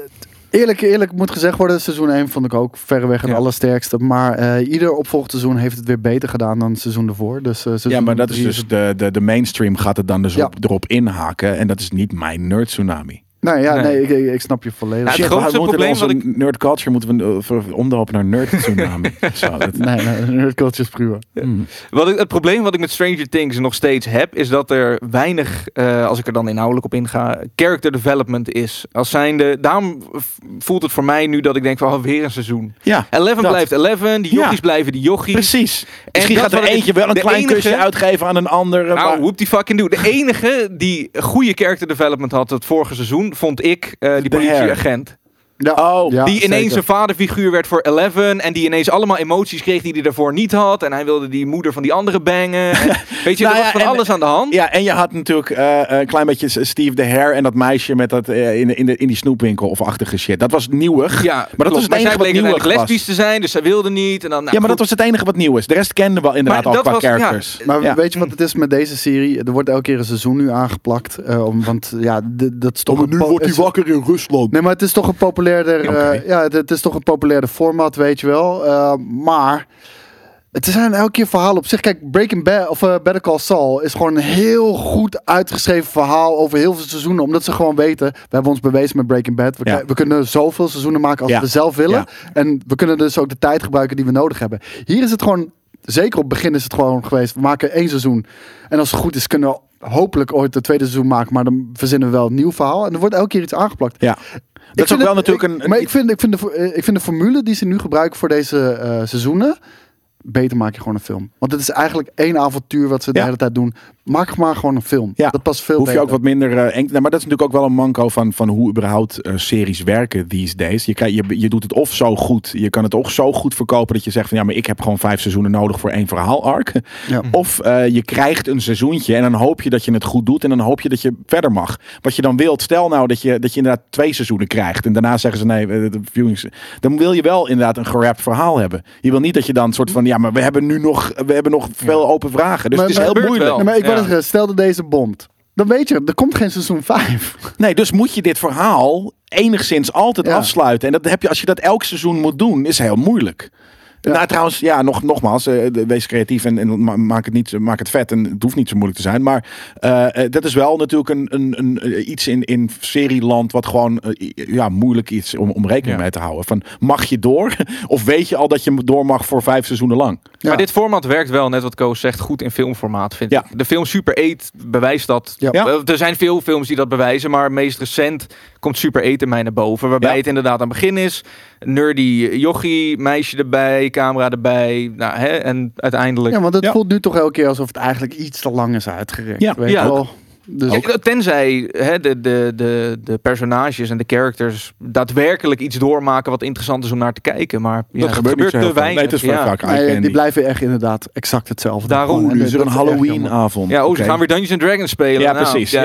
Speaker 3: eerlijk, eerlijk moet gezegd worden, seizoen 1 vond ik ook verreweg het
Speaker 4: Ja.
Speaker 3: allersterkste. Maar eh, ieder opvolgend seizoen heeft het weer beter gedaan dan het seizoen ervoor. Dus, eh, seizoen
Speaker 2: Ja, maar dat is
Speaker 3: drie
Speaker 2: dus de, de, de mainstream gaat het dan dus
Speaker 3: Ja.
Speaker 2: op, erop inhaken. En dat is niet mijn nerd tsunami.
Speaker 3: Nou ja, nee,
Speaker 4: Nee.
Speaker 3: ik, ik- ik snap je volledig.
Speaker 4: Ja, het
Speaker 2: Shit,
Speaker 4: grootste
Speaker 2: we moeten
Speaker 4: probleem
Speaker 2: onze
Speaker 4: wat
Speaker 2: nerd culture moeten we eh, ver- omdopen naar nerd
Speaker 4: *laughs*
Speaker 2: tsunami. Zo, dat-
Speaker 3: Nee, nee, nerd culture is puur.
Speaker 2: mm.
Speaker 4: Wat ik, het probleem wat ik met Stranger Things nog steeds heb, is dat er weinig, eh, als ik er dan inhoudelijk op inga, character development is. Als zijnde, daarom v- voelt het voor mij nu dat ik denk van, oh, weer een seizoen.
Speaker 2: Ja,
Speaker 4: Eleven
Speaker 2: Dat.
Speaker 4: blijft Eleven, die
Speaker 2: Ja.
Speaker 4: jochies blijven die jochies.
Speaker 2: precies. Misschien
Speaker 4: dat
Speaker 2: gaat er
Speaker 4: wat ik-
Speaker 2: eentje wel een
Speaker 4: de
Speaker 2: klein
Speaker 4: enige-
Speaker 2: kusje uitgeven aan een ander. eh, maar-
Speaker 4: Nou, whoop die fucking doe. De enige die goede character development had het vorige seizoen, vond ik eh, die
Speaker 2: De Hair.
Speaker 4: politieagent.
Speaker 3: Ja.
Speaker 2: Oh,
Speaker 3: Ja,
Speaker 4: die ineens
Speaker 3: zeker.
Speaker 4: een vaderfiguur werd voor Eleven. En die ineens allemaal emoties kreeg die hij daarvoor niet had. En hij wilde die moeder van die andere bangen.
Speaker 2: *laughs*
Speaker 4: En, weet je,
Speaker 2: Nou ja,
Speaker 4: er was van
Speaker 2: en-
Speaker 4: alles aan de hand.
Speaker 2: Ja, en je had natuurlijk eh, een klein beetje Steve de Hare en dat meisje met dat, eh, in, de- in, de, in die snoepwinkel of achtige shit. Dat was nieuwig.
Speaker 4: Ja,
Speaker 2: maar dat was het enige
Speaker 4: zij
Speaker 2: wat
Speaker 4: bleken
Speaker 2: nieuw
Speaker 4: eigenlijk
Speaker 2: was.
Speaker 4: lesbisch te zijn, dus zij wilde niet. En dan, nou,
Speaker 2: ja, maar dat
Speaker 4: goed.
Speaker 2: was het enige wat nieuw is. De rest kenden we inderdaad
Speaker 4: Maar
Speaker 2: al
Speaker 4: dat
Speaker 2: qua
Speaker 4: was- ja.
Speaker 2: characters.
Speaker 3: Maar
Speaker 2: Ja.
Speaker 3: weet je wat het is met deze serie? Er wordt elke keer een seizoen nu aangeplakt. eh, om, want ja, d- dat is toch een po- is-
Speaker 2: wakker in Rusland.
Speaker 3: Nee, maar het is toch een populairder,
Speaker 2: Oké.
Speaker 3: eh, ja, het, het is toch een populairder format, weet je wel. Eh, maar het zijn elke keer verhalen op zich. Kijk, Breaking Bad of eh, Better Call Saul is gewoon een heel goed uitgeschreven verhaal over heel veel seizoenen, omdat ze gewoon weten, we hebben ons bewezen met Breaking Bad, we,
Speaker 2: Ja.
Speaker 3: kri- we kunnen zoveel seizoenen maken als
Speaker 2: Ja.
Speaker 3: we zelf willen,
Speaker 2: Ja.
Speaker 3: en we kunnen dus ook de tijd gebruiken die we nodig hebben. Hier is het gewoon, zeker op het begin is het gewoon geweest, we maken één seizoen, en als het goed is kunnen we hopelijk ooit het tweede seizoen maken, maar dan verzinnen we wel een nieuw verhaal, en er wordt elke keer iets aangeplakt.
Speaker 2: Ja.
Speaker 3: Ik
Speaker 2: Dat is ook
Speaker 3: vind
Speaker 2: wel
Speaker 3: het-
Speaker 2: natuurlijk
Speaker 3: ik-
Speaker 2: een... een
Speaker 3: Maar ik vind, ik, vind de, vo- eh, ik vind de formule die ze nu gebruiken voor deze eh, seizoenen. Beter maak je gewoon een film. Want het is eigenlijk één avontuur wat ze de
Speaker 2: Ja.
Speaker 3: hele tijd doen. Maak maar gewoon een film.
Speaker 2: Ja.
Speaker 3: Dat past veel
Speaker 2: hoef je
Speaker 3: beter.
Speaker 2: ook wat minder eh, eng. Nou, maar dat is natuurlijk ook wel een manco van, van hoe überhaupt eh, series werken these days. Je, krijg- je, je doet het of zo goed. Je kan het ook zo goed verkopen dat je zegt van ja, maar ik heb gewoon vijf seizoenen nodig voor één verhaal arc.
Speaker 3: Ja.
Speaker 2: *laughs* Of eh, je krijgt een seizoentje en dan hoop je dat je het goed doet en dan hoop je dat je verder mag. Wat je dan wilt, stel nou dat je, dat je inderdaad twee seizoenen krijgt en daarna zeggen ze nee, eh, de viewings. Dan wil je wel inderdaad een gerapt verhaal hebben. Je wil niet dat je dan soort van ja, maar we hebben nu nog, we hebben nog veel open vragen. Dus
Speaker 3: Mm. Maar-
Speaker 2: het is
Speaker 3: maar-
Speaker 2: heel
Speaker 4: gebeurt
Speaker 2: moeilijk.
Speaker 4: wel.
Speaker 3: Nee, maar ik wou
Speaker 4: Ja.
Speaker 3: net zeggen, stel dat deze bomt. Dan weet je, er komt geen seizoen
Speaker 2: *laughs*
Speaker 3: 5.
Speaker 2: Nee, dus moet je dit verhaal enigszins altijd
Speaker 3: Ja.
Speaker 2: afsluiten. En dat heb je, als je dat elk seizoen moet doen, is heel moeilijk.
Speaker 3: Ja.
Speaker 2: Nou, trouwens, ja, nog, nogmaals, eh, de- wees creatief en, en ma- maak, het niet, maak het vet. En het hoeft niet zo moeilijk te zijn. Maar eh, eh, dat is wel natuurlijk een, een, een, eh, iets in, in serieland wat gewoon eh, i- ja, moeilijk iets om, om rekening
Speaker 4: Ja.
Speaker 2: mee te houden. Van, mag je door? *laughs* Of weet je al dat je door mag voor vijf seizoenen lang?
Speaker 3: Ja.
Speaker 4: Maar dit format werkt wel, net wat Koos zegt, goed in filmformaat, vind
Speaker 2: Ja.
Speaker 4: ik. De film Super 8 bewijst dat.
Speaker 3: Ja.
Speaker 2: Ja.
Speaker 4: Eh, Er zijn veel films die dat bewijzen, maar meest recent komt Super 8 in mij naar boven. Waarbij
Speaker 2: Ja.
Speaker 4: het inderdaad aan het begin is. Nerdy jochie, meisje erbij, tv-camera erbij. Nou, hè, en uiteindelijk...
Speaker 3: Ja, want het
Speaker 2: Ja.
Speaker 3: voelt nu toch elke keer alsof het eigenlijk iets te lang is uitgerekt.
Speaker 2: Ja.
Speaker 3: weet
Speaker 4: Ja.
Speaker 3: je wel. Dus
Speaker 4: Ja, tenzij hè, de, de, de, de personages en de characters daadwerkelijk iets doormaken wat interessant is om naar te kijken. Maar ja,
Speaker 2: dat gebeurt, niet zo heel
Speaker 4: te
Speaker 2: veel. Nee, het
Speaker 4: weinig.
Speaker 2: is vrij
Speaker 4: ja.
Speaker 2: vaak
Speaker 3: maar, eh,
Speaker 2: eye
Speaker 3: die
Speaker 2: candy.
Speaker 3: blijven echt inderdaad exact hetzelfde.
Speaker 4: Daarom.
Speaker 3: Gewoon.
Speaker 2: Oh,
Speaker 3: En
Speaker 2: nu
Speaker 3: dat-
Speaker 2: is er een
Speaker 3: dat echt
Speaker 2: Halloween
Speaker 3: jammer.
Speaker 2: avond.
Speaker 4: Ja, oh,
Speaker 2: Oké.
Speaker 4: ze gaan weer Dungeons and Dragons spelen.
Speaker 2: Ja,
Speaker 4: Nou,
Speaker 2: precies. Ja.
Speaker 4: *laughs*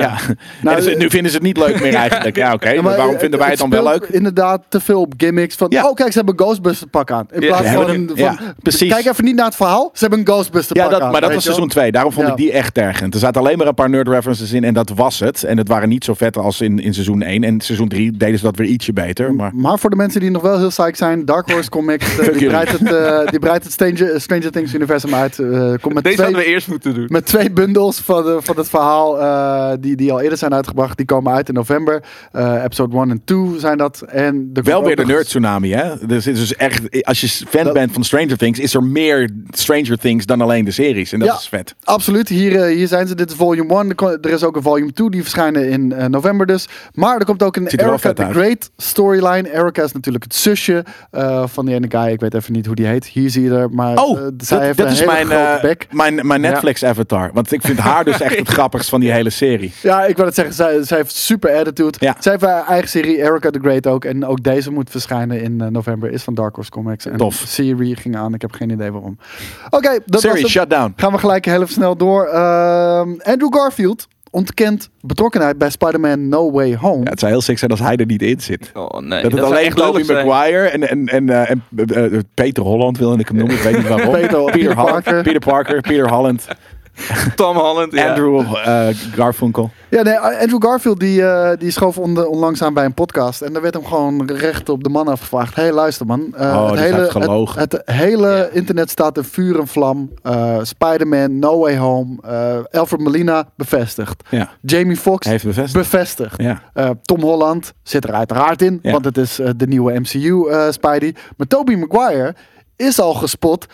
Speaker 3: Nou,
Speaker 2: En dus
Speaker 3: eh,
Speaker 2: nu vinden ze het niet leuk meer eigenlijk. Ja, oké.
Speaker 3: *laughs* Ja,
Speaker 2: maar
Speaker 3: maar
Speaker 2: waarom
Speaker 3: eh,
Speaker 2: vinden wij het dan wel
Speaker 3: speelt
Speaker 2: leuk?
Speaker 3: Inderdaad, te veel op gimmicks van.
Speaker 2: Ja.
Speaker 3: Oh, kijk, ze hebben een Ghostbuster pak aan. In
Speaker 4: Ja.
Speaker 3: plaats
Speaker 4: Ze
Speaker 3: van.
Speaker 2: hebben een-
Speaker 3: van-
Speaker 2: ja, precies.
Speaker 3: Kijk even niet naar het verhaal. Ze hebben een Ghostbuster
Speaker 2: Ja,
Speaker 3: pak
Speaker 2: dat,
Speaker 3: aan.
Speaker 2: maar dat was
Speaker 3: weet je wel.
Speaker 2: seizoen 2. Daarom vond
Speaker 3: Ja.
Speaker 2: ik die echt tergend. Er zaten alleen maar een paar nerd references in en dat was het. En het waren niet zo vet als in, in seizoen 1. En seizoen 3 deden ze dat weer ietsje beter. Maar
Speaker 3: Maar voor de mensen die nog wel heel psyched zijn, Dark Horse
Speaker 2: *laughs*
Speaker 3: Comics, eh, die,
Speaker 2: jullie.
Speaker 3: breidt het, eh, die breidt het Stranger, Stranger Things universum uit. eh, komt met twee,
Speaker 4: Deze hadden we eerst moeten doen.
Speaker 3: met twee bundels van, eh, van het verhaal eh, die, die al eerder zijn uitgebracht. Die komen uit in november. Eh, episode 1 en 2 zijn dat. En er komt
Speaker 2: wel
Speaker 3: ook
Speaker 2: weer de
Speaker 3: nog
Speaker 2: nerd
Speaker 3: eens-
Speaker 2: tsunami, hè? Dus, het is dus echt, als je fan
Speaker 3: Dat-
Speaker 2: bent van Stranger Things, is er meer Stranger Things dan alleen de series. En dat
Speaker 3: Ja.
Speaker 2: is vet.
Speaker 3: Absoluut, hier, eh, hier zijn ze. Dit is volume 1. Er ko- Er is ook een volume 2, die verschijnen in eh, november dus. Maar er komt ook een
Speaker 2: Ziet er wel
Speaker 3: Erica
Speaker 2: vet
Speaker 3: the
Speaker 2: uit.
Speaker 3: Great storyline. Erica is natuurlijk het zusje eh, van die ene guy. Ik weet even niet hoe die heet. Hier zie je er, maar
Speaker 2: Oh,
Speaker 3: eh, zij
Speaker 2: dat,
Speaker 3: heeft
Speaker 2: dat
Speaker 3: een
Speaker 2: is
Speaker 3: hele
Speaker 2: mijn,
Speaker 3: grote
Speaker 2: eh,
Speaker 3: bek.
Speaker 2: mijn, mijn
Speaker 4: Ja.
Speaker 2: Netflix-avatar. Want ik vind haar dus
Speaker 3: *laughs*
Speaker 2: echt het grappigst van die hele serie.
Speaker 3: Ja, ik wil het zeggen, zij, zij heeft super attitude.
Speaker 2: Ja.
Speaker 3: Zij heeft haar eigen serie, Erica the Great ook. En ook deze moet verschijnen in eh, november. Is van Dark Horse Comics. En
Speaker 2: Tof.
Speaker 3: de serie ging aan, ik heb geen idee waarom. Oké, dat was
Speaker 2: Series,
Speaker 3: het.
Speaker 2: shut down.
Speaker 3: Gaan we gelijk heel even snel door. Ehm, Andrew Garfield ontkent betrokkenheid bij Spider-Man No Way Home.
Speaker 2: Ja, het zou heel sick zijn als hij er niet in zit.
Speaker 4: Oh nee,
Speaker 2: dat het
Speaker 4: zou
Speaker 2: alleen
Speaker 4: echt lullig
Speaker 2: Tobey
Speaker 4: zijn.
Speaker 2: Maguire en, en, en, eh, en eh, eh, Peter Holland wilde ik hem noemen. Ik weet niet waarom.
Speaker 3: *laughs* Peter- Peter
Speaker 2: Holland,
Speaker 3: Parker.
Speaker 2: Peter Parker, Peter Holland,
Speaker 4: Tom Holland. *laughs* ja.
Speaker 2: Andrew eh, Garfunkel.
Speaker 3: Ja, nee, Andrew Garfield die, eh, die schoof on- onlangs aan bij een podcast. En daar werd hem gewoon recht op de man afgevraagd. Hé, hey, luister man. eh,
Speaker 2: Oh, dus hij heeft gelogen.
Speaker 3: het, het hele
Speaker 4: Ja.
Speaker 3: internet staat in vuur en vlam. Eh, Spider-Man, No Way Home. eh Alfred Molina, bevestigd.
Speaker 2: Ja,
Speaker 3: Jamie Foxx,
Speaker 2: hij heeft bevestigd.
Speaker 3: bevestigd.
Speaker 2: Ja.
Speaker 3: Eh, Tom Holland zit er uiteraard in,
Speaker 2: Ja.
Speaker 3: want het is eh, de nieuwe MCU eh Spidey. Maar Tobey Maguire is al gespot.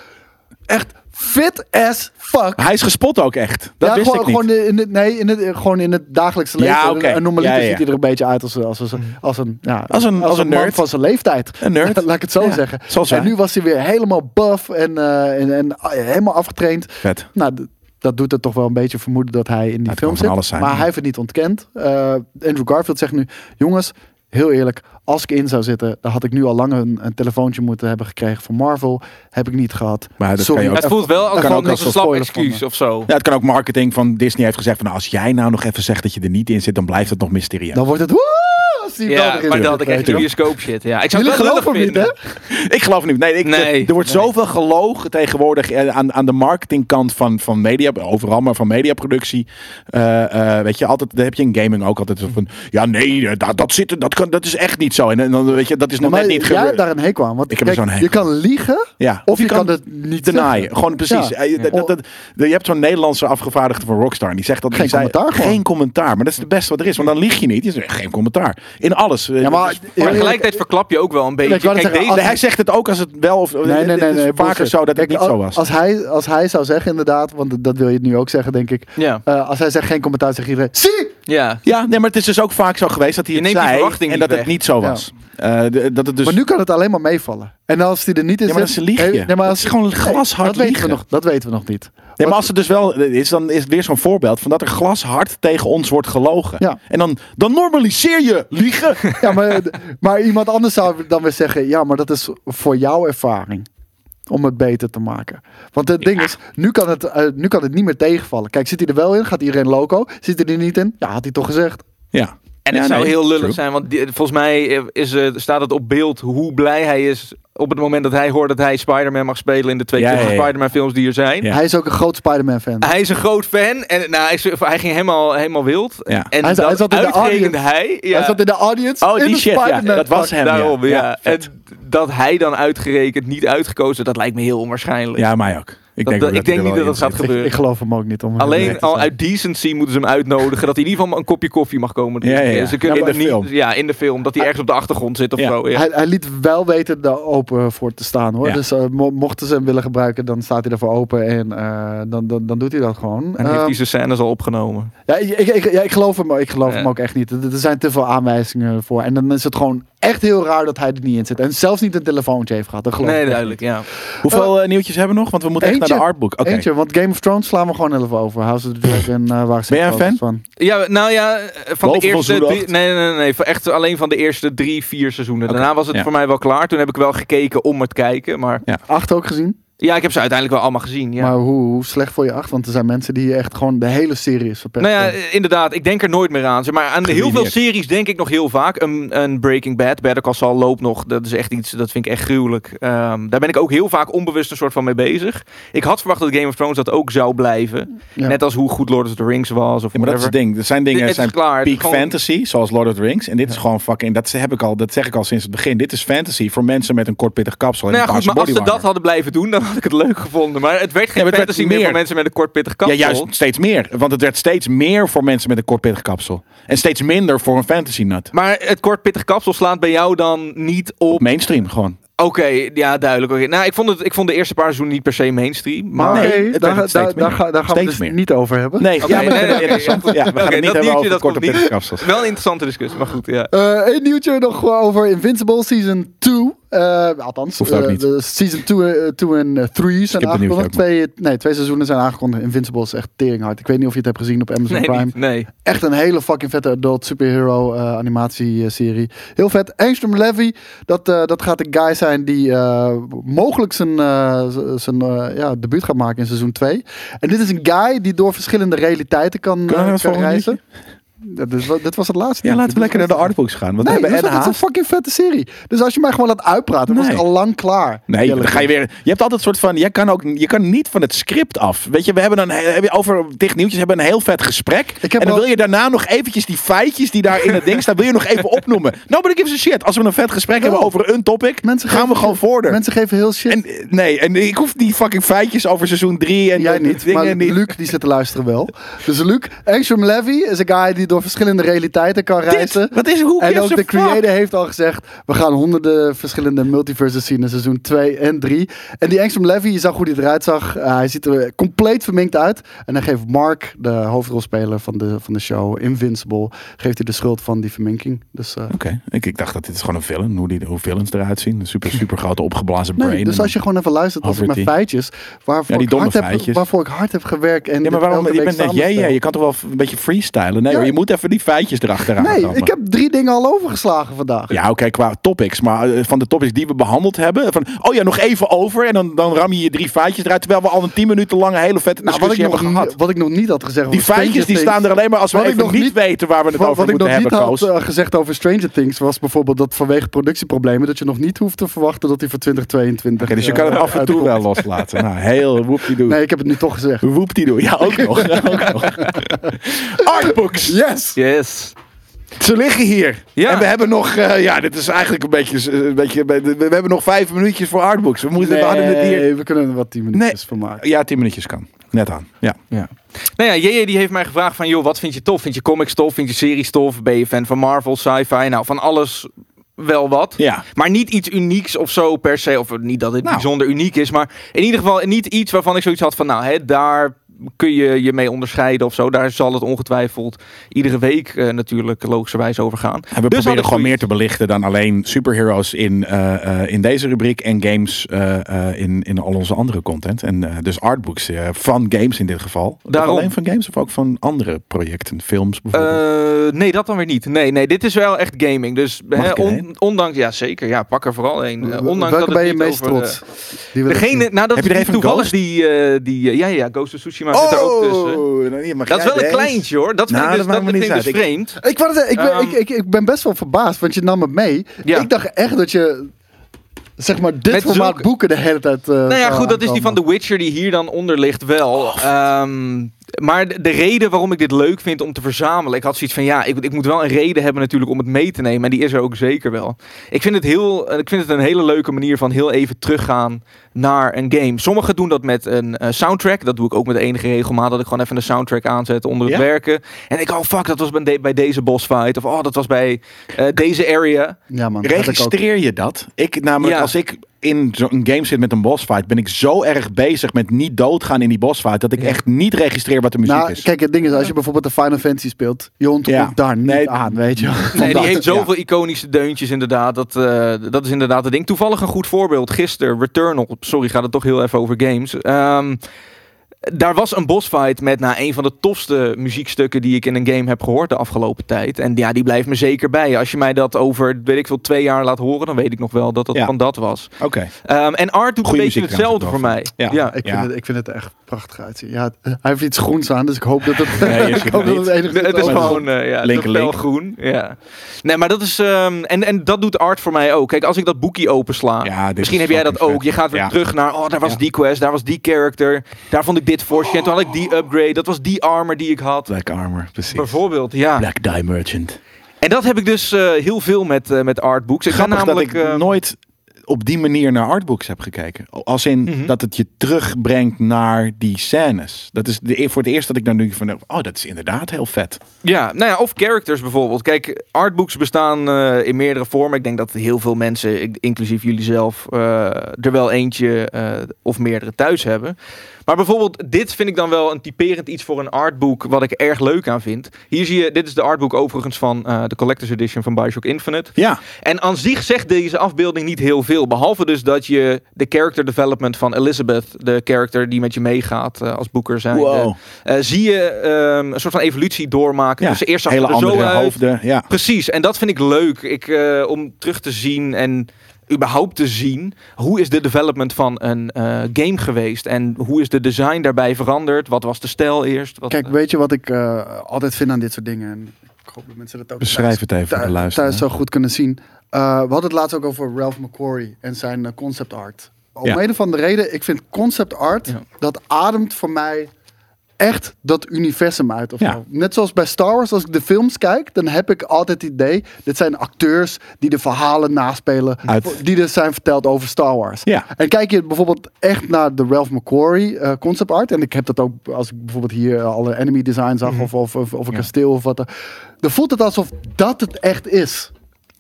Speaker 3: Echt fit as fuck.
Speaker 2: Hij is gespot ook echt. Dat
Speaker 3: ja,
Speaker 2: wist
Speaker 3: gewoon,
Speaker 2: ik niet.
Speaker 3: gewoon in het, nee, in het, gewoon in het dagelijkse leven.
Speaker 2: Ja, oké.
Speaker 3: En normaliter
Speaker 2: Ja, ja, ja.
Speaker 3: ziet hij er een beetje uit als, als, als, als een, ja,
Speaker 2: Als een- als een
Speaker 3: man
Speaker 2: nerd.
Speaker 3: van zijn leeftijd.
Speaker 2: *laughs* Een nerd.
Speaker 3: *laughs* Laat ik het zo
Speaker 2: Ja,
Speaker 3: zeggen.
Speaker 2: zoals
Speaker 3: en
Speaker 2: wij.
Speaker 3: nu was hij weer helemaal buff en, eh, en, en ah, helemaal afgetraind.
Speaker 2: Vet.
Speaker 3: Nou, d- dat doet het toch wel een beetje vermoeden dat hij in die
Speaker 2: het
Speaker 3: film
Speaker 2: kan
Speaker 3: zit.
Speaker 2: van alles zijn.
Speaker 3: maar hij heeft het niet ontkend. Eh, Andrew Garfield zegt nu: jongens, heel eerlijk, als ik in zou zitten, dan had ik nu al lang een, een telefoontje moeten hebben gekregen van Marvel. Heb ik niet gehad.
Speaker 2: Maar dat
Speaker 3: Sorry.
Speaker 2: kan je ook-
Speaker 4: Het voelt wel als,
Speaker 3: Kan
Speaker 4: gewoon
Speaker 3: ook
Speaker 4: als een
Speaker 3: als
Speaker 4: slap
Speaker 3: spoiler
Speaker 4: excuus
Speaker 3: vonden.
Speaker 4: of zo.
Speaker 2: Ja, het kan ook marketing van Disney heeft gezegd van nou, als jij nou nog even zegt dat je er niet in zit, dan blijft het nog mysterieus.
Speaker 3: Dan wordt het. "Woe!" als hij wel
Speaker 4: Ja,
Speaker 3: erin
Speaker 4: maar
Speaker 3: zit,
Speaker 4: dat had ik
Speaker 3: weet
Speaker 4: echt
Speaker 3: je
Speaker 4: een
Speaker 3: wel.
Speaker 4: bioscoop shit. Ja, ik zou
Speaker 3: Jullie
Speaker 4: het wel lullig
Speaker 3: geloven hem niet,
Speaker 4: vinden.
Speaker 3: hè?
Speaker 2: *laughs* Ik geloof niet. Nee, ik,
Speaker 4: Nee.
Speaker 2: er, er wordt zoveel gelogen tegenwoordig eh, aan, aan de marketingkant van, van media, overal, maar van mediaproductie. Eh, eh, weet je, altijd, daar heb je in gaming ook altijd zo van, ja nee, eh, dat, dat, zit, er- dat, kan, dat is echt niet zo. En, en dan, weet je, dat is nog
Speaker 3: maar
Speaker 2: net niet
Speaker 3: jij hebt
Speaker 2: gebeurd.
Speaker 3: daar een hekel aan. Want
Speaker 2: Ik heb er
Speaker 3: kijk,
Speaker 2: zo'n
Speaker 3: je
Speaker 2: hekel
Speaker 3: kan liegen
Speaker 2: Ja.
Speaker 3: of je kan het niet
Speaker 2: denyen.
Speaker 3: zeggen.
Speaker 2: Gewoon precies.
Speaker 3: Ja.
Speaker 2: Eh, dat- dat- dat- je hebt zo'n Nederlandse afgevaardigde van Rockstar. en Die zegt dat
Speaker 3: Geen
Speaker 2: die zei,
Speaker 3: commentaar gewoon.
Speaker 2: Geen commentaar. Maar dat is het beste wat er is. Want dan lieg je niet. Je zegt geen commentaar. In alles. Eh,
Speaker 3: Ja,
Speaker 2: dat
Speaker 3: maar,
Speaker 2: is-
Speaker 4: Maar tegelijkertijd verklap je ook wel een beetje.
Speaker 3: Ik wou net
Speaker 4: Kijk,
Speaker 3: zeggen,
Speaker 4: deze,
Speaker 2: Nee, hij zegt het ook als het wel of
Speaker 3: Nee, nee, nee.
Speaker 2: het is
Speaker 3: nee,
Speaker 2: vaker
Speaker 3: bullshit.
Speaker 2: zo dat het
Speaker 3: Kijk,
Speaker 2: niet
Speaker 3: al-
Speaker 2: zo was.
Speaker 3: Als hij, als hij zou zeggen, inderdaad, want dat wil je nu ook zeggen, denk ik.
Speaker 4: Ja.
Speaker 3: Eh, als hij zegt geen commentaar, zegt iedereen: Zie!
Speaker 4: ja.
Speaker 2: Ja, nee, maar het is dus ook vaak zo geweest dat hij
Speaker 4: Je
Speaker 2: het
Speaker 4: neemt die
Speaker 2: zei
Speaker 4: verwachting
Speaker 2: en dat
Speaker 4: niet
Speaker 2: het
Speaker 4: weg.
Speaker 2: niet zo
Speaker 3: Ja.
Speaker 2: was. Eh, de- dat het dus.
Speaker 3: Maar nu kan het alleen maar meevallen. En als hij er niet in
Speaker 2: Ja, maar dat
Speaker 3: zit-
Speaker 2: is een liegje.
Speaker 3: Nee, nee, maar
Speaker 2: Dat
Speaker 3: als,
Speaker 2: is gewoon
Speaker 3: nee,
Speaker 2: glashard
Speaker 3: dat weten, we
Speaker 2: liegen.
Speaker 3: nog, dat weten we nog niet.
Speaker 2: nee, maar
Speaker 3: Wat-
Speaker 2: als het dus wel is, dan is het weer zo'n voorbeeld van dat er glashard tegen ons wordt gelogen.
Speaker 3: Ja.
Speaker 2: En dan, dan normaliseer je liegen.
Speaker 3: ja, maar, maar iemand anders zou dan weer zeggen: Ja, maar dat is voor jouw ervaring. Om het beter te maken. Want het ding is, nu kan het, eh, nu kan het niet meer tegenvallen. Kijk, zit hij er wel in? Gaat iedereen loco? Zit hij er niet in? *laughs* Ja, had hij toch gezegd.
Speaker 2: ja.
Speaker 4: En
Speaker 2: Ja,
Speaker 4: het zou
Speaker 2: nee,
Speaker 4: heel lullig
Speaker 2: true.
Speaker 4: zijn, want die- volgens mij is, eh, staat het op beeld hoe blij hij is op het moment dat hij hoort dat hij Spider-Man mag spelen in de twee
Speaker 2: Ja,
Speaker 4: Spiderman
Speaker 2: ja, ja.
Speaker 4: Spider-Man films die er zijn.
Speaker 2: Ja.
Speaker 3: Hij is ook een groot Spider-Man-fan.
Speaker 4: Hij is een groot fan en nou, hij, is- hij ging helemaal, helemaal wild.
Speaker 2: Ja.
Speaker 4: En
Speaker 3: Hij
Speaker 4: hij,
Speaker 3: zat- hij zat in de
Speaker 4: uitgerekend hij. Ja,
Speaker 3: Hij zat in de audience.
Speaker 2: Oh,
Speaker 3: in
Speaker 2: die
Speaker 3: de
Speaker 2: shit. Ja,
Speaker 3: Spider-Man
Speaker 2: dat was
Speaker 3: pak.
Speaker 2: hem.
Speaker 4: daarom, ja.
Speaker 2: Ja,
Speaker 4: En dat hij dan uitgerekend niet uitgekozen, dat lijkt me heel onwaarschijnlijk.
Speaker 2: Ja, mij ook. Ik
Speaker 4: dat-
Speaker 2: denk,
Speaker 4: dat-
Speaker 2: ook
Speaker 4: ik denk
Speaker 2: hij er
Speaker 4: niet
Speaker 2: wel
Speaker 4: dat dat
Speaker 2: in
Speaker 4: gaat
Speaker 2: zit.
Speaker 3: Ik,
Speaker 4: gebeuren.
Speaker 3: ik geloof hem ook niet. Om
Speaker 4: Alleen
Speaker 3: eerlijk te
Speaker 4: al
Speaker 3: zijn.
Speaker 4: uit decency moeten ze hem uitnodigen dat hij in ieder geval een kopje koffie mag komen.
Speaker 2: Ja, ja, ja.
Speaker 4: Ze kunnen
Speaker 2: Ja, maar
Speaker 4: hem
Speaker 2: in de
Speaker 4: niet- ja, in de film. Dat hij ergens op de achtergrond zit of
Speaker 2: Ja.
Speaker 4: zo. Ja.
Speaker 3: Hij, hij liet wel weten daar open voor te staan hoor.
Speaker 2: Ja.
Speaker 3: Dus eh, mo- mochten ze hem willen gebruiken, dan staat hij ervoor open en eh, dan, dan, dan doet hij dat gewoon.
Speaker 4: En heeft
Speaker 3: Ehm,
Speaker 4: hij zijn scènes al opgenomen.
Speaker 3: ja, ik, ik, ik- ja, ik geloof hem, ik geloof
Speaker 4: Ja.
Speaker 3: hem ook echt niet. Er er zijn te veel aanwijzingen voor. En dan is het gewoon echt heel raar dat hij er niet in zit. En zelfs niet een telefoontje heeft gehad. Dat geloof
Speaker 4: Nee,
Speaker 3: ik echt
Speaker 4: duidelijk. Ja.
Speaker 2: Hoeveel eh, nieuwtjes hebben we nog? Want we moeten echt naar de
Speaker 3: Eentje.
Speaker 2: artbook. Oké.
Speaker 3: Eentje, want Game of Thrones slaan we gewoon even over. House of the Dragon, eh, waar
Speaker 2: Ben jij een fan?
Speaker 3: van?
Speaker 4: ja, nou ja, eh, van
Speaker 2: Behalve
Speaker 4: de
Speaker 2: van
Speaker 4: eerste
Speaker 2: seizoen
Speaker 4: drie,
Speaker 2: acht.
Speaker 4: nee, nee, nee, nee, van echt alleen van de eerste drie, vier seizoenen.
Speaker 2: Oké,
Speaker 4: Daarna was het
Speaker 2: ja.
Speaker 4: voor mij wel klaar. Toen heb ik wel gekeken om het kijken, maar
Speaker 3: Acht ook gezien.
Speaker 4: ja, ik heb ze uiteindelijk wel allemaal gezien. Ja.
Speaker 3: Maar hoe, hoe slecht voor je acht? Want er zijn mensen die echt gewoon de hele serie is verpest.
Speaker 4: Nou ja, eh, inderdaad, ik denk er nooit meer aan. Zeg Maar aan heel veel
Speaker 2: Gelineerd.
Speaker 4: series denk ik nog heel vaak. Een, een Breaking Bad, Better Call Saul loopt nog. Dat is echt iets, dat vind ik echt gruwelijk. Ehm, daar ben ik ook heel vaak onbewust een soort van mee bezig. Ik had verwacht dat Game of Thrones dat ook zou blijven.
Speaker 3: Ja.
Speaker 4: Net als hoe goed Lord of the Rings was of
Speaker 2: Ja, maar dat is
Speaker 4: whatever.
Speaker 2: het ding. Er zijn dingen,
Speaker 4: Het
Speaker 2: zijn
Speaker 4: is klaar.
Speaker 2: peak
Speaker 4: Gewoon-
Speaker 2: fantasy, zoals Lord of the Rings. En dit is gewoon fucking, dat heb ik al, dat zeg ik al sinds het begin. Dit is fantasy voor mensen met een kort pittig kapsel en
Speaker 4: Nou ja,
Speaker 2: een
Speaker 4: goed, maar
Speaker 2: paarse
Speaker 4: als ze dat
Speaker 2: bodywarmer.
Speaker 4: hadden blijven doen, dan had ik het leuk gevonden. Maar het werd geen
Speaker 2: Ja, maar het werd
Speaker 4: fantasy meer
Speaker 2: meer.
Speaker 4: voor mensen met een kort pittig kapsel.
Speaker 2: Ja, juist steeds meer. Want het werd steeds meer voor mensen met een kort pittig kapsel. En steeds minder voor een fantasy nut.
Speaker 4: Maar het kort pittig kapsel slaat bij jou dan niet op.
Speaker 2: Mainstream gewoon.
Speaker 4: Oké, ja, duidelijk. Oké, Nou, ik vond, het, ik vond de eerste paar seizoenen niet per se mainstream. Maar...
Speaker 3: Maar
Speaker 2: Nee,
Speaker 3: oké,
Speaker 2: het werd
Speaker 3: daar,
Speaker 2: steeds
Speaker 3: daar,
Speaker 2: minder.
Speaker 3: daar, ga- daar gaan we
Speaker 2: Steeds
Speaker 3: dus
Speaker 2: meer.
Speaker 3: niet over hebben.
Speaker 2: Nee,
Speaker 4: Oké,
Speaker 2: ja, maar
Speaker 4: nee,
Speaker 2: dat
Speaker 4: nee,
Speaker 2: is
Speaker 4: nee,
Speaker 2: interessant.
Speaker 4: oké.
Speaker 2: Ja, we gaan
Speaker 4: Oké,
Speaker 2: het niet
Speaker 4: dat
Speaker 2: hebben
Speaker 4: nieuwtje,
Speaker 2: over
Speaker 4: dat
Speaker 2: korte
Speaker 4: komt niet.
Speaker 2: pittige kapsels.
Speaker 4: Wel een interessante discussie, maar goed,
Speaker 2: *laughs*
Speaker 4: ja.
Speaker 3: Eh, Eén nieuwtje nog over Invincible Season 2. Eh, althans,
Speaker 2: Hoeft ook
Speaker 3: eh,
Speaker 2: niet.
Speaker 3: de season 2 en 3 zijn
Speaker 2: het nieuwtje
Speaker 3: aangekondigd.
Speaker 2: ook maar.
Speaker 3: Twee, nee, twee seizoenen zijn aangekondigd. Invincible is echt teringhard. Ik weet niet of je het hebt gezien op Amazon
Speaker 4: Nee,
Speaker 3: Prime.
Speaker 4: niet, nee.
Speaker 3: Echt een hele fucking vette adult superhero eh, animatieserie. Heel vet. Angstrom Levy, dat, eh, dat gaat de guy zijn die eh, mogelijk zijn, eh, z- zijn eh, ja, debuut gaat maken in seizoen 2. En dit is een guy die door verschillende realiteiten kan,
Speaker 2: we
Speaker 3: eh,
Speaker 2: naar het
Speaker 3: kan
Speaker 2: volgende
Speaker 3: reizen. Ja, dit, was, dit was het laatste.
Speaker 2: Ja, laten
Speaker 3: nieuwtje.
Speaker 2: we lekker naar de
Speaker 3: Dit was het-
Speaker 2: artbooks gaan. Want we
Speaker 3: Nee,
Speaker 2: hebben
Speaker 3: dat is- dat is
Speaker 2: NH.
Speaker 3: een fucking vette serie. Dus als je mij gewoon laat uitpraten, dan
Speaker 2: Nee.
Speaker 3: was ik al lang klaar.
Speaker 2: Nee, dan ga je
Speaker 3: dus.
Speaker 2: weer. Je hebt altijd een soort van. Je kan ook. Je kan niet van het script af. Weet je, we hebben een. Heb je over dicht nieuwtjes hebben een heel vet gesprek.
Speaker 3: heb
Speaker 2: en dan
Speaker 3: al-
Speaker 2: wil je daarna nog eventjes die feitjes die daar in het ding staan. Wil je nog even
Speaker 3: *laughs*
Speaker 2: opnoemen? Nobody gives a shit. Als we een vet gesprek hebben over een topic,
Speaker 3: Oh. Mensen
Speaker 2: gaan we
Speaker 3: geven-
Speaker 2: gewoon verder.
Speaker 3: Mensen geven heel shit.
Speaker 2: En eh, nee, en ik hoef die fucking feitjes over seizoen 3 en
Speaker 3: Jij
Speaker 2: de
Speaker 3: niet,
Speaker 2: dingen
Speaker 3: maar
Speaker 2: niet.
Speaker 3: Luc die zit te luisteren wel. Dus Luc, Angstrom Levy is een guy die door verschillende realiteiten kan reizen.
Speaker 2: Dit, wat is hoe
Speaker 3: en ook de creator
Speaker 2: creator.
Speaker 3: heeft al gezegd, we gaan honderden verschillende multiverses zien in seizoen 2 en 3. En die Angstrom Levy, je zag hoe die eruit zag. Uh, hij ziet er compleet verminkt uit. En dan geeft Mark, de hoofdrolspeler van de, van de show, Invincible, geeft hij de schuld van die verminking. Dus, eh,
Speaker 2: Oké, ik, ik dacht dat dit is gewoon een film. Hoe, die, hoe villains eruit zien. Een super, super grote opgeblazen brain.
Speaker 3: Nee, dus
Speaker 2: En-
Speaker 3: als je gewoon even luistert, dat zijn
Speaker 2: Hafferty.
Speaker 3: mijn feitjes waarvoor,
Speaker 2: Ja, die
Speaker 3: ik hard
Speaker 2: domme
Speaker 3: heb,
Speaker 2: feitjes.
Speaker 3: waarvoor ik hard heb gewerkt. En
Speaker 2: Ja, maar
Speaker 3: dit
Speaker 2: waarom?
Speaker 3: elke
Speaker 2: Je
Speaker 3: week
Speaker 2: bent net, jij,
Speaker 3: samenstel.
Speaker 2: jij, je kan toch wel een beetje freestylen? Nee
Speaker 3: Ja.
Speaker 2: hoor, je moet even die feitjes erachteraan
Speaker 3: Nee,
Speaker 2: rammen.
Speaker 3: ik heb drie dingen al overgeslagen vandaag.
Speaker 2: Ja, oké, qua topics. Maar eh, van de topics die we behandeld hebben. Van, oh ja, nog even over. En dan, dan ram je je drie feitjes eruit. Terwijl we al een tien minuten lange hele vette
Speaker 3: Nou, wat, ik
Speaker 2: discussie
Speaker 3: nog,
Speaker 2: hebben
Speaker 3: niet-
Speaker 2: gehad.
Speaker 3: wat ik nog niet had gezegd
Speaker 2: Die
Speaker 3: over
Speaker 2: feitjes
Speaker 3: Stranger
Speaker 2: die
Speaker 3: Things-
Speaker 2: staan er alleen maar als we
Speaker 3: Wat ik
Speaker 2: even
Speaker 3: nog
Speaker 2: niet,
Speaker 3: niet-
Speaker 2: weten waar we het
Speaker 3: Wat,
Speaker 2: over
Speaker 3: wat ik
Speaker 2: moeten
Speaker 3: nog niet
Speaker 2: hebben,
Speaker 3: had
Speaker 2: Koos.
Speaker 3: eh, gezegd over Stranger Things was bijvoorbeeld dat vanwege productieproblemen dat je nog niet hoeft te verwachten dat hij voor 2022.
Speaker 2: Oké, dus je kan het
Speaker 3: eh,
Speaker 2: af en toe wel loslaten. Nou, heel woepie-doe.
Speaker 3: Nee, ik heb het nu toch gezegd.
Speaker 2: Woepie-doe. Ja, ook nog. *laughs* ook nog. Artbooks.
Speaker 3: Yes!
Speaker 4: Yes.
Speaker 2: Ze liggen hier.
Speaker 4: Ja.
Speaker 2: En we hebben nog, eh, ja, dit is eigenlijk een beetje, eh, een beetje we, we hebben nog vijf minuutjes voor Artbooks. We moeten, we hadden het hier.
Speaker 3: Nee, we kunnen er wat 10 minuutjes van maken.
Speaker 2: Ja, tien minuutjes kan. Net aan. Ja.
Speaker 4: Nou ja, JJ die heeft mij gevraagd van, joh, wat vind je tof? Vind je comics tof? Vind je series tof? Ben je fan van Marvel, sci-fi? Nou, van alles wel wat.
Speaker 2: Ja.
Speaker 4: Maar niet iets unieks of zo per se. Of niet dat het
Speaker 2: Nou.
Speaker 4: bijzonder uniek is. Maar in ieder geval niet iets waarvan ik zoiets had van... Nou, hè, daar kun je je mee onderscheiden of zo. Daar zal het ongetwijfeld iedere week eh, natuurlijk logischerwijs over gaan.
Speaker 2: En we
Speaker 4: Dus had ik
Speaker 2: proberen gewoon
Speaker 4: zoiets.
Speaker 2: meer te belichten dan alleen superheroes in, eh, eh, in deze rubriek en games eh, eh, in, in al onze andere content. En eh, dus artbooks eh, van games in dit geval. Of
Speaker 4: Daarom.
Speaker 2: Alleen van games of ook van andere projecten, films bijvoorbeeld.
Speaker 4: Eh, nee, dat dan weer niet. Nee, nee, dit is wel echt gaming. Dus
Speaker 2: Mag
Speaker 4: hè,
Speaker 2: ik er
Speaker 4: on-
Speaker 2: één?
Speaker 4: ondanks, ja zeker, ja, pak er vooral één. Eh, ondanks
Speaker 3: Welke
Speaker 4: dat
Speaker 3: ben je
Speaker 4: het niet
Speaker 3: meest
Speaker 4: over,
Speaker 3: trots?
Speaker 4: eh,
Speaker 3: Die wil ik
Speaker 4: degene,
Speaker 3: zien.
Speaker 4: nou, dat
Speaker 2: Heb je er
Speaker 4: is
Speaker 2: even
Speaker 4: toevallig
Speaker 2: Ghost?
Speaker 4: die, eh, die eh, ja, ja, Ghost of Tsushima zit er
Speaker 3: Oh.
Speaker 4: ook tussen.
Speaker 2: Oh, nou, hier mag
Speaker 4: Dat is
Speaker 2: jij
Speaker 4: wel een
Speaker 2: deze.
Speaker 4: kleintje hoor. Dat vind
Speaker 2: Nou,
Speaker 4: ik
Speaker 2: dat
Speaker 4: dus,
Speaker 2: maakt
Speaker 4: dat
Speaker 2: me niet
Speaker 4: vind ik dus
Speaker 2: uit. Ik-
Speaker 4: vreemd.
Speaker 3: Ik, wou net zeggen, ik, ben-
Speaker 4: Ehm,
Speaker 3: ik, ik, ik ben best wel verbaasd, want je nam het mee.
Speaker 4: Ja.
Speaker 3: Ik dacht echt dat je Zeg maar, dit
Speaker 4: Met
Speaker 3: formaat
Speaker 4: zulke-
Speaker 3: boeken de hele tijd. eh,
Speaker 4: Nou ja,
Speaker 3: zou
Speaker 4: goed, dat is die van
Speaker 3: aankomen.
Speaker 4: The Witcher die hier dan onder ligt wel. Ehm, maar de de reden waarom ik dit leuk vind om te verzamelen, ik had zoiets van ja, ik, ik moet wel een reden hebben natuurlijk om het mee te nemen. En die is er ook zeker wel. Ik vind het, heel, eh, ik vind het een hele leuke manier van heel even teruggaan naar een game. Sommigen doen dat met een eh, soundtrack. Dat doe ik ook met enige regelmaat, dat ik gewoon even een soundtrack aanzet onder het
Speaker 2: Ja?
Speaker 4: werken. En ik, oh fuck, dat was bij, de- bij deze boss fight. Of oh, dat was bij eh, deze area.
Speaker 3: Ja, man. dat heb ik ook.
Speaker 2: Registreer je dat? Ik namelijk,
Speaker 4: Ja.
Speaker 2: als ik in zo'n game zit met een bossfight, ben ik zo erg bezig met niet doodgaan in die bossfight, dat ik
Speaker 4: Ja.
Speaker 2: echt niet registreer wat de muziek
Speaker 3: Nou,
Speaker 2: is.
Speaker 3: kijk, het ding is, als je bijvoorbeeld de Final Fantasy speelt, je hond
Speaker 2: Ja.
Speaker 3: komt daar niet
Speaker 2: Nee.
Speaker 3: aan,
Speaker 2: *laughs*
Speaker 3: weet je. wel.
Speaker 4: Nee,
Speaker 3: Vandaar.
Speaker 4: die heeft
Speaker 3: Ja.
Speaker 4: zoveel iconische deuntjes inderdaad. Dat, eh, dat is inderdaad het ding. Toevallig een goed voorbeeld. Gisteren, Returnal. Sorry, gaat het toch heel even over games. Ehm, daar was een bossfight met nou, een van de tofste muziekstukken die ik in een game heb gehoord de afgelopen tijd. En ja, die blijft me zeker bij. Als je mij dat over, weet ik veel, twee jaar laat horen, dan weet ik nog wel dat dat
Speaker 2: Ja.
Speaker 4: van dat was.
Speaker 2: Oké.
Speaker 4: Ehm, en Art doet
Speaker 2: Goeie
Speaker 4: een beetje
Speaker 2: muziek trouwens
Speaker 4: hetzelfde voor mij.
Speaker 2: ook wel.
Speaker 4: Ja.
Speaker 2: Ja.
Speaker 3: Ik,
Speaker 2: Ja.
Speaker 3: vind het, ik vind het er echt prachtig uitzien. Ja, het- hij heeft iets groens aan, dus ik hoop dat het,
Speaker 2: Nee, je ziet
Speaker 3: *laughs* ik hoop
Speaker 2: het
Speaker 3: dat het enige
Speaker 4: Het is
Speaker 3: is.
Speaker 4: gewoon eh ja,
Speaker 2: Link,
Speaker 4: te fel
Speaker 2: link.
Speaker 4: groen. Ja. Nee, maar dat is. ehm, en, en dat doet art voor mij ook. Kijk, als ik dat boekje opensla.
Speaker 2: Ja, dit
Speaker 4: misschien
Speaker 2: is
Speaker 4: heb jij dat
Speaker 2: fucking
Speaker 4: ook. Je
Speaker 2: vet.
Speaker 4: gaat weer
Speaker 2: Ja.
Speaker 4: terug naar. Oh, daar was
Speaker 2: Ja.
Speaker 4: die quest. Daar was die character. Daar vond ik dit voorstel. En toen had ik die upgrade. Dat was die armor die ik had.
Speaker 2: Black Armor, precies.
Speaker 4: Bijvoorbeeld, ja.
Speaker 2: Black Die Merchant.
Speaker 4: En dat heb ik dus eh, heel veel met, eh met artbooks. Ik
Speaker 2: Grappig
Speaker 4: ga namelijk.
Speaker 2: dat ik
Speaker 4: eh,
Speaker 2: nooit op die manier naar artbooks heb gekeken. Als in
Speaker 4: Mhm.
Speaker 2: dat het je terugbrengt naar die scènes. Dat is de, e-, voor het eerst dat ik daar nu van... Oh, dat is inderdaad heel vet.
Speaker 4: Ja, nou ja, of characters bijvoorbeeld. Kijk, artbooks bestaan eh, in meerdere vormen. Ik denk dat heel veel mensen, ik- inclusief jullie zelf, eh, er wel eentje eh, of meerdere thuis hebben. Maar bijvoorbeeld, dit vind ik dan wel een typerend iets voor een artbook wat ik erg leuk aan vind. Hier zie je, dit is de artbook overigens van eh, de Collector's Edition van Bioshock Infinite.
Speaker 2: Ja,
Speaker 4: En aan zich zegt deze afbeelding niet heel veel. Behalve dus dat je de character development van Elizabeth, de character die met je meegaat eh, als boeker zijn,
Speaker 2: wow.
Speaker 4: eh, zie je ehm, een soort van evolutie doormaken.
Speaker 2: Ja,
Speaker 4: dus eerst zag
Speaker 2: hele
Speaker 4: het er zo
Speaker 2: andere
Speaker 4: uit.
Speaker 2: hoofden. Ja.
Speaker 4: Precies, en dat vind ik leuk ik, eh, om terug te zien en überhaupt te zien hoe is de development van een eh, game geweest en hoe is de design daarbij veranderd? Wat was de stijl eerst? Wat,
Speaker 3: Kijk, weet je wat ik eh, altijd vind aan dit soort dingen? En ik hoop dat mensen dat ook thuis-
Speaker 2: Beschrijf het even voor de
Speaker 3: thuis,
Speaker 2: luisteraar.
Speaker 3: thuis zo goed kunnen zien. Eh, we hadden het laatst ook over Ralph McQuarrie en zijn eh, concept art. Om
Speaker 2: Ja.
Speaker 3: een of andere reden, ik vind concept art,
Speaker 4: Ja.
Speaker 3: dat ademt voor mij echt dat universum uit. Of
Speaker 2: Ja.
Speaker 3: zo. Net zoals bij Star Wars, als ik de films kijk, dan heb ik altijd het idee, dit zijn acteurs die de verhalen naspelen,
Speaker 2: Uit-
Speaker 3: voor- die er zijn verteld over Star Wars.
Speaker 2: Ja.
Speaker 3: En kijk je bijvoorbeeld echt naar de Ralph McQuarrie eh, concept art. En ik heb dat ook als ik bijvoorbeeld hier eh, alle enemy design zag.
Speaker 4: Mhm.
Speaker 3: Of, of, of, of een kasteel of wat. dan- Dan voelt het alsof dat het echt is.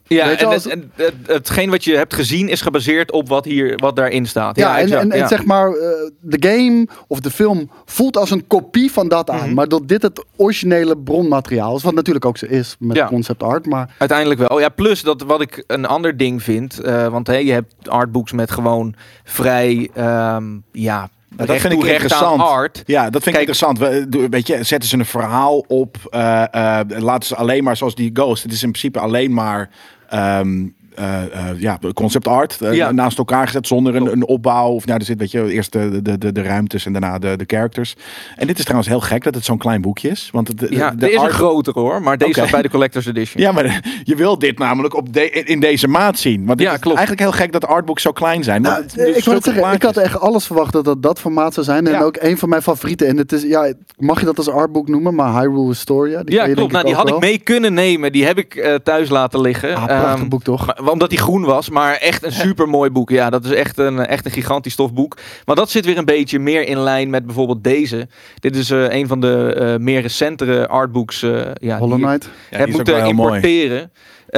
Speaker 4: ja,
Speaker 3: weet je
Speaker 4: en,
Speaker 3: als-
Speaker 4: het- en het- hetgeen wat je hebt gezien is gebaseerd op wat, hier, wat daarin staat.
Speaker 3: Ja, en,
Speaker 4: exact,
Speaker 3: en, en
Speaker 4: ja.
Speaker 3: zeg maar, eh, de game of de film voelt als een kopie van dat aan.
Speaker 4: Mhm.
Speaker 3: Maar dat dit het originele bronmateriaal is. Wat natuurlijk ook zo is met
Speaker 4: Ja.
Speaker 3: concept art. Maar
Speaker 4: Uiteindelijk wel. Oh ja, plus dat wat ik een ander ding vind. eh, want hey, je hebt artbooks met gewoon vrij. ehm, ja,
Speaker 2: dat
Speaker 4: recht
Speaker 2: vind ik
Speaker 4: toe, recht aan
Speaker 2: interessant.
Speaker 4: Art.
Speaker 2: Ja, dat vind
Speaker 4: Kijk-
Speaker 2: ik interessant. We- doe- Weet je, zetten ze een verhaal op. eh, eh, laten ze alleen maar zoals die Ghost. Het is in principe alleen maar ehm, eh, eh, ja, concept art eh,
Speaker 4: Ja. Oh.
Speaker 2: naast elkaar gezet zonder een, een opbouw. Of nou, er zit weet je, eerst de, de, de, de ruimtes en daarna de, de characters. En dit is trouwens heel gek dat het zo'n klein boekje is. Want het, de,
Speaker 4: Ja,
Speaker 2: de,
Speaker 4: er is
Speaker 2: art-
Speaker 4: een grotere hoor, maar deze
Speaker 2: Oké.
Speaker 4: staat bij de Collector's Edition.
Speaker 2: ja, maar *laughs* je wil dit namelijk op de- in deze maat zien. Want het
Speaker 4: Ja,
Speaker 2: is
Speaker 4: klopt.
Speaker 2: eigenlijk heel gek dat artbooks zo klein zijn. want
Speaker 3: Nou,
Speaker 2: het- het is dus
Speaker 4: dus
Speaker 3: ik, wil
Speaker 2: zulke
Speaker 3: het zeggen, ik
Speaker 2: plaatjes.
Speaker 3: had echt alles verwacht dat dat, dat formaat zou zijn. En
Speaker 2: Ja.
Speaker 3: ook een van mijn favorieten. En het is, ja, mag je dat als artbook noemen? Maar Hyrule Historia. Die
Speaker 4: Ja,
Speaker 3: ken je denk
Speaker 4: klopt. Nou, die
Speaker 3: ook
Speaker 4: had ik
Speaker 3: wel.
Speaker 4: mee kunnen nemen. Die heb ik eh, thuis laten liggen.
Speaker 3: Ah, prachtig
Speaker 4: Ehm,
Speaker 3: boek toch?
Speaker 4: maar- omdat die groen was, maar echt een super mooi boek. Ja, dat is echt een, echt een gigantisch tof boek. Maar dat zit weer een beetje meer in lijn met bijvoorbeeld deze. Dit is eh, een van de eh, meer recentere artbooks. eh ja,
Speaker 3: Hollow
Speaker 4: die ik
Speaker 3: Knight.
Speaker 2: Ja, die is
Speaker 4: heb
Speaker 2: ook
Speaker 4: moeten
Speaker 2: wel heel mooi.
Speaker 4: importeren.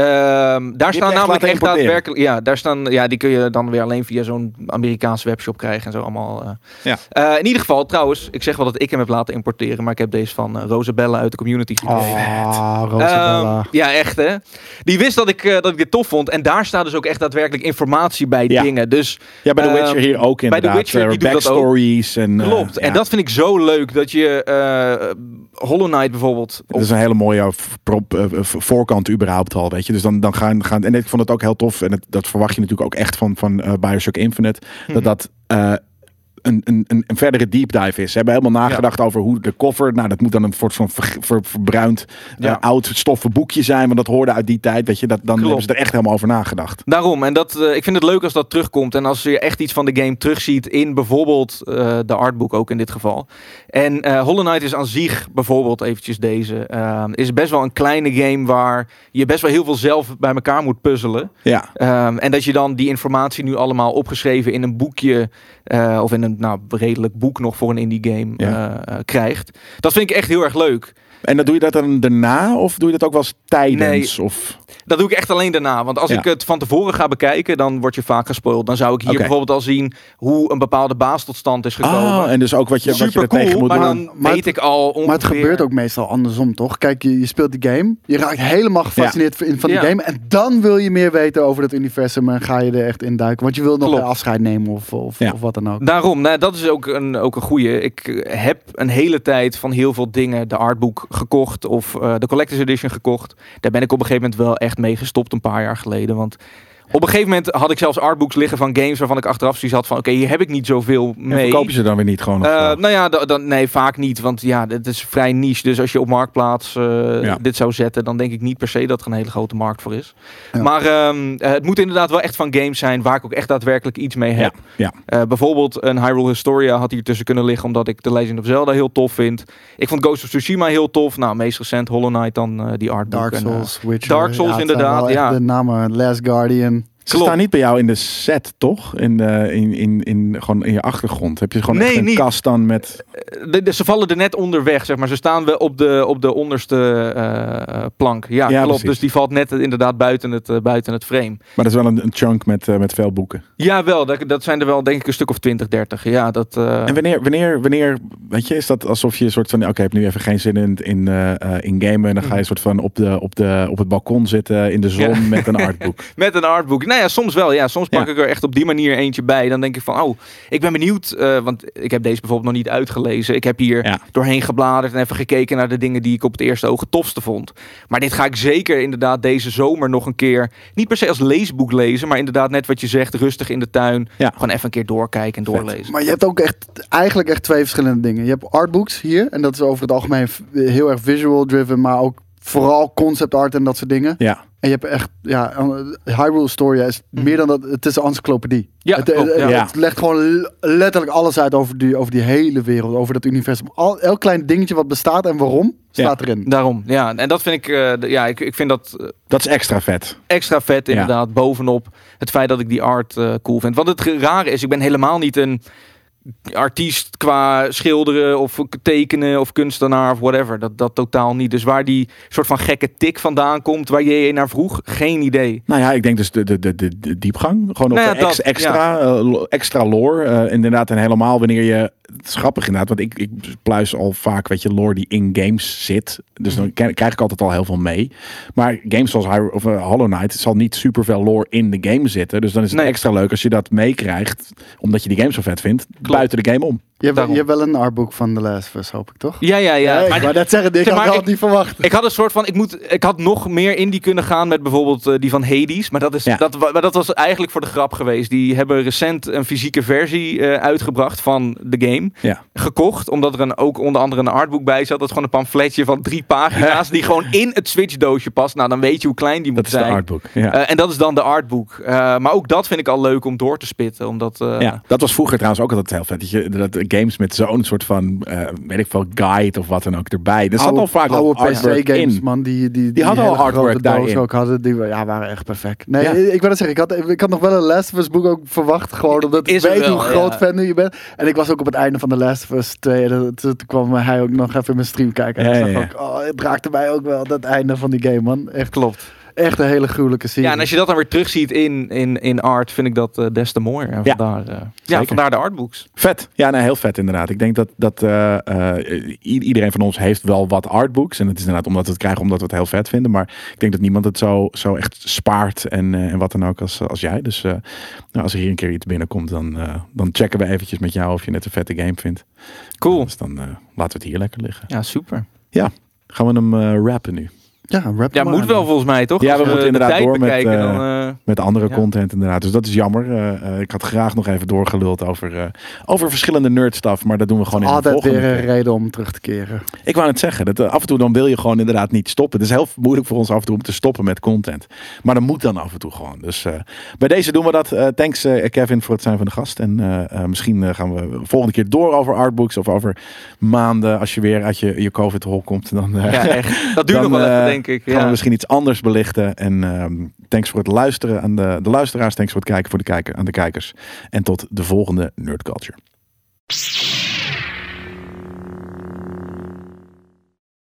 Speaker 4: Ehm, daar
Speaker 2: je echt
Speaker 4: staan namelijk
Speaker 2: laten
Speaker 4: echt
Speaker 2: importeren?
Speaker 4: daadwerkelijk. Ja, daar staan, ja, die kun je dan weer alleen via zo'n Amerikaanse webshop krijgen en zo allemaal. eh.
Speaker 2: Ja.
Speaker 4: Eh, in ieder geval, trouwens, ik zeg wel dat ik hem heb laten importeren, maar ik heb deze van eh, Rosabella uit de community gekregen.
Speaker 2: Oh,
Speaker 3: Ah,
Speaker 4: Ehm,
Speaker 3: Rosabella.
Speaker 4: ja, echt hè. Die wist dat ik, eh, dat ik dit tof vond. En daar staat dus ook echt daadwerkelijk informatie bij
Speaker 2: Ja.
Speaker 4: dingen. Dus
Speaker 2: Ja, bij The
Speaker 4: Ehm,
Speaker 2: Witcher hier ook
Speaker 4: The
Speaker 2: inderdaad.
Speaker 4: Witcher,
Speaker 2: Eh,
Speaker 4: die doet dat ook.
Speaker 2: backstories en... eh,
Speaker 4: klopt.
Speaker 2: ja.
Speaker 4: En dat vind ik zo leuk. Dat je eh, Hollow Knight bijvoorbeeld.
Speaker 2: Dat is een hele mooie v- prop- eh, v- voorkant überhaupt al, weet je. Dus dan, dan gaan, gaan... En ik vond het
Speaker 4: Mhm.
Speaker 2: ook heel tof. En het- dat verwacht je natuurlijk ook echt van, van eh, Bioshock Infinite. Dat dat eh, een, een, een, een verdere deep dive is. Ze hebben helemaal nagedacht over hoe de koffer. Nou, dat moet dan een soort van ver- ver- verbruind eh,
Speaker 4: Ja.
Speaker 2: oud stoffen boekje zijn. Want dat hoorde uit die tijd. Weet je, dat, dan hebben
Speaker 4: Klopt.
Speaker 2: ze er echt helemaal over nagedacht.
Speaker 4: Daarom, en dat, eh, ik vind het leuk als dat terugkomt. En als je echt iets van de game terugziet in bijvoorbeeld eh, de artbook ook in dit geval. En eh, Hollow Knight is aan zich bijvoorbeeld eventjes deze. eh, is best wel een kleine game waar je best wel heel veel zelf bij elkaar moet puzzelen.
Speaker 2: Ja.
Speaker 4: Ehm, en dat je dan die informatie nu allemaal opgeschreven in een boekje. eh, of in een nou, redelijk boek nog voor een indie game
Speaker 2: Ja.
Speaker 4: eh, eh, krijgt. Dat vind ik echt heel erg leuk.
Speaker 2: En dan doe je dat dan daarna? Of doe je dat ook wel eens tijdens? Of,
Speaker 4: Dat doe ik echt alleen daarna. Want als
Speaker 2: Ja.
Speaker 4: ik het van tevoren ga bekijken, dan word je vaak gespoild. Dan zou ik hier
Speaker 2: Oké.
Speaker 4: bijvoorbeeld al zien hoe een bepaalde baas tot stand is gekomen.
Speaker 2: ah, en dus ook wat je, wat je
Speaker 4: Super
Speaker 2: er tegen
Speaker 4: cool,
Speaker 2: moet
Speaker 4: maar
Speaker 2: doen.
Speaker 4: dan
Speaker 3: Maar
Speaker 4: weet
Speaker 3: het-
Speaker 4: ik al ongeveer...
Speaker 3: Maar het gebeurt ook meestal andersom, toch? Kijk, je, je speelt die game, je raakt helemaal gefascineerd van- van die
Speaker 4: Ja.
Speaker 3: game. En dan wil je meer weten over dat universum en ga je er echt in duiken. Want je wil nog
Speaker 4: Klopt.
Speaker 3: een afscheid nemen of, of,
Speaker 2: Ja.
Speaker 3: of wat dan ook.
Speaker 4: Daarom, nou, dat is ook een, ook een goeie. Ik eh, heb een hele tijd van heel veel dingen de artbook gekocht of eh, de Collector's Edition gekocht. Daar ben ik op een gegeven moment wel echt mee gestopt een paar jaar geleden. Want op een gegeven moment had ik zelfs artbooks liggen van games waarvan ik achteraf zoiets had van... Oké, hier heb ik niet zoveel
Speaker 2: En
Speaker 4: mee.
Speaker 2: verkoop je ze dan weer niet gewoon? of
Speaker 4: Eh,
Speaker 2: zo?
Speaker 4: nou ja, da- dan, nee, vaak niet. Want ja, het is vrij niche. Dus als je op Marktplaats eh,
Speaker 2: Ja.
Speaker 4: dit zou zetten, dan denk ik niet per se dat er een hele grote markt voor is.
Speaker 3: Ja.
Speaker 4: Maar ehm, eh, het moet inderdaad wel echt van games zijn waar ik ook echt daadwerkelijk iets mee
Speaker 2: ja.
Speaker 4: heb.
Speaker 2: ja.
Speaker 4: Eh, bijvoorbeeld een Hyrule Historia had hier tussen kunnen liggen, omdat ik The Legend of Zelda heel tof vind. Ik vond Ghost of Tsushima heel tof. Nou, meest recent Hollow Knight dan eh, die artbook.
Speaker 3: Dark
Speaker 4: En, eh,
Speaker 3: Souls, Witcher.
Speaker 4: Dark Souls
Speaker 3: het zijn wel
Speaker 4: inderdaad,
Speaker 3: echt
Speaker 4: ja.
Speaker 3: De namen Last Guardian.
Speaker 2: Ze
Speaker 4: Klopt.
Speaker 2: staan niet bij jou in de set, toch? In, de, in, in, in, gewoon in je achtergrond. Heb je gewoon
Speaker 4: Nee,
Speaker 2: echt een
Speaker 4: niet.
Speaker 2: kast dan met...
Speaker 4: Eh, de- de- ze vallen er net onder weg, zeg maar. Ze staan wel op de, op de onderste eh, eh, plank.
Speaker 2: Ja,
Speaker 4: Ja, klopt.
Speaker 2: precies.
Speaker 4: Dus die valt net eh, inderdaad buiten het, eh, buiten het frame.
Speaker 2: Maar dat is wel een, een chunk met, eh, met veel boeken.
Speaker 4: Jawel, dat, dat zijn er wel denk ik een stuk of 20, 30. Ja, dat, eh,
Speaker 2: En wanneer, wanneer, wanneer, weet je, is dat alsof je een soort van, oké, ik heb nu even geen zin in, in, eh, eh, in gamen. En dan ga je een soort van op, de, op, de, op het balkon zitten in de zon
Speaker 4: Ja.
Speaker 2: met
Speaker 4: *laughs*
Speaker 2: een artbook.
Speaker 4: met een artbook. Nou ja, soms wel. Ja, soms
Speaker 2: Ja.
Speaker 4: pak ik er echt op die manier eentje bij. Dan denk ik van, oh, ik ben benieuwd. eh, want ik heb deze bijvoorbeeld nog niet uitgelezen. Ik heb hier
Speaker 2: Ja.
Speaker 4: doorheen gebladerd en even gekeken naar de dingen die ik op het eerste oog het tofste vond. Maar dit ga ik zeker inderdaad deze zomer nog een keer, niet per se als leesboek lezen, maar inderdaad net wat je zegt, rustig in de tuin.
Speaker 2: Ja.
Speaker 4: Gewoon even een keer doorkijken en doorlezen.
Speaker 3: Maar je hebt ook echt, eigenlijk echt twee verschillende dingen. Je hebt artbooks hier, en dat is over het algemeen v- heel erg visual driven, maar ook vooral concept art en dat soort dingen.
Speaker 2: Ja,
Speaker 3: En je hebt echt, ja, een- Hyrule Story is meer dan dat, het is een encyclopedie.
Speaker 4: Mhm. Ja,
Speaker 3: het, het-
Speaker 4: klopt, ja.
Speaker 3: het
Speaker 2: Ja.
Speaker 3: legt gewoon le- letterlijk alles uit over die, over die hele wereld, over dat universum. Al, elk klein dingetje wat bestaat en waarom, staat erin.
Speaker 4: Daarom, ja. En dat vind ik, eh, d- ja, ik, ik vind dat eh,
Speaker 2: dat is extra vet.
Speaker 4: extra vet inderdaad. Bovenop het feit dat ik die art eh, cool vind. Want het ge- rare is, ik ben helemaal niet een artiest qua schilderen of tekenen of kunstenaar of whatever. Dat, dat totaal niet. Dus waar die soort van gekke tik vandaan komt, waar je je naar vroeg, geen idee.
Speaker 2: Nou ja, ik denk dus de, de, de, de, de diepgang. Gewoon op
Speaker 4: Nou ja,
Speaker 2: de ex-
Speaker 4: dat,
Speaker 2: extra, eh, lo- extra lore. eh, inderdaad, en helemaal wanneer je... Het is grappig inderdaad, want ik, ik pluis al vaak, weet je, lore die in games zit. Dus
Speaker 4: Mhm.
Speaker 2: dan ke- krijg ik altijd al heel veel mee. Maar games zoals Hy- of, eh, Hollow Knight zal niet superveel lore in de game zitten. Dus dan is het
Speaker 4: Nee.
Speaker 2: extra leuk als je dat meekrijgt, omdat je die game zo vet vindt, buiten de game om.
Speaker 3: Je hebt,
Speaker 4: Daarom.
Speaker 3: je hebt wel een artbook van The Last of Us, hoop ik, toch?
Speaker 4: Ja, ja, ja.
Speaker 3: Nee,
Speaker 4: Maar
Speaker 3: ik wou net zeggen, ik
Speaker 4: Zeg maar,
Speaker 3: had dat
Speaker 4: ik-
Speaker 3: niet verwacht.
Speaker 4: Ik had een soort van, ik, moet, ik had nog meer indie kunnen gaan met bijvoorbeeld eh, die van Hades. Maar dat, is,
Speaker 2: Ja.
Speaker 4: dat, wa- maar dat was eigenlijk voor de grap geweest. Die hebben recent een fysieke versie eh, uitgebracht van de game.
Speaker 2: Ja.
Speaker 4: Gekocht, omdat er een, ook onder andere een artbook bij zat. Dat is gewoon een pamfletje van drie
Speaker 2: *laughs*
Speaker 4: pagina's die gewoon in het Switch doosje past. Nou, dan weet je hoe klein die moet
Speaker 2: Dat is de
Speaker 4: zijn.
Speaker 2: artbook. Ja.
Speaker 4: Eh, en dat is dan de artbook. Eh, maar ook dat vind ik al leuk om door te spitten. Omdat, eh,
Speaker 2: ja, dat was vroeger trouwens ook altijd heel vet. Dat, je, dat games met zo'n soort van, eh, weet ik veel, guide of wat dan ook erbij. Er zat
Speaker 3: Oude-
Speaker 2: al vaak wel
Speaker 3: oude
Speaker 2: artwork
Speaker 3: games,
Speaker 2: in.
Speaker 3: man. Die, die, die,
Speaker 2: hadden
Speaker 3: hele
Speaker 2: al artwork
Speaker 3: grote dozen
Speaker 2: daarin.
Speaker 3: ook hadden. Die wa- ja, waren echt perfect. Nee,
Speaker 2: Ja.
Speaker 3: ik, ik wil dat zeggen. Ik had, ik had nog wel een Last of Us boek ook verwacht. Gewoon omdat ik
Speaker 4: Is er
Speaker 3: weet
Speaker 4: wel,
Speaker 3: hoe groot
Speaker 4: ja.
Speaker 3: fan nu je bent. En ik was ook op het einde van de Last of Us 2. En dat- Toen kwam hij ook nog even in mijn stream kijken. En
Speaker 2: Ja,
Speaker 3: ik
Speaker 2: ja,
Speaker 3: zag ook, oh, het raakte mij ook wel. Dat einde van die game, man. Echt, klopt. Echt een hele gruwelijke serie.
Speaker 4: Ja, en als je dat dan weer terugziet in, in, in art, vind ik dat eh, des te mooier. En
Speaker 2: Ja.
Speaker 4: vandaar, eh, ja,
Speaker 2: Zeker.
Speaker 4: vandaar de artbooks.
Speaker 2: Vet. Ja, nee, heel vet inderdaad. Ik denk dat, dat eh, eh, i- iedereen van ons heeft wel wat artbooks. En het is inderdaad omdat we het krijgen, omdat we het heel vet vinden. Maar ik denk dat niemand het zo, zo echt spaart en, eh, en wat dan ook als, als jij. Dus eh, nou, als er hier een keer iets binnenkomt, dan, eh, dan checken we eventjes met jou of je net een vette game vindt.
Speaker 4: Cool.
Speaker 2: Dus dan eh, laten we het hier lekker liggen.
Speaker 4: Ja, super.
Speaker 2: Gaan we hem eh rappen nu?
Speaker 3: ja, rap
Speaker 4: Ja,
Speaker 3: maar
Speaker 4: moet
Speaker 3: aan.
Speaker 4: wel volgens mij, toch?
Speaker 2: Ja,
Speaker 4: Als
Speaker 2: we moeten
Speaker 4: de
Speaker 2: inderdaad
Speaker 4: tijd
Speaker 2: door met,
Speaker 4: bekijken,
Speaker 2: eh,
Speaker 4: dan,
Speaker 2: *laughs*
Speaker 4: eh, eh,
Speaker 2: Met andere
Speaker 4: Ja.
Speaker 2: content inderdaad. Dus dat is jammer. Eh, eh, ik had graag nog even doorgeluld over, eh, over verschillende nerdstuff. Maar dat doen we gewoon in de
Speaker 3: Altijd
Speaker 2: volgende.
Speaker 3: weer een
Speaker 2: keer.
Speaker 3: reden om terug te keren.
Speaker 2: Ik wou net zeggen. Dat, eh, af en toe dan wil je gewoon inderdaad niet stoppen. Het is heel moeilijk voor ons af en toe om te stoppen met content. Maar dat moet dan af en toe gewoon. Dus eh, bij deze doen we dat. Eh, thanks eh, Kevin voor het zijn van de gast. En eh, eh, misschien eh, gaan we volgende keer door over artbooks. Of over maanden als je weer uit je, je covid-hol komt. Dan, eh, *laughs*
Speaker 4: ja, echt. Dat duurt
Speaker 2: Dan,
Speaker 4: nog wel
Speaker 2: eh,
Speaker 4: even, denk ik.
Speaker 2: gaan we
Speaker 4: Ja.
Speaker 2: misschien iets anders belichten. En ehm, thanks voor het luisteren aan de, de luisteraars. Thanks voor het kijken voor de kijker, aan de kijkers. En tot de volgende Nerd Culture.